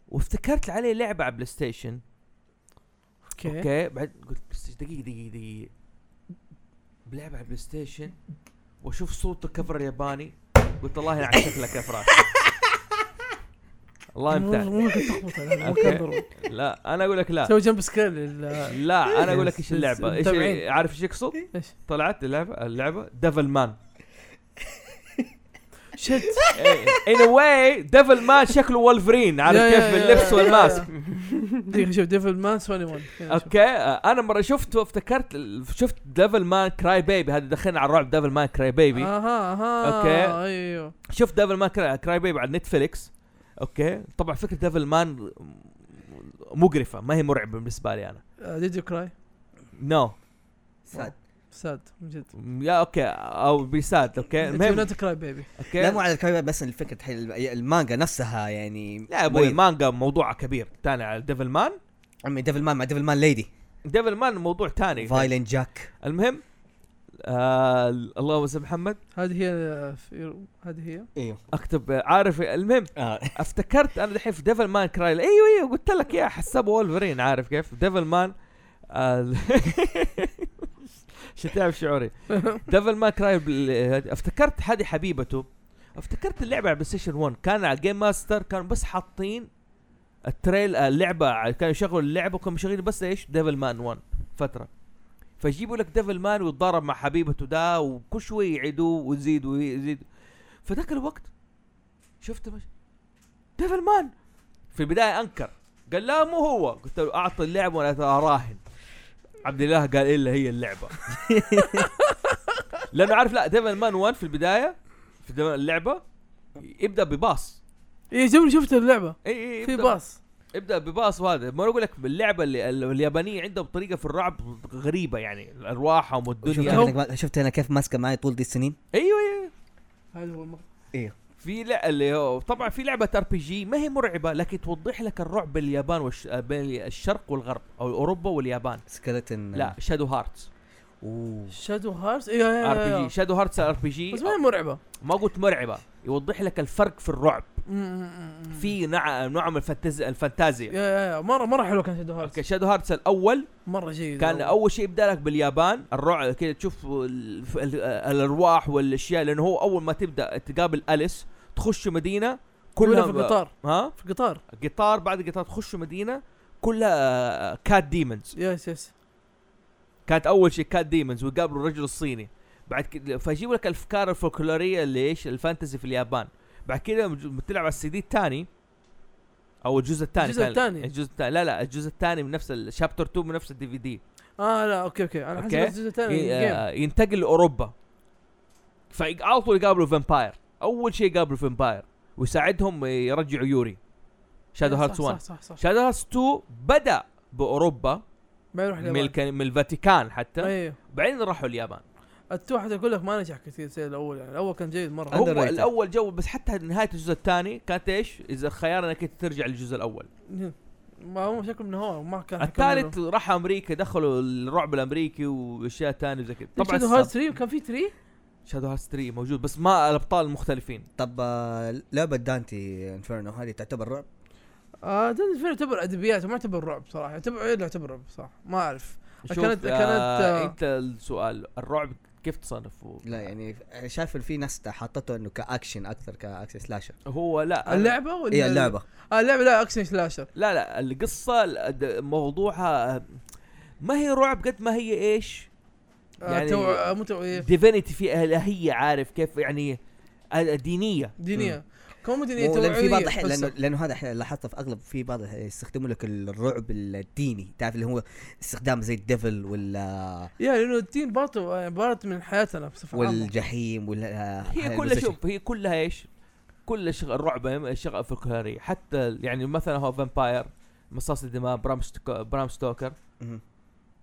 وافتكرت عليه لعبه على بلاي ستيشن اوكي اوكي بعد قلت بلاي ستيشن دقيقه دقيقه دقيقه بلعب على بلاي ستيشن واشوف صوره الكفر الياباني قلت الله يلعن شكلك يا فراس الله يمتعك ممكن تخبط أنا، ممكن طيب، أوكي. أضرب. لا انا اقول لك لا سوي جنب سكير لل- لا انا اقول لك ايش بس اللعبه ايش متابعين. عارف ايش يقصد؟ ايش طلعت اللعبه اللعبه ديفل مان شت ان واي ديفل مان شكله وولفرين عارف يا- كيف يا- باللبس يا- والماسك يا- دقيقة شوف ديفل مان سوني 1 هنا شوف. اوكي آه، انا مره شفته افتكرت ال- شفت ديفل مان كراي بيبي هذا دخلنا على الرعب ديفل مان كراي آه. بيبي اها اها أوكي. ايوه شفت ديفل مان كراي, كراي بيبي على نتفليكس اوكي طبعا فكره ديفل مان مقرفه ما هي مرعبه بالنسبه لي انا ديد يو كراي نو سعد. ساد من جد يا اوكي او بيساد اوكي المهم نوت كراي بيبي اوكي لا مو على الكاميرا بس الفكره حي- المانجا نفسها يعني لا يا ابوي مانجا موضوع كبير تاني على ديفل مان عمي ديفل مان مع ديفل مان ليدي ديفل مان موضوع تاني فايلنت جاك المهم آه اللهم صل على محمد هذه هي آه، في- هذه هي ايوه اكتب آه، عارف المهم أيوة، افتكرت انا دحين في ديفل مان كراي ايوه ايوه قلت لك يا حساب وولفرين عارف كيف ديفل مان ال- شتاء في شعوري ديفل ما كراي بال- افتكرت هذه حبيبته افتكرت اللعبه على بلاي ستيشن 1 كان على جيم ماستر كانوا بس حاطين التريل اللعبه ع- كانوا يشغلوا اللعبه وكانوا مشغلين بس ايش ديفل مان 1 فتره فيجيبوا لك ديفل مان ويتضارب مع حبيبته ده وكل شوي يعيدوه ويزيدوا ويزيد فذاك الوقت شفت مش ديفل مان في البدايه انكر قال لا مو هو قلت له اعطي اللعبه وانا اراهن عبد الله قال الا هي اللعبه لانه عارف لا ديفل مان 1 في البدايه في ديفل- اللعبه يبدا بباص اي جبني إيه، شفت اللعبه اي اي في يبدأ- باص ابدا بباص وهذا ما أنا اقول لك اللعبه اللي ال- اليابانيه عندهم طريقه في الرعب غريبه يعني ارواحهم شفت والدنيا هو- أنا كمان- شفت انا كيف ماسكه معي طول دي السنين ايوه ايوه هذا هو المقطع في لع... اللي هو طبعا في لعبه ار بي جي ما هي مرعبه لكن توضح لك الرعب بين اليابان والش... بين الشرق والغرب او اوروبا واليابان سكلتن لا شادو هارتس اوه شادو هارس اي اي ار بي اي جي شادو هارتس ار بي جي آه، بس ما هي مرعبه ما قلت مرعبه يوضح لك الفرق في الرعب في نوع نوع من الفانتز... الفانتازيا يا يا يا مره مره حلوه كانت شادو هارس اوكي شادو هارتس الاول مره جيد كان اول شيء يبدا لك باليابان الرعب كذا تشوف ال- ف- ال- الارواح والاشياء لانه هو اول ما تبدا تقابل اليس تخش مدينه كلها كلها في القطار ها في القطار قطار بعد قطار تخش مدينه كلها كات ديمونز يس يس كانت اول شيء كات ديمونز ويقابلوا الرجل الصيني بعد كده فيجيبوا لك الافكار الفولكلوريه اللي ايش الفانتزي في اليابان بعد كده مج- بتلعب على السي دي الثاني او الجزء الثاني الجزء كان- الثاني. الجزء الثاني لا لا الجزء الثاني من نفس الشابتر 2 من نفس الدي في دي اه لا اوكي اوكي انا حسيت أوكي. الجزء الثاني ي- جيم. آه، ينتقل لاوروبا فعلى طول يقابلوا فامباير اول شيء يقابلوا فامباير ويساعدهم يرجعوا يوري شادو صح، هارتس 1 صح صح صح شادو هارتس 2 بدا باوروبا ما يروح من, اليابان الك... من الفاتيكان حتى ايوه بعدين راحوا اليابان التو حتى اقول لك ما نجح كثير زي الاول يعني الاول كان جيد مره هو Underrated. الاول جو بس حتى نهايه الجزء الثاني كانت ايش؟ اذا خيار انك أنت ترجع للجزء الاول ما هو شكله من هو ما كان الثالث راح امريكا دخلوا الرعب الامريكي واشياء ثانيه وزي كذا طبعا طبعا شادو هارت السب- 3 وكان في 3 شادو هارت 3 موجود بس ما الابطال مختلفين طب آه، لعبه دانتي انفيرنو هذه تعتبر رعب آه دنجن فين يعتبر ادبيات وما يعتبر رعب صراحه يعتبر إيه لا يعتبر رعب صح ما اعرف شوف كانت- آه كانت، آه، انت السؤال الرعب كيف تصنفه؟ لا يعني شايف إن في ناس حطته انه كاكشن اكثر كاكشن سلاشر هو لا اللعبه ولا هي اللعبه آه اللعبه لا اكشن سلاشر لا لا القصه الأد- موضوعها آه، ما هي رعب قد ما هي ايش؟ يعني يعني تو... آه مو تو... إيه، ديفينيتي في الهيه عارف كيف يعني دينيه دينيه كان مو دينيه مو- لأن في بعض الأحيان- لانه لانه لانه هذا الحين لاحظته في اغلب في بعض الأحيان يستخدموا لك الرعب الديني تعرف اللي هو استخدام زي الديفل ولا يا لانه الدين برضه عباره من حياتنا بصفه عامه والجحيم آه، ولا هي كلها شوف هي كلها ايش؟ كل شغ... الرعب شغل فكهري حتى يعني مثلا هو فامباير مصاص الدماء برام, ستوك... برام ستوكر مهم.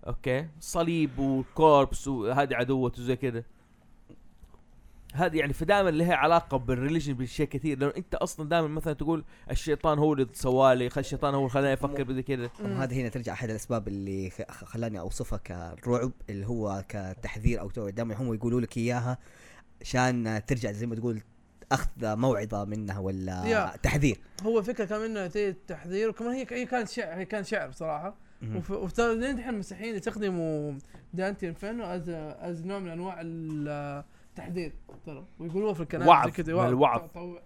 اوكي صليب وكوربس وهذه عدوته زي كده هذه يعني فدائما لها علاقه بالريليجن بالشيء كثير لانه انت اصلا دائما مثلا تقول الشيطان هو اللي سوالي خ- الشيطان هو اللي خلاني افكر بذي كده طب هذه هنا ترجع احد الاسباب اللي خ- خ- خلاني اوصفها كرعب اللي هو كتحذير او توعيه دائما هم يقولوا لك اياها عشان ترجع زي ما تقول اخذ موعظه منها ولا يا. تحذير هو الفكره كان منه نتيجه تحذير وكمان هي هي كانت شعر هي كان شعر بصراحه وف- وفترى لين الحين المسيحيين يستخدموا دانتي انفيرنو از از نوع من انواع التحذير ترى ويقولوها في الكنائس وعظ، زي كذا، من الوعظ. طو- طو-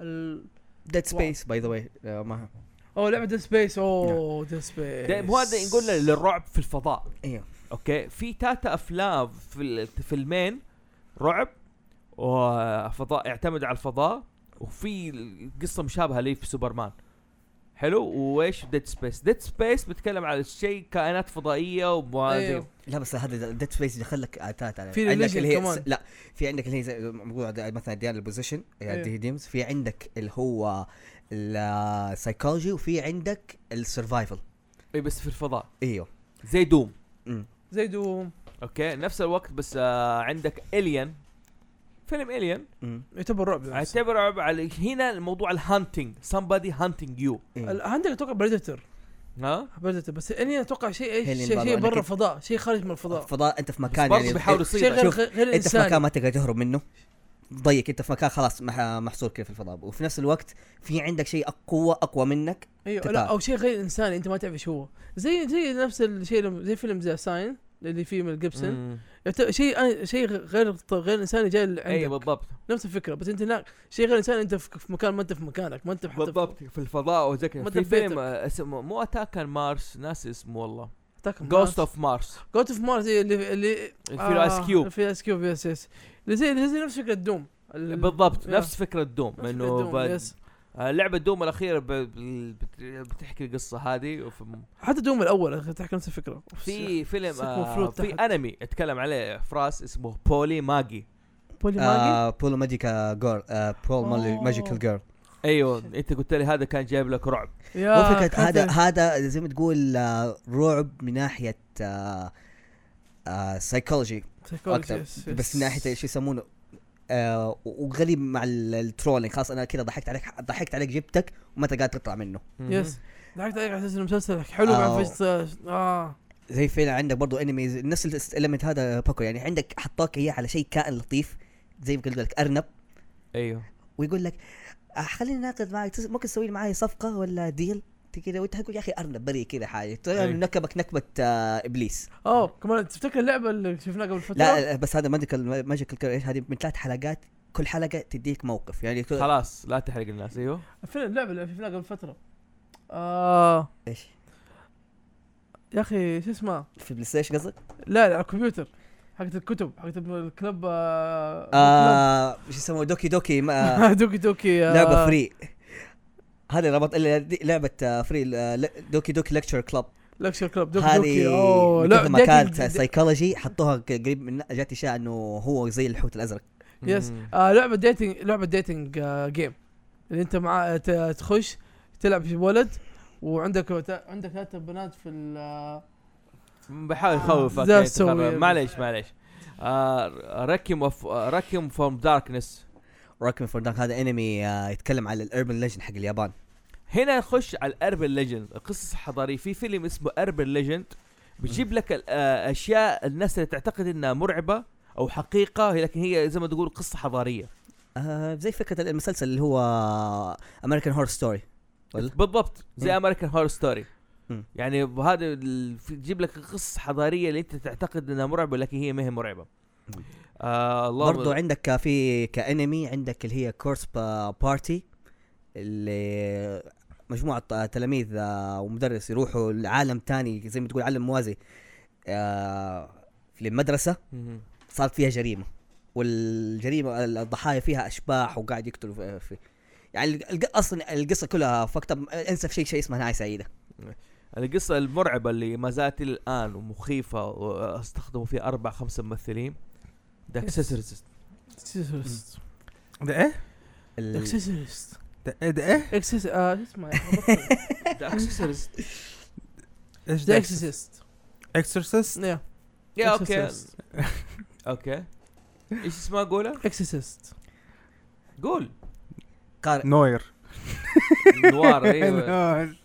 ال- ديد سبيس باي ذا واي آه، ما اوه لعبه ذا سبيس اوه ذا سبيس ده- مو طيب، هذا نقول للرعب في الفضاء ايوه اوكي في تاتا افلام في ال- فيلمين رعب وفضاء يعتمد على الفضاء وفي قصه مشابهه لي في سوبرمان حلو وايش ديد سبيس ديد سبيس بتكلم على شيء كائنات فضائيه وما أيوه. لا بس هذا ديد سبيس دخل لك اتات على في عندك religion اللي هي كمان. س- لا في عندك اللي هي زي موضوع ده مثلا ديان البوزيشن إيه. أيوه. آه، دي ديمز في عندك اللي هو السايكولوجي وفي عندك السرفايفل اي بس في الفضاء ايوه زي دوم أمم. زي دوم اوكي نفس الوقت بس آه عندك الين فيلم الين أمم. يعتبر رعب بس. اعتبر رعب على هنا الموضوع الهانتنج somebody hunting you إيه. ال- عندك اتوقع بريدتر ها بريدتر بس اني اتوقع شيء ايش Alien شيء, برضو، شيء أنا برا كنت- الفضاء شيء خارج من الفضاء فضاء انت في بس مكان برضه يعني بيحاولوا شيء يصيدك غير شوف، غير انت في مكان انساني ما تقدر تهرب منه ضيق انت في مكان خلاص مح- محصور كده في الفضاء وفي نفس الوقت في عندك شيء قوه اقوى منك ايوه تتعب. لا او شيء غير انساني انت ما تعرف ايش هو زي زي نفس الشيء لما- زي فيلم ذا ساين اللي فيه ميل جيبسون مم. يعتبر شيء شيء غير غير انساني جاي عندك اي أيوه، بالضبط نفس الفكره بس انت هناك شيء غير انساني انت في في مكان ما انت في مكانك ما انت حتى في- بالضبط في الفضاء وزي كذا ما في دبيتك. فيلم آه، اسمه مو اتاك مارس ناس اسمه والله تاكل جوست اوف مارس جوست اوف مارس اللي آه، اللي في الايس كيوب في الايس كيوب يس يس اللي زي اللي زي نفس فكره دوم ال- بالضبط Yeah. نفس فكره دوم نفس فكرة انه دوم، بعد- يس. آه، لعبه دوم الاخيره ب- ب- بت- بتحكي القصه هذه وف- حتى دوم الاول أخي، تحكي نفس الفكره في فيلم سكو آه، فلوت في تحت. انمي اتكلم عليه فراس اسمه بولي ماجي بولي ماجي آه بول ماجيكا جيرل آه بول أوه. ماجيكال جيرل ايوه انت قلت لي هذا كان جايب لك رعب يا مو فكره كان هذا فيلم. هذا زي ما تقول آه، رعب من ناحيه آه آه سايكولوجي Psychology، اكثر يس، يس. بس من ناحيه ايش يسمونه آه وغريب مع ال- الترولينج خلاص انا كذا ضحكت عليك ضحكت عليك جبتك وما انت قاعد تطلع منه يس ضحكت عليك على اساس انه مسلسل حلو أو. بعد فجأة- اه زي فيلم عندك برضو انمي نفس الالمنت هذا باكو يعني عندك حطاك اياه على شيء كائن لطيف زي ما قلت لك ارنب ايوه ويقول لك آه، خليني ناقد معك تس- ممكن تسوي لي معي صفقه ولا ديل أنت كذا وانت حتقول يا اخي ارنب بري كذا حاجه طلع أي. إنه نكبك نكبه آه ابليس اوه كمان تفتكر اللعبه اللي شفناها قبل فتره لا لا، بس هذا ماجيكال ماجيكال ايش هذه من ثلاث حلقات كل حلقه تديك موقف يعني طيب. كل- خلاص لا تحرق الناس ايوه فين اللعبه اللي شفناها قبل فتره اه ايش يا اخي شو اسمها في البلاي ستيشن قصدك؟ لا لا على الكمبيوتر حقت الكتب حقت الكلب آه آه شو يسموه دوكي دوكي ما الكلب. دوكي دوكي آه، لعبه فري هذا ربط إلا دي- لعبه آه، فري آه، ل- دوكي دوكي لكتشر كلاب لكشر كلاب دوكي دوكي هذه اوه لا لا ما كانت dating- سايكولوجي حطوها ق- قريب من جات اشاعه انه هو زي الحوت الازرق يس مم. آه لعبه ديتنج لعبه ديتنج آه جيم اللي انت مع ت- تخش تلعب في ولد وعندك وت- عندك ثلاث بنات في ال آه، بحاول اخوفك ذا يعني آه، سوي. تخرب. معليش معليش آه، ركيم اوف آه، ركيم فروم داركنس راكمي فور دانك هذا انمي آه، يتكلم على الاربن ليجند حق اليابان هنا نخش على الاربن ليجند القصص الحضاريه في فيلم اسمه اربن ليجند بيجيب لك ال- آه، اشياء الناس اللي تعتقد انها مرعبه او حقيقه لكن هي زي ما تقول قصه حضاريه آه زي فكره المسلسل اللي هو آه، امريكان هور ستوري ولا؟ بالضبط زي امريكان هور ستوري مم. يعني هذا ال- في- تجيب لك قصص حضاريه اللي انت تعتقد انها مرعبه لكن هي ما هي مرعبه مم. آه الله برضو عندك آه، في كانمي عندك اللي هي كورس بارتي اللي مجموعة آه، تلاميذ آه، ومدرس يروحوا لعالم تاني زي ما تقول عالم موازي آه، للمدرسة مم. صارت فيها جريمه والجريمه الضحايا فيها اشباح وقاعد يقتلوا في, في يعني الق- اصلا القصه كلها فكتب انسى في شيء شيء اسمه نهايه سعيده القصة المرعبة اللي ما زالت إلى الآن ومخيفة واستخدموا فيها أربع خمسة ممثلين ذا Yes. اكسسوارز اكسسورست ده ايه؟ ال- اكسسورست ده إيه- ده ايه؟ اكسس آه، شو اسمه ذا اكسسوارز ايش ذا ده؟ اكسسست اكسرسست؟ يا يا أوكي أوكي إيش اسمها قولها؟ اكسسست قول قارئ نوير نوار أيوة. أيوة. أيوه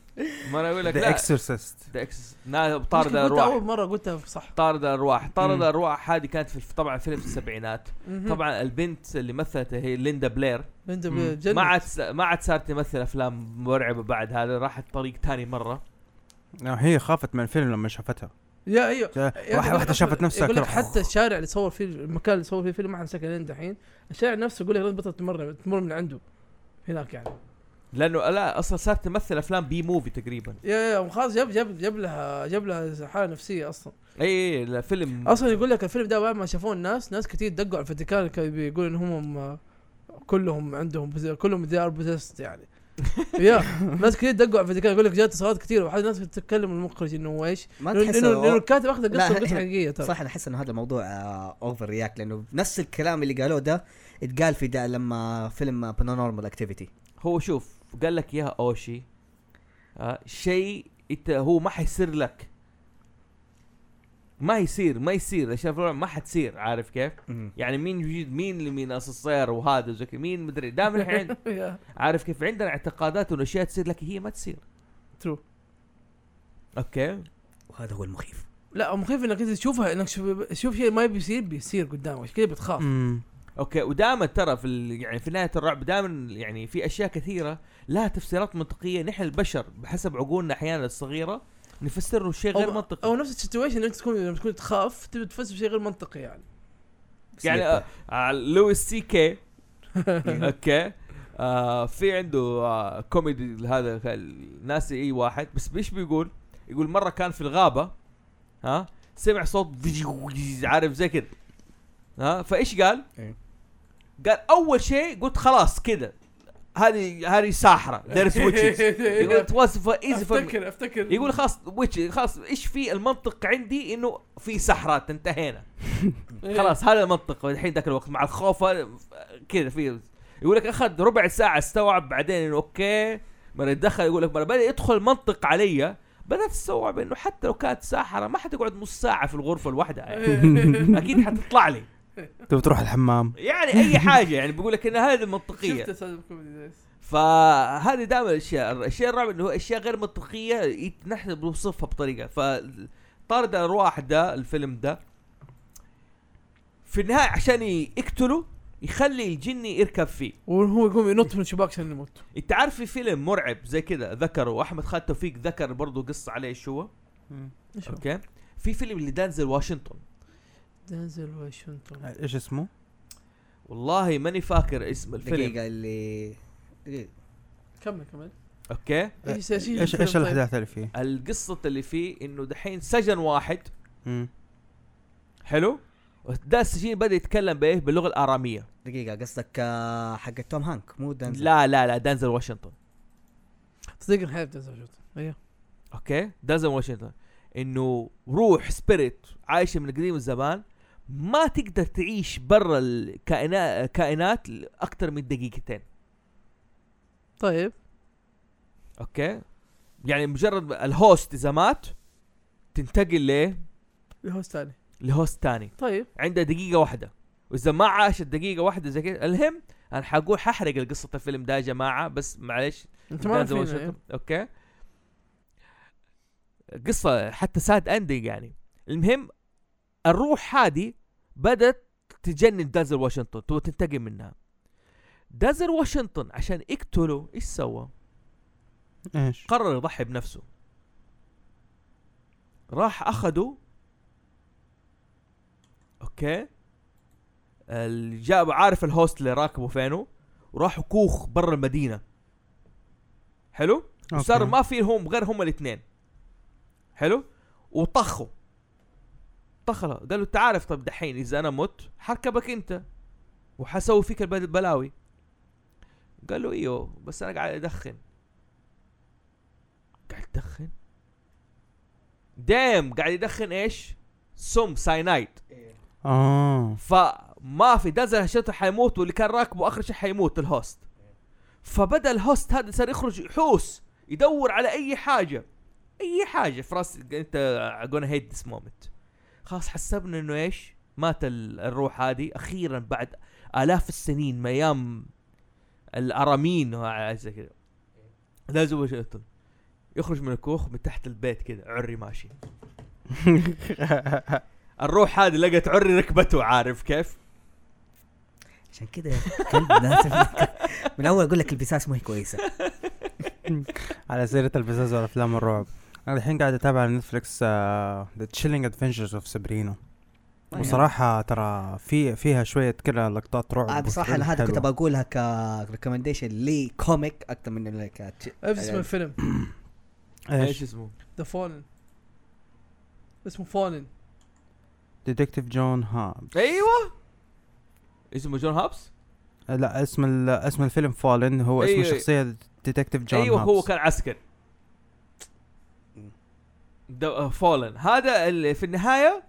ما أنا أقول لك ذا لا اكسرسست ذا اكسس طارد الأرواح اول مره قلتها صح طارد الأرواح طارد مم. الأرواح هذه كانت في طبعا فيلم في السبعينات مهم. طبعا البنت اللي مثلتها هي ليندا بلير بنت مم. بجنة. ما عاد س- ما عاد صارت تمثل أفلام مرعبة بعد هذا راحت طريق تاني مرة هي خافت من الفيلم لما شافتها يا ايوه جا- واحدة واحدة شافت نفسها يقول لك كده. حتى الشارع اللي صور فيه المكان اللي صور فيه الفيلم ما حد ساكن لين دحين الشارع نفسه يقول لك لازم بطل تمر تمر من عنده هناك يعني لانه لا اصلا صارت تمثل افلام بي موفي تقريبا يا يا وخلاص جاب جاب جاب لها جاب لها حاله نفسيه اصلا اي اي إيه، فيلم اصلا يقول لك الفيلم ده بعد ما شافوه الناس ناس كتير دقوا على الفاتيكان كانوا بيقولوا ان هم آه، كلهم عندهم بز- كلهم ذي ار بوزيست يعني يا ناس كتير دقوا على الفاتيكان يقول لك جات اتصالات كتير وحد ناس تتكلم المخرج انه ايش؟ ما لأنه- تحس لانه لانه هو- الكاتب اخذ لا، القصه قصه حقيقيه ترى صح انا احس انه هذا الموضوع آه، اوفر رياكت لانه نفس الكلام اللي قالوه ده اتقال في دا لما فيلم بانورمال اكتيفيتي هو شوف قال لك اياها اوشي آه شيء انت هو ما حيصير لك ما يصير ما يصير الاشياء في الواقع ما حتصير عارف كيف؟ يعني مين يجيد مين اللي مين الصير وهذا وزي كذا، مين مدري دائما احنا عند- يا عارف كيف عندنا اعتقادات انه اشياء تصير لك هي ما تصير ترو اوكي وهذا هو المخيف لا مخيف انك انت تشوفها انك شوف, شوف شيء ما بيصير بيصير قدامك كذا بتخاف مم. اوكي ودائما ترى في ال- يعني في نهايه الرعب دائما يعني في اشياء كثيره لها تفسيرات منطقيه نحن البشر بحسب عقولنا احيانا الصغيره نفسر شيء غير منطقي او نفس السيتويشن انت تكون لما تكون تخاف تبي تفسر شيء غير منطقي يعني يعني آه آه، لويس سي كي اوكي آه في عنده آه كوميدي هذا ال- ناسي اي واحد بس ايش بيقول؟ يقول مره كان في الغابه ها سمع صوت فيجيوز، عارف زي كده ها فايش قال؟ إيه. قال اول شيء قلت خلاص كده هذه هذه ساحره there's witches يقول it was for easy for me. افتكر افتكر يقول خلاص witch خلاص ايش في المنطق عندي انه في سحرات انتهينا إيه. خلاص هذا المنطق الحين ذاك الوقت مع الخوف هذا، كذا في يقول لك اخذ ربع ساعه استوعب بعدين انه اوكي مره يتدخل يقول لك مره بدا يدخل منطق علي بدات استوعب انه حتى لو كانت ساحره ما حتقعد نص ساعه في الغرفه لوحدها إيه. يعني. اكيد حتطلع لي تبي تروح الحمام يعني اي حاجه يعني بقول لك ان هذه منطقيه شفت ستاند اب كوميدي فهذه دائما الاشياء الاشياء الرعب انه هو اشياء غير منطقيه يت- نحن بنوصفها بطريقه فطارد الارواح ده الفيلم ده في النهايه عشان ي- يقتله يخلي الجني يركب فيه وهو يقوم ينط من الشباك عشان يموت انت عارف في فيلم مرعب زي كذا ذكره احمد خالد توفيق ذكر برضه قصه عليه شو هو، إيش هو؟ اوكي في فيلم لدانزل واشنطن دنزل واشنطن ايش اسمه؟ والله ماني فاكر اسم الفيلم دقيقه اللي دقيقة. كمل كمل اوكي ايش ايش ايش الفيلم ايش طيب؟ الاحداث اللي فيه؟ القصه اللي فيه انه دحين سجن واحد مم. حلو ده السجين بدا يتكلم بايه باللغه الاراميه دقيقه قصدك آه، حق توم هانك مو دانزل لا لا لا دانزل واشنطن صدق الحياه دنزل واشنطن ايوه اوكي دانزل واشنطن انه روح سبيريت عايشه من قديم الزمان ما تقدر تعيش برا الكائنات كائنات اكثر من دقيقتين طيب اوكي يعني مجرد الهوست اذا مات تنتقل لايه الهوست ثاني لهوست تاني طيب عندها دقيقة واحدة وإذا ما عاشت دقيقة واحدة زي كده المهم أنا حقول ححرق قصة الفيلم ده يا جماعة بس معلش انت ما دانزل عارفين واشنطن. أيوة. اوكي قصه حتى ساد اندنج يعني المهم الروح هذه بدات تجنن دازل واشنطن تبغى تنتقم منها دازل واشنطن عشان يقتله ايش سوى؟ ايش؟ قرر يضحي بنفسه راح اخده اوكي ال- جاب عارف الهوست اللي راكبه فينه وراحوا كوخ برا المدينه حلو وصار أوكي. ما في هم غير هم الاثنين حلو وطخوا طخله قالوا انت عارف طب دحين اذا انا مت حركبك انت وحسوي فيك الب- البلاوي قال له ايوه بس انا قاعد ادخن قاعد يدخن دايم قاعد يدخن ايش سم ساينايد اه فما في دازل هشته حيموت واللي كان راكبه اخر شيء حيموت الهوست فبدا الهوست هذا صار يخرج يحوس يدور على اي حاجه اي حاجه في راس انت gonna هيت ذس مومنت خلاص حسبنا انه ايش مات ال- الروح هذه اخيرا بعد الاف السنين من ايام الارامين وحاجات زي كذا لازم وش يقتل. يخرج من الكوخ من تحت البيت كذا عري ماشي الروح هذه لقت عري ركبته عارف كيف عشان كذا كنت ناسف. من اول اقول لك البساس ما هي كويسه على سيرة البزاز والافلام الرعب انا الحين قاعد اتابع على آه، نتفلكس ذا تشيلينج ادفنتشرز اوف سابرينو طيب. وصراحة ترى في فيها شوية كذا لقطات رعب آه، بصراحه وثريل انا هذا كنت حلوة. بقولها كريكومنديشن لكوميك اكثر من إنه لك ايش اسم الفيلم ايش ايش اسمه؟ ذا فولن اسمه فولن ديتكتيف جون هاب ايوه اسمه جون هابس؟ لا اسم ال- اسم الفيلم فالن هو اسم أيوه. الشخصية ديتكتيف جون ايوه هابس هو كان عسكري آه، فولن هذا اللي في النهايه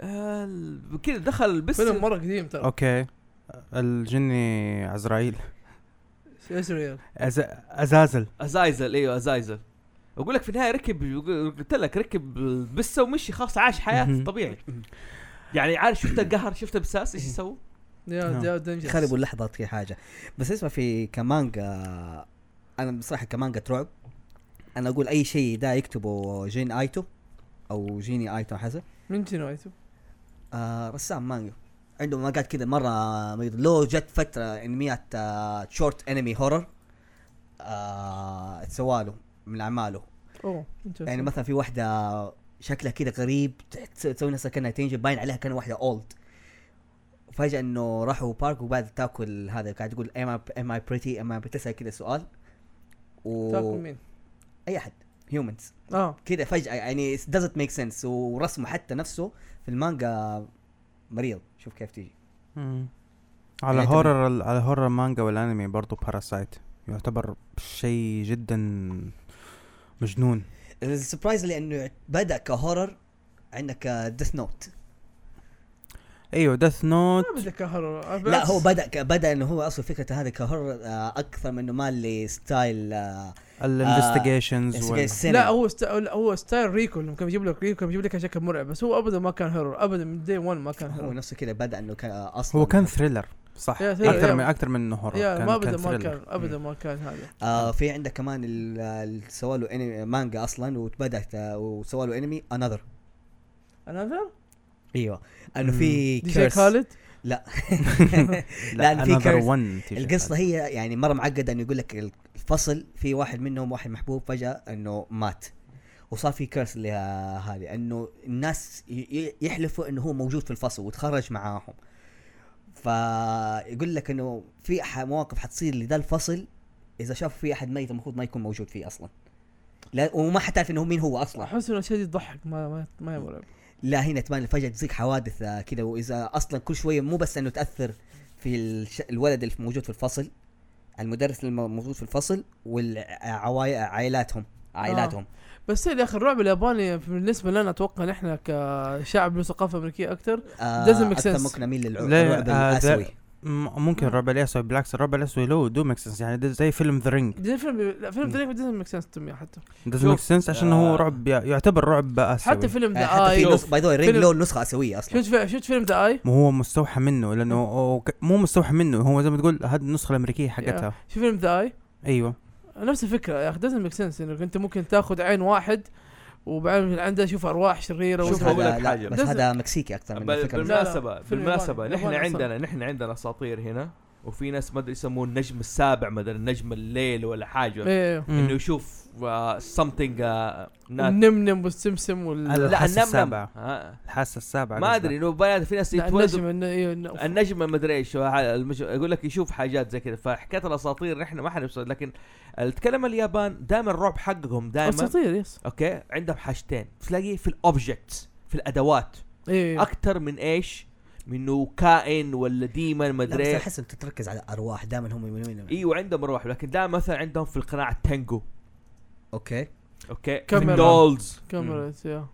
آه، ال- كذا دخل بس فيلم مره قديم ترى اوكي الجني عزرائيل ايش ريال أز... ازازل ازايزل ايوه ازايزل اقول لك في النهايه ركب قلت لك ركب بسه ومشي خلاص عاش حياته مهم. طبيعي يعني عارف شفت القهر شفت بساس ايش يسوي؟ يا نعم. يا دنجر خربوا اللحظه في حاجه بس اسمع في كمانجا انا بصراحه كمانجا رعب انا اقول اي شيء ده يكتبه جين ايتو او جيني ايتو حسب من جنايته آه رسام مانجا عندهم مانجات كذا مره مريض لو جت فتره انميات شورت انمي هورر له آه، من اعماله اوه يعني مثلا في واحده شكلها كده غريب تحس- تسوي نفسها كانها تينجر باين عليها كانها واحده اولد فجاه انه راحوا بارك وبعد تاكل هذا قاعد تقول ام ام اي بريتي ام اي تسال كده سؤال و تاكل مين؟ اي احد هيومنز اه كده فجاه يعني it doesn't make sense ورسمه حتى نفسه في المانجا مريض شوف كيف تيجي مم. على يعني هورر ال- على هورر مانجا والانمي برضو باراسايت يعتبر شيء جدا مجنون السبرايز لانه بدا كهورر عندك ديث نوت ايوه ديث نوت ما بتذكر لا هو بدا ك- بدا انه هو اصلا فكرته هذا كهورر آه، اكثر من انه مال لي ستايل آه، الانفستيجيشنز لا لا هو است... لا، هو ستايل ريكو لما كان يجيب لك ريكو كان يجيب لك شكل مرعب بس هو ابدا ما كان هيرور ابدا من دي 1 ما كان هو هيرور نفسه كده بدا انه كان اصلا هو كان ثريلر صح يا thriller، اكثر يا. من اكثر من انه هورر يا كان ما ابدا ما thriller. كان ابدا ما كان هذا آه في عندك كمان ال- ال- سوى له انمي مانجا اصلا وبدات آه، وسوى له انمي انذر انذر ايوه انه مم. في دي جي كيرس خالد لا، أنا في another curse. one تيجي القصه هي يعني مره معقده انه يقول لك الفصل في واحد منهم واحد محبوب فجاه انه مات وصار في كيرس لهذه انه الناس ي- ي- يحلفوا انه هو موجود في الفصل وتخرج معاهم فيقول لك انه في ح- مواقف حتصير لذا الفصل اذا شاف في احد ميت المفروض ما يكون موجود فيه اصلا لا وما حتعرف انه مين هو اصلا احس انه الشيء دي تضحك ما ما ما هي مرعب لا هنا تبان فجاه تصير حوادث آه، كذا واذا اصلا كل شويه مو بس انه تاثر في الش... الولد اللي موجود في الفصل المدرس اللي موجود في الفصل والعائلاتهم عائلاتهم بس يا اخي الرعب الياباني بالنسبه لنا اتوقع نحن كشعب له ثقافه امريكيه اكثر آه. Doesn't make اكثر sense. مقنعين لا، للرعب آه، ده- الاسوي م- ممكن الربع الاسود بالعكس الربع الاسود له دو ميك سنس يعني ده زي فيلم ذا رينج دي فيلم لا فيلم ذا ديزنت ميك سنس تسميه حتى داز شوف، ميك سنس عشان هو آه. رعب يعتبر رعب اسيوي حتى فيلم آه، ذا حتى اي في شوف، نص باي ذا رينج أيوه. فيلم- له نسخه اسويه اصلا شفت في- شفت فيلم ذا اي ما هو مستوحى منه لانه هو ك- مو مستوحى منه هو زي ما تقول هذه النسخه الامريكيه حقتها شفت فيلم ذا اي ايوه نفس الفكره يا اخي دزنت ميك سنس انك انت ممكن تاخذ عين واحد وبعدين من عنده شوف ارواح شريره شوف، بس وزي- هو أقول هذا لك لا حاجة. بس Doesn't- هذا مكسيكي اكثر من بال- الفكره بالم- بالمناسبه فيلم بالمناسبه ياباني. نحن ياباني أصلاً. عندنا نحن عندنا اساطير هنا وفي ناس ما ادري يسموه النجم السابع ما ادري النجم الليل ولا إيه، حاجه ايه انه يشوف آه، سمثينج لا النمنم والسمسم وال ال- الحاسة السابعة. آه. الحاسه السابعه ما ادري انه بنات- في ناس لا، يتولدوا النجم الن- إيه، الن- النجم ما ادري ايش هو ح- المج- يقول لك يشوف حاجات زي كذا فحكايه الاساطير نحن ما حنبصر لكن الكلام اليابان دائما الرعب حقهم دائما اساطير يس اوكي عندهم حاجتين تلاقيه في الاوبجكتس في الادوات ايه اكثر من ايش؟ منه كائن ولا ديمن ما لا، بس ادري احس انت تركز على ارواح دائما هم يميلون ايوه عندهم روح لكن دائما مثلا عندهم في القناع التانجو اوكي اوكي في كاميرا. الدولز كاميرا يا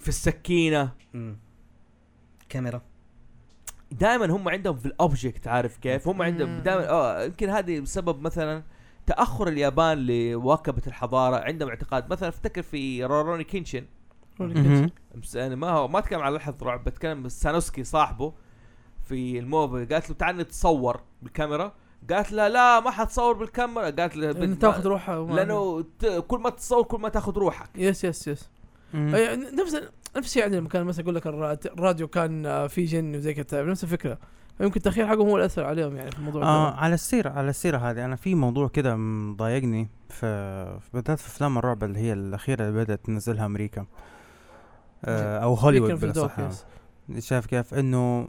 في السكينه مم. كاميرا دائما هم عندهم في الاوبجكت عارف كيف هم مم. عندهم دائما اه يمكن هذه بسبب مثلا تاخر اليابان لمواكبه الحضاره عندهم اعتقاد مثلا افتكر في روروني كينشن مس- انا ما هو ما اتكلم على لحظه رعب بتكلم بس سانوسكي صاحبه في الموفي قالت له تعال نتصور بالكاميرا قالت له لا ما حتصور بالكاميرا قالت له انه بت- تاخذ روحها وما- لانه ت- كل ما تتصور كل ما تاخذ روحك يس يس يس أي- نفس نفس الشيء عندنا لما كان مثلا اقول لك الراد- الراديو كان آه، فيه جن وزي كذا نفس الفكره يمكن التاخير حقهم هو الاثر عليهم يعني في الموضوع آه ده. على السيرة على السيرة هذه أنا في موضوع كده مضايقني في في- بالذات في أفلام الرعب اللي هي الأخيرة اللي بدأت تنزلها أمريكا آه أو هوليوود يمكن إيه، في بالأصح آه. الدوك، يس. شايف كيف إنه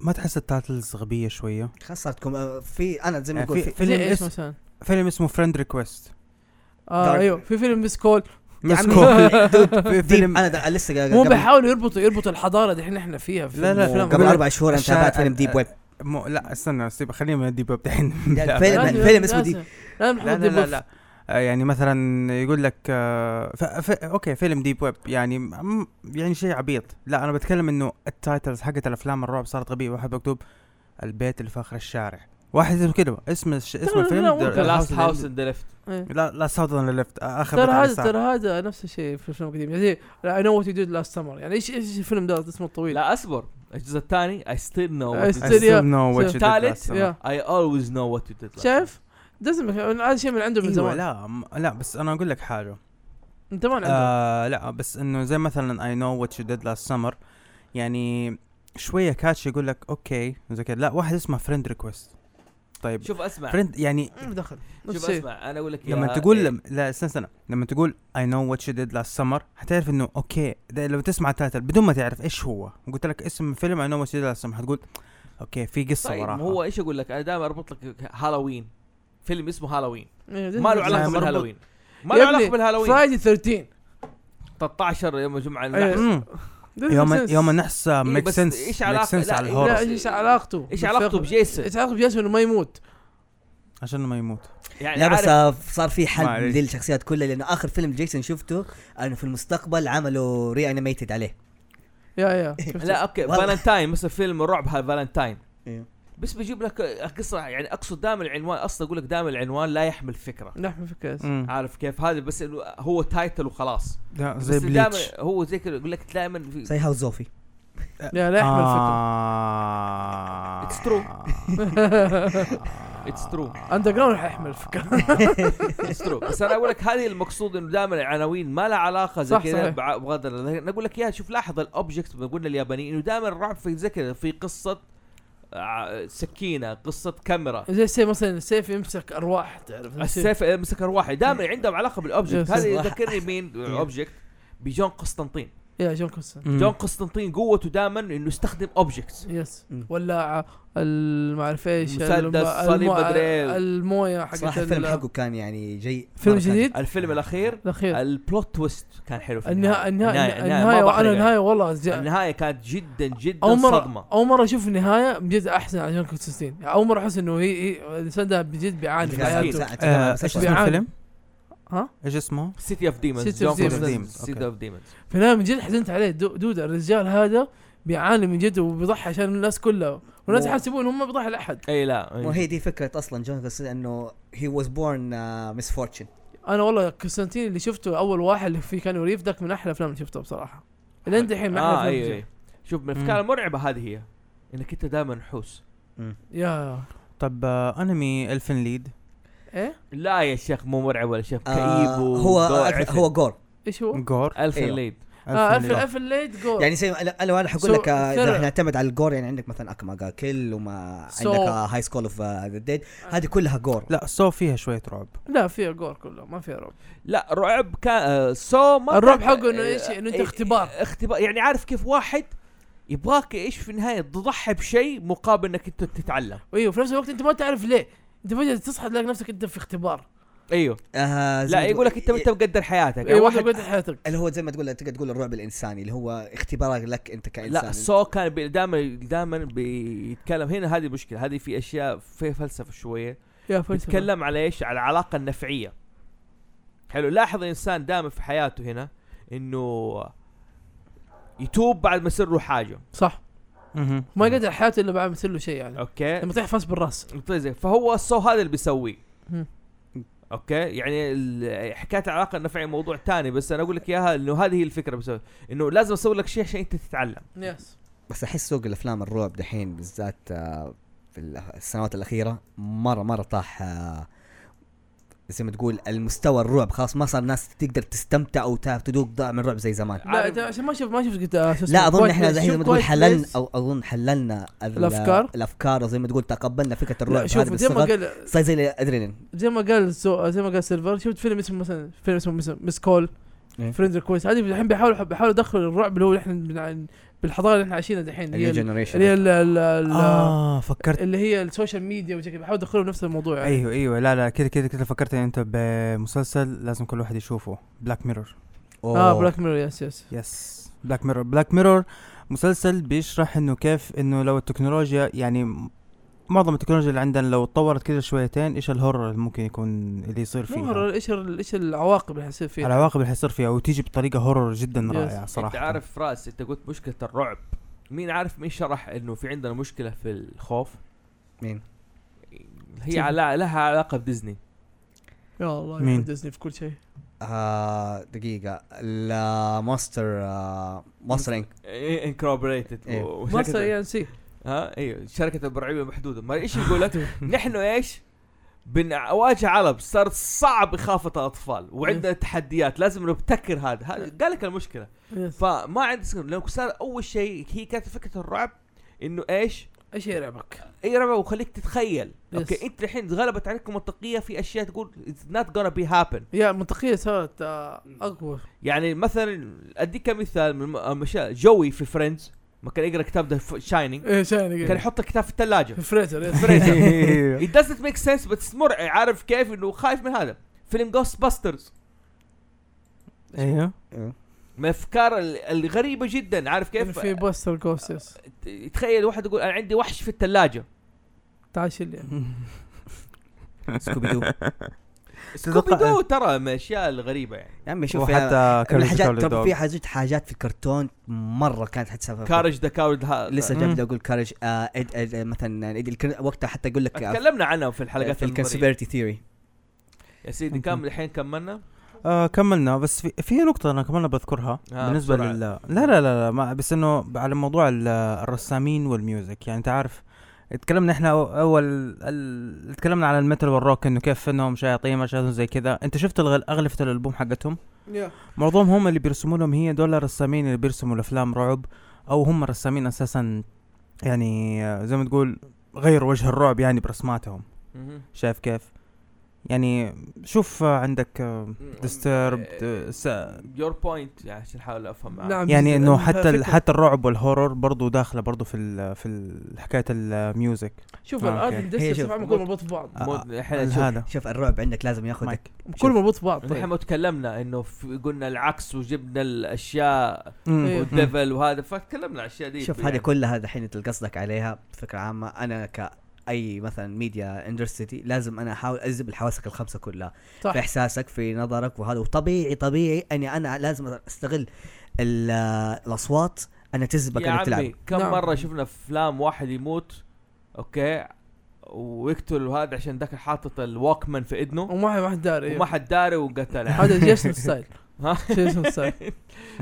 ما تحس التايتلز غبية شوية خسرتكم آه، في انا زي ما يعني اقول في في زي فيلم ايش اسمه مثلا؟ فيلم اسمه فريند ريكويست اه دارك. ايوه في فيلم مس كول في فيلم فيلم انا ده- لسه مو قبل بيحاولوا يربطوا يربطوا الحضاره دحين احنا فيها في لا، لا، الأفلام. قبل اربع شهور انا الشا- تابعت فيلم ديب ويب مو لا استنى سيب خلينا من الديب ويب دحين يعني لا، فيلم- لازم- الفيلم لازم- اسمه دي. لازم لا نحط لا دي لا, بوف. لا. آه، يعني مثلا يقول لك آه، ف... ف... اوكي فيلم ديب ويب يعني م... يعني شيء عبيط لا انا بتكلم انه التايتلز حقت الافلام الرعب صارت غبيه واحد مكتوب البيت اللي في اخر الشارع واحد اسمه كده اسم الش... اسم ترى الفيلم لا، The- ممكن. ذا The لاست House هاوس in ان ليفت إيه. the- آه، لا لا ساوث اون ليفت اخر ترى هذا ترى هذا نفس الشيء في الفيلم القديم يا زي اي نو وات يو ديد لاست سمر يعني ايش ايش الفيلم ده اسمه الطويل لا اصبر الجزء الثاني اي ستيل I نو still- ثالث ثالث يا. اي اولويز نو وات يو ديد شايف؟ دزم هذا شيء من عنده من زمان أيوة، إيوه، لا م- لا بس انا اقول لك حاجه من زمان عنده آه لا بس انه زي مثلا اي نو وات يو ديد لاست سمر يعني شويه كاتش يقول لك اوكي زي كذا لا واحد اسمه فريند ريكويست طيب شوف اسمع فريند يعني ما له دخل نفس شوف الشيء اسمع انا اقول لك يا- إيه. لما تقول لم... لا استنى استنى لما تقول اي نو وات شي ديد لاست سمر حتعرف انه اوكي ده لو تسمع التايتل بدون ما تعرف ايش هو قلت لك اسم فيلم اي نو وات شي ديد لاست سمر حتقول اوكي في قصه طيب وراها ما هو ايش اقول لك انا دائما اربط لك هالوين فيلم اسمه هالوين إيه، ده ما له نفس علاقه الشيء. بالهالوين ما يا له ابني، علاقه بالهالوين فرايدي 13 13 يوم الجمعه أيوة. النحس مم. ده يوم نفس- يوم النحس ميك إيه، بس سنس إيش ايش علاقة- علاقه سنس لا، على إيه- لا الهورس ايش علاقته؟ ايش علاقته بجيسون ايش علاقته بجاسم انه ما يموت؟ عشان ما يموت يعني لا عارف- بس آه، صار في حل معليش. للشخصيات كلها لانه اخر فيلم جيسون شفته انه في المستقبل عملوا ري انيميتد عليه يا يا شفت؟ لا اوكي والله. فالنتاين مثلا فيلم الرعب هذا فالنتاين إيه. بس بيجيب لك قصه يعني اقصد دائما العنوان اصلا اقول لك دائما العنوان لا يحمل فكره نحن في كاس مم. عارف كيف هذا بس إنه هو تايتل وخلاص لا، بس زي دائما بليتش هو زي كذا يقول لك دائما في زي هاوس زوفي لا لا يحمل فكره آه. It's true. اتس ترو اندر جراوند حيحمل فكره اتس ترو بس انا اقول لك هذه المقصود انه دائما العناوين ما لها علاقه زي صح، كذا صحيح. بع- بغض النظر انا اقول لك يا شوف لاحظ الاوبجكت قلنا اليابانيين انه دائما الرعب في زي كذا في قصه آه، سكينه قصه كاميرا زي السيف مثلا السيف يمسك ارواح تعرف السيف مسك ارواحي دائما عندهم علاقه بالاوبجكت يس. هذا يذكرني مين اوبجكت بجون قسطنطين يا جون كونسون مم. جون قسطنطين قوته دائما انه يستخدم اوبجكتس يس مم. ولاعة الم- ما اعرف ايش مسدس، الم- صليب الم- مدري. المويه حقت صراحه الفيلم ال- حقه كان يعني جيد فيلم مرة كان جديد الفيلم الاخير الاخير البلوت تويست كان حلو في النهايه النهايه النهايه وانا ما بحرق يعني. النهايه والله زي- النهايه كانت جدا جدا اول مره صدمه اول مره اشوف النهايه بجد احسن عن جون كونستانتين اول مره احس انه هي هي- الانسان ده بجد بيعاني في كان حياته ساعة آه، تمام، ايش بس بيع- اسمه بيعاني. الفيلم؟ ها؟ ايش اسمه؟ سيتي اوف City of ديمونز جون Demons. قسطنطين Demons، سيتي اوف ديمونز في النهايه من جد حزنت عليه دو- دودة الرجال هذا بيعاني من جد وبيضحي عشان الناس كلها والناس مو- يحسبون هم بيضحي لاحد اي لا أي. وهي دي فكره اصلا جون كونستانتين انه هي واز بورن مسفورتشن انا والله كونستانتين اللي شفته اول واحد اللي فيه كانوا ريف ذاك من احلى الافلام اللي شفتها بصراحه اللي انت الحين من احلى اه الافلام اي اللي اي شوف من الافكار مم. المرعبه هذه هي انك انت دائما نحوس شفتها. يا طب آه، انمي الفن ليد ايه لا يا شيخ مو مرعب ولا شيخ آه كئيب هو وجوع أك- عفن. هو جور ايش هو؟ جور الف أيوه. ليد اه Elfen الف Lied. الف الليت جول يعني يعني زي انا انا أنا حقول So- لك آه، اذا thriller. حنعتمد على الجور يعني عندك مثلا اكماغا كيل وما So- عندك آه، هاي سكول اوف ذا ديد هذه كلها جور لا سو فيها شويه رعب لا فيها جول كله ما فيها رعب لا رعب كان آه، سو ما الرعب كان- حقه إنه آه، إيش؟ إنه أنت آه، اختبار. اختبار يعني عارف كيف واحد يبغاك ايش في النهايه تضحي بشيء مقابل انك انت تتعلم ايوه في نفس الوقت انت ما تعرف ليه انت فجاه تصحى تلاقي نفسك انت في اختبار ايوه آه، زي لا ما تقول- يقول لك انت انت مقدر حياتك يعني اي واحد إيه. واحد بيت حياتك اللي هو زي ما تقول تقدر تقول الرعب الانساني اللي هو اختبارك لك انت كانسان لا سو كان بي- دائما دائما بيتكلم هنا هذه مشكله هذه في اشياء في فلسفه شويه يا فلسفه بيتكلم على ايش على العلاقه النفعيه حلو لاحظ الانسان دائما في حياته هنا انه يتوب بعد ما يصير له حاجه صح مهم. ما يقدر حياته الا بعد ما يصير له شيء يعني اوكي لما تحفظ بالراس طيب زين، فهو السو هذا اللي بيسويه مم. اوكي يعني ال- حكايه العلاقه النفعيه موضوع تاني بس انا اقول لك اياها انه هذه هي الفكره بسوي انه لازم اسوي لك شيء عشان انت تتعلم يس بس احس سوق الافلام الرعب دحين بالذات آه، في ال- السنوات الاخيره مره مره طاح آه، زي ما تقول المستوى الرعب خلاص ما صار ناس تقدر تستمتع او تا- تذوق ضاع من الرعب زي زمان لا أنت عشان ما شفت ما شفت قد- شو اسمه، لا اظن Quiet احنا Place. الحين زي ما شفت تقول Quiet حللنا Place؟ او اظن حللنا ال- الأفكار؟ الافكار وزي ما تقول تقبلنا فكره لا الرعب شوف هذا زي ما بالصغر قال صار زي الادرينالين زي ما قال سو- زي ما قال سيلفر شفت فيلم اسمه مثلا فيلم اسمه مس- مس كول إيه. فريند ريكويست هذه الحين بيحاولوا بيحاولوا يدخلوا الرعب اللي هو احنا بنع- بالحضاره اللي احنا عايشينها دحين اللي هي ال- اللي هي جنريشن ال- ال- ال- اه فكرت اللي هي السوشيال ميديا وزي كذا بيحاولوا يدخلوا نفس الموضوع إيه. يعني ايوه ايوه لا لا كذا كذا كذا فكرت انت بمسلسل لازم كل واحد يشوفه بلاك ميرور أيوه. اه بلاك ميرور يس يس يس بلاك ميرور بلاك ميرور مسلسل بيشرح انه كيف انه لو التكنولوجيا يعني م- معظم التكنولوجيا اللي عندنا لو اتطورت كذا شويتين ايش الهورر اللي ممكن يكون اللي يصير مو فيها هرر، ايش ال- ايش العواقب اللي حيصير فيها العواقب اللي حيصير فيها وتيجي بطريقه هورر جدا يس. رائعه صراحه انت عارف راس انت قلت مشكله الرعب مين عارف مين شرح انه في عندنا مشكله في الخوف مين؟ هي على لها علاقه بديزني يا الله مين؟ يحدثني في كل شيء آه دقيقه الماستر آه ماستر إنك. انكروبريتد إيه. ما صار اي ان سي ها ايوه شركه البرعيه المحدوده ما ايش يقول لك نحن ايش بنواجه عرب صار صعب إخافة الأطفال وعندنا تحديات لازم نبتكر هذا هذا- قال لك المشكلة فما عندي سكن لو صار أول شيء هي كانت فكرة الرعب انه ايش؟ ايش يرعبك؟ اي ربع وخليك تتخيل Yes. اوكي انت الحين غلبت عليك المنطقيه في اشياء تقول اتس نوت gonna بي هابن يا منطقيه صارت آه، اقوى يعني مثلا اديك مثال من الاشياء جوي في فريندز ما كان يقرا كتاب ذا شاينينج ايه شايني كان يحط الكتاب في الثلاجه في فريزر إيه. It doesn't make sense بس مرعي عارف كيف انه خايف من هذا فيلم جوست باسترز ايوه من الافكار ال- الغريبه جدا عارف كيف في باستر جوستس تخيل واحد يقول انا عندي وحش في الثلاجه تعال شيل يعني. سكوبي دو سكوبي دو ترى من الاشياء الغريبه يعني يا عمي شوف يا- وحتى من كارلز الحاجات كارلز طب دوغ. في حاجات حاجات في الكرتون مره كانت حتسبب كارج ذا كاورد لسه مم. جاب اقول كارج آه إد إد مثلا إد الكر- وقتها حتى اقول لك آه، تكلمنا عنها في الحلقات في الماضية. الكونسبيرتي ثيوري يا سيدي كم الحين كملنا آه كملنا بس في, في نقطة أنا كمان بذكرها آه، بالنسبة بسرعة. لل لا لا لا, لا ما بس إنه على موضوع ال- الرسامين والميوزك يعني أنت عارف تكلمنا احنا أو- اول ال... تكلمنا على الميتال والروك انه كيف انهم شياطين ما شياطين زي كذا انت شفت الغ- اغلفه الالبوم حقتهم معظمهم هم اللي بيرسموا لهم هي دول الرسامين اللي بيرسموا الافلام رعب او هم الرسامين اساسا يعني آه، زي ما تقول غيروا وجه الرعب يعني برسماتهم مهم. شايف كيف يعني شوف آه، عندك آه، Disturbed، آه، س- يور بوينت يعني عشان احاول افهم معك. نعم يعني انه حتى ال- الفكرة- حتى الرعب والهورر برضو داخله برضو في ال في ال حكايه الميوزك شوف آه، الارت أوكي. هي اندستري شوف. بصفه عامه كله مربوط ببعض مو- احنا ال- شوف، هذا شوف الرعب عندك لازم ياخذك مايك كله مربوط طيب. ببعض نحن ما تكلمنا انه في- قلنا العكس وجبنا الاشياء مم. إيه. والديفل وهذا فتكلمنا عن الاشياء دي شوف يعني. هذه كلها دحين انت اللي قصدك عليها بفكره عامه انا كاي مثلا ميديا اندستري لازم انا احاول اجذب الحواسك الخمسه كلها صح. في احساسك في نظرك وهذا وطبيعي طبيعي اني انا لازم استغل ال- الاصوات انا تجذبك يا انك تلعب عمي كم نعم. مره شفنا افلام واحد يموت اوكي ويقتل هذا عشان ذاك حاطط الووكمان في اذنه وما حد ما حد داري وما إيه. حد داري وقتله هذا جيسون ستايل ها؟ جيسون ستايل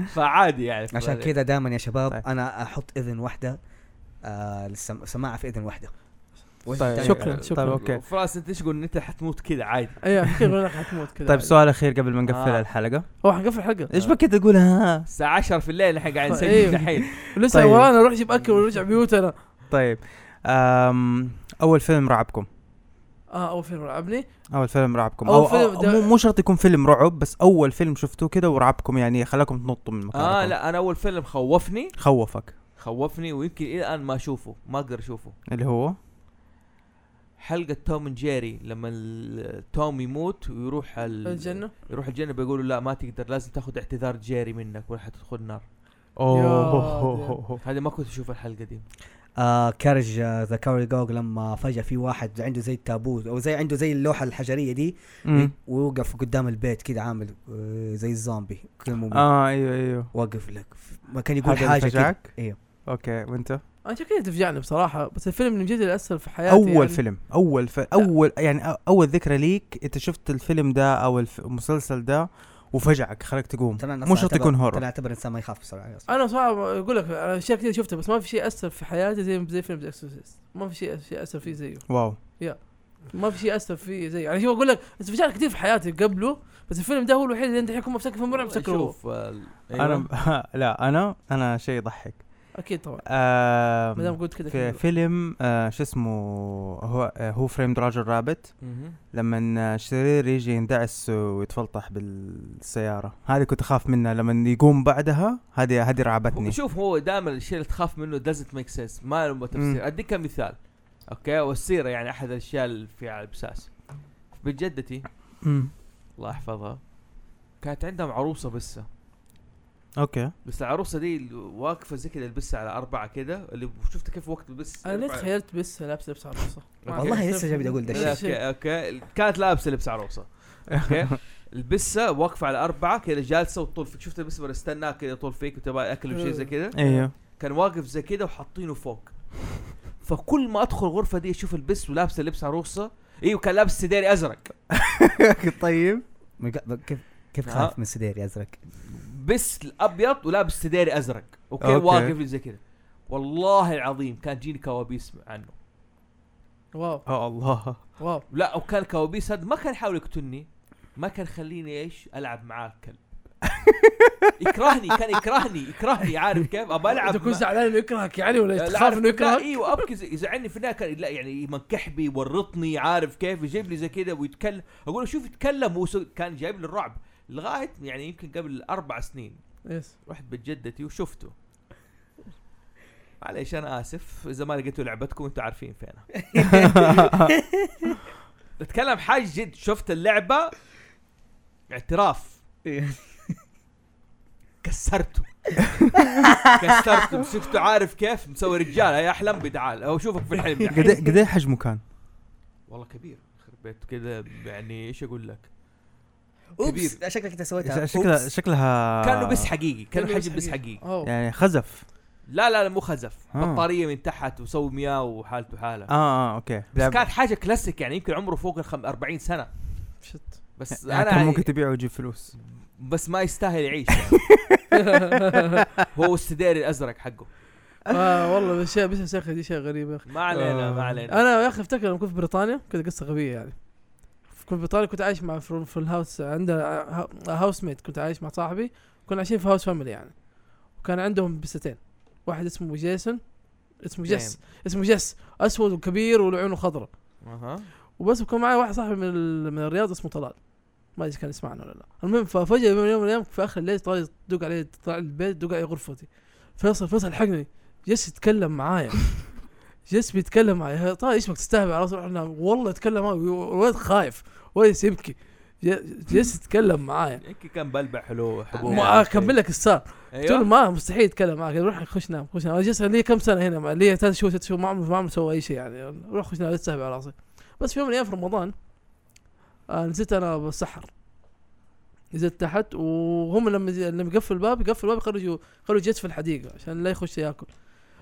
فعادي يعني عشان فهذا- كذا دائما يا شباب طيب. انا احط اذن واحده آه للسم- سماعه في اذن واحده طيب والثانية- شكرا شكراً. طيب اوكي فراس انت ايش قلت انت حتموت كذا عادي ايوه يقول لك حتموت كذا طيب عادي. سؤال اخير قبل ما نقفل آه. الحلقه هو حنقفل الحلقه ايش بك تقول ها الساعه 10 في الليل احنا قاعدين أيوه. نسجل آه، دحين لسه طيب. ورانا نروح نجيب اكل ونرجع بيوتنا طيب أم اول فيلم رعبكم اه اول فيلم لعبني اول فيلم رعبكم أول او, فيلم أو ده- مو, مو شرط يكون فيلم رعب بس اول فيلم شفتوه كذا ورعبكم يعني خلاكم تنطوا من مكانكم اه لا انا اول فيلم خوفني خوفك خوفني ويمكن الى الان ما اشوفه ما اقدر اشوفه اللي هو حلقه توم اند جيري لما ال- توم يموت ويروح ال... الجنه يروح الجنه بيقولوا لا ما تقدر لازم تاخذ اعتذار جيري منك ولا حتدخل نار اوه هذه ما كنت اشوف الحلقه دي آه كارج ذا كاوري جوج لما فجاه في واحد عنده زي التابوت او زي عنده زي اللوحه الحجريه دي مم. ويوقف قدام البيت كذا عامل آه، زي الزومبي كذا مو آه. اه ايوه ايوه واقف لك ما كان هل يقول حاجه كده فجعك؟ إيه. ايوه اوكي وانت انا شكلي تفجعني بصراحه بس الفيلم اللي من جد اللي اثر في حياتي اول يعني- فيلم اول ف... اول يعني أ- اول ذكرى ليك انت شفت الفيلم ده او الف... المسلسل ده وفجعك خلاك تقوم ترى أنا مو أصلاً شرط أعتبر- يكون هورر. ترى اعتبر انسان ما يخاف بسرعه أصلاً. انا صعب اقول لك أنا اشياء كثير شفتها بس ما في شيء اثر في حياتي زي زي فيلم اكسورسيست ما في شيء شيء اثر فيه زيه واو ما في شيء اثر فيه زيه يعني شوف اقول لك انفجار كثير في حياتي قبله بس الفيلم ده هو الوحيد اللي انت حيكون مفتكر في مرعب تفتكره هو. شوف ال- أيوة. أيوة. انا لا انا انا شيء يضحك اكيد طبعا آم... ما دام قلت كذا في كذا. فيلم آه شو اسمه هو آه هو فريم راجر رابت مهم. لما الشرير يجي يندعس ويتفلطح بالسياره هذه كنت اخاف منها لما يقوم بعدها هذه هذه رعبتني هو- شوف هو دائما الشيء اللي تخاف منه doesn't make sense ما له تفسير مم. اديك كم مثال اوكي والسيره يعني احد الاشياء اللي في على البساس بنت جدتي مم. الله يحفظها كانت عندهم عروسه بسه اوكي بس العروسه دي واقفه زي كذا البسه على اربعه كذا اللي شفت كيف وقت البس انا ليه أربعة. تخيلت بس لابس لبس عروسه ما والله أعرف. لسه جاي بدي أقول ده لا، اوكي اوكي كانت لابسه لبس عروسه اوكي البسه واقفه على اربعه كذا جالسه وتطول فيك شفت البسه اللي استناها كذا طول فيك وتبغى اكل وشي زي كذا ايوه كان واقف زي كده وحاطينه فوق فكل ما ادخل الغرفه دي اشوف البس ولابسه لبس عروسه ايوه كان لابس سديري ازرق طيب من ق- كيف كيف آه. خايف من سديري ازرق بس الابيض ولابس سديري ازرق اوكي, أوكي. أوكي. واقف زي كده والله العظيم كان جيني كوابيس عنه واو اه الله واو لا وكان كوابيس هذا ما كان يحاول يقتلني ما كان خليني ايش العب معاه الكلب يكرهني كان يكرهني يكرهني عارف كيف ابى العب تكون ما- زعلان انه يكرهك يعني ولا لا، تخاف عارف- انه لا، يكرهك ايوه ابكي ز- يزعلني في النهايه كان لا يعني يمنكح بي يورطني عارف كيف يجيب لي زي كذا ويتكلم اقول له شوف يتكلم وس- كان جايب لي الرعب لغايه يعني يمكن قبل اربع سنين يس رحت بيت جدتي وشفته معليش انا اسف اذا ما لقيتوا لعبتكم انتوا عارفين فينها بتكلم حاجه جد شفت اللعبه اعتراف كسرته كسرته مسكته عارف كيف مسوي رجال يا احلم بدعال او شوفك في الحلم قد يعني. إيه- قد ايه حجمه كان؟ والله كبير يخرب بيت كذا يعني ايش اقول لك اوبس شكلك انت سويتها شكلها أوبس. شكلها كانه بس حقيقي كان كأنه بس حجم بس حقيقي أوه. يعني خزف لا لا لا مو خزف آه. بطاريه من تحت وسوي مياه وحالته حاله اه اه اوكي آه. بس كانت حاجه كلاسيك يعني يمكن عمره فوق ال خم- 40 سنه شت بس يعني كان انا ممكن تبيعه وتجيب فلوس بس ما يستاهل يعيش هو السدير الازرق حقه آه والله بس شيء بس يا اخي دي شيء غريب يا اخي ما علينا آه. ما علينا انا يا اخي افتكر لما كنت في بريطانيا كنت قصه غبيه يعني كنت في بريطانيا كنت عايش مع في, في الهاوس عندنا ها- هاوس ميت كنت عايش مع صاحبي كنا عايشين في هاوس فاميلي يعني وكان عندهم بستين واحد اسمه جيسون اسمه جس اسمه جس اسود وكبير وعيونه خضراء اها وبس وكان معي واحد صاحبي من ال- من الرياض اسمه طلال ما ادري إذا كان يسمعنا ولا لا المهم ففجاه يوم من اليوم من الأيام في اخر الليل طلال يدق علي طلع البيت يدق علي غرفتي فيصل فيصل حقني جس يتكلم معايا جس بيتكلم معاي يا طلال ايش بك تستهبل على طول احنا والله يتكلم معاي الولد خايف ولد يبكي ج- جس يتكلم معايا يمكن كان بلبع حلو حبوب ما اكمل لك السار قلت له ايوه ما مستحيل يتكلم معك روح خش نام خش نام انا جالس لي كم سنه هنا ما- لي ثلاث شهور ست شهور ما عمري ما عمري سوى اي شيء يعني روح خش نام لا تستهبل على راسي بس في يوم من الايام في رمضان آه نزلت انا بسحر نزلت تحت وهم لما ز- لما يقفل الباب يقفل الباب يخرجوا يخرجوا جيت في الحديقه عشان لا يخش ياكل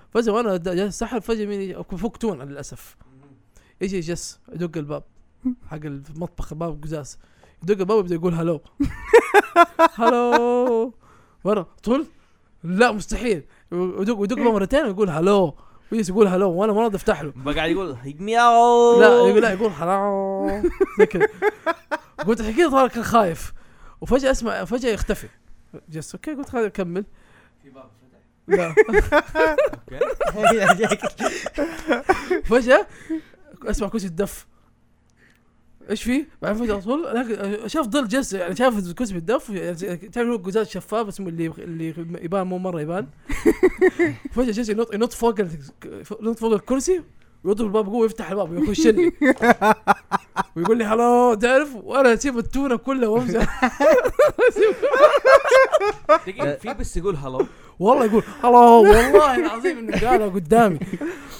فجاه وانا د- جالس السحر فجاه مين يجي- أكون فوق تونه للاسف يجي جس يدق الباب حق المطبخ الباب قزاز يدق الباب ويبدا يقول هلو هلو مره طول لا مستحيل ودق ودق له مرتين ويقول هلو ويجلس يقول هلو وانا ما راضي افتح له بقى قاعد يقول مياو لا يقول لا يقول هلو زي كذا قلت الحين كذا طارق كان خايف وفجاه اسمع فجاه يختفي جس اوكي قلت خليني اكمل في باب لا فجاه اسمع كرسي الدف ايش في؟ بعدين فجاه طول لكن شاف ظل جس يعني شاف الكرسي بالدف يعني تعرف هو قزاز شفاف اسمه اللي اللي يبان مو مره يبان فجاه جس ينط ينط فوق ال- ينط فوق الكرسي ويضرب الباب قوه ويفتح الباب ويخشني ويقول لي هلو تعرف وانا اسيب التونه كلها وامزح دقيقه في بس يقول هلو والله يقول هلو والله العظيم انه قالها قدامي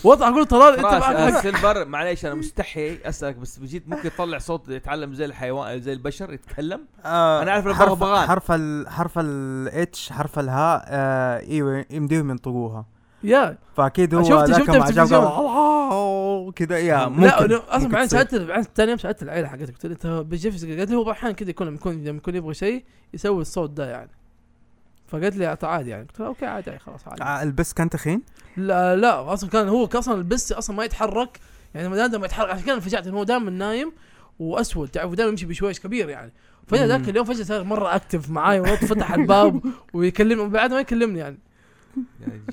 واطلع اقول طلال انت خلاص معك حق. آه، سيلفر معليش انا مستحي اسالك بس بجيت ممكن يطلع صوت يتعلم زي الحيوان زي البشر يتكلم آه أنا عارف حرف- البغبغان. حرف ال حرف الاتش حرف الهاء آه ايوه يمديهم ينطقوها يا فاكيد هو شفت- ذاك شفتها ما في جاب التلفزيون. الله كذا يا ممكن آه، لا أنا اصلا ممكن بعدين تصير. سالت بعدين ثاني يوم سالت العيله حقتك قلت لي انت بجيفز قالت لي هو احيانا كذا يكون لما يكون لما يكون يبغى شيء يسوي الصوت ده يعني فقالت لي "أعط- عادي يعني قلت لها اوكي عادي خلاص عادي آه، البس كان تخين لا لا اصلا كان هو اصلا البس اصلا ما يتحرك يعني ما دام ما يتحرك عشان كذا انفجعت انه هو دائما نايم واسود تعرف ودائما يمشي بشويش كبير يعني فجاه ذاك مم. اليوم فجاه صار مره اكتف معاي ونط فتح الباب ويكلمني بعد ما يكلمني يعني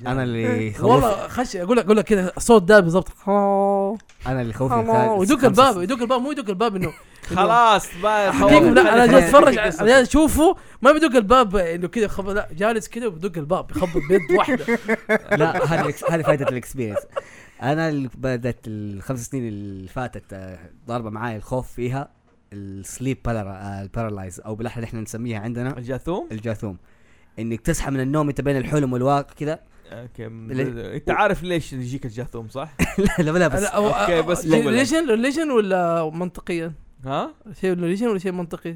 انا اللي خوف والله خش اقول لك اقول لك كذا الصوت ده بالضبط انا اللي خوفي كان ويدق الباب يدق الباب مو يدق الباب انه خلاص ما حقيقي لا انا جالس اتفرج حقيقي انا جالس اشوفه ما بيدق الباب انه كذا خب... لا جالس كذا وبدق الباب يخبط بيد واحده لا هذه الإكس- هذه فائده الاكسبيرينس انا اللي بدات الخمس سنين اللي فاتت آه، ضاربه معاي الخوف فيها السليب آه، البارالايز او بالاحرى اللي احنا نسميها عندنا الجاثوم الجاثوم انك تصحى من النوم انت بين الحلم والواقع كذا اوكي لا. انت عارف ليش يجيك الجاثوم صح؟ لا لا لا بس لا، أو- أوكي، أو- بس شيء مو بلا. ريليجن ريليجن ولا منطقيا؟ ها؟ شيء ريليجن ولا شيء منطقي؟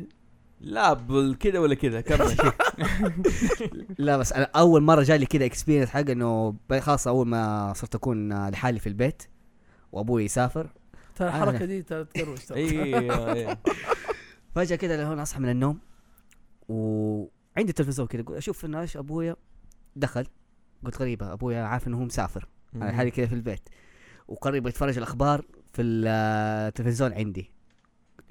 لا بال- كذا ولا كذا كمل لا بس انا اول مره جالي كذا اكسبيرينس حق انه ب- خلاص اول ما صرت اكون آه، لحالي في البيت وابوي يسافر ترى أنا- الحركه دي ترى تقروش ترى. ايوه إيه. فجاه كذا لهون اصحى من النوم وعندي التلفزيون كذا أقول اشوف انه ايش ابويا دخل قلت غريبه ابويا عارف انه هو مسافر انا لحالي كذا في البيت وقريب يتفرج الاخبار في ال- التلفزيون عندي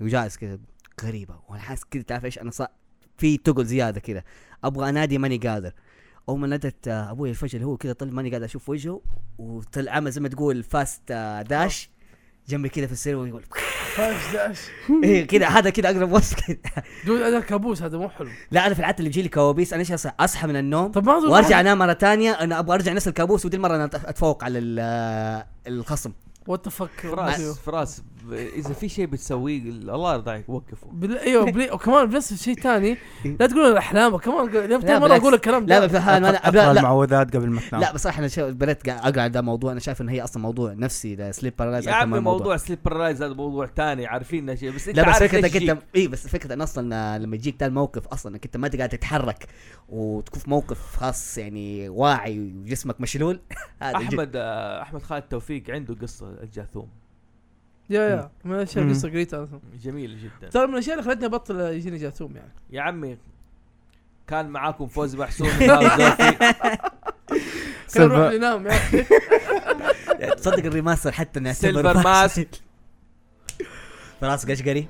وجالس كذا غريبه وانا حاسس كذا تعرف ايش انا صا في تقل زياده كذا ابغى انادي ماني قادر اول ما نادت آه، ابوي الفجر هو كذا طلع ماني قادر اشوف وجهه وطلع عمل زي ما تقول فاست آه، داش جنبي كذا في السرير ويقول فايف داش إيه كذا هذا كذا اقرب وصف كذا. دود هذا كابوس هذا مو حلو لا انا في العاده اللي بيجي لي كوابيس انا ايش أص- اصحى من النوم طب ما أظن- وارجع انام مره ثانيه انا ابغى ارجع نفس الكابوس ودي المره انا أت- اتفوق على ال- آه، الخصم وات ذا فك فراس فراس ب- اذا في شيء بتسويه الله يرضى عليك وقفه بال... ايوه بلي... وكمان بنفس الشيء ثاني لا تقولون احلام كمان لا، لا مره بالعكس. اقول الكلام لا ده بس انا أقرأ- لا لا, أقرأ المعوذات قبل ما تنام لا بصراحه انا شا- بديت قا- اقرا على ده موضوع انا شايف ان هي اصلا موضوع نفسي ده سليب بارالايز يا عمي موضوع سليب بارالايز هذا موضوع ثاني عارفين إنه شيء بس انت لا بس عارف فكرتك ايش انت يجيك. اي بس فكرة ان اصلا آه، لما يجيك ده الموقف اصلا انك انت ما أنت قاعد تتحرك وتكون في موقف خاص يعني واعي وجسمك مشلول هذا يجي. احمد آه، احمد خالد توفيق عنده قصه الجاثوم يا يا من الاشياء مم. قصه قريتها اصلا جميله جدا ترى من الاشياء اللي خلتني ابطل يجيني جاثوم يعني يا عمي كان معاكم فوز محسون وهاب زوفي. كان سيلفر- اروح ينام يا اخي تصدق الريماستر حتى انه سيلفر يعتبر ماسك. فاصل. فراس قشقري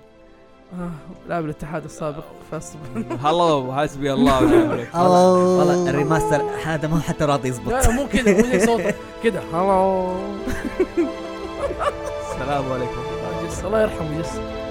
آه، لاعب الاتحاد السابق فاصبر هلا حسبي الله ونعم الوكيل. والله والله الريماستر هذا ما هو حتى راضي لا يزبط لا مو كذا مو زي صوته كذا هلا آه، السلام عليكم ورحمه الله الله يرحمه جس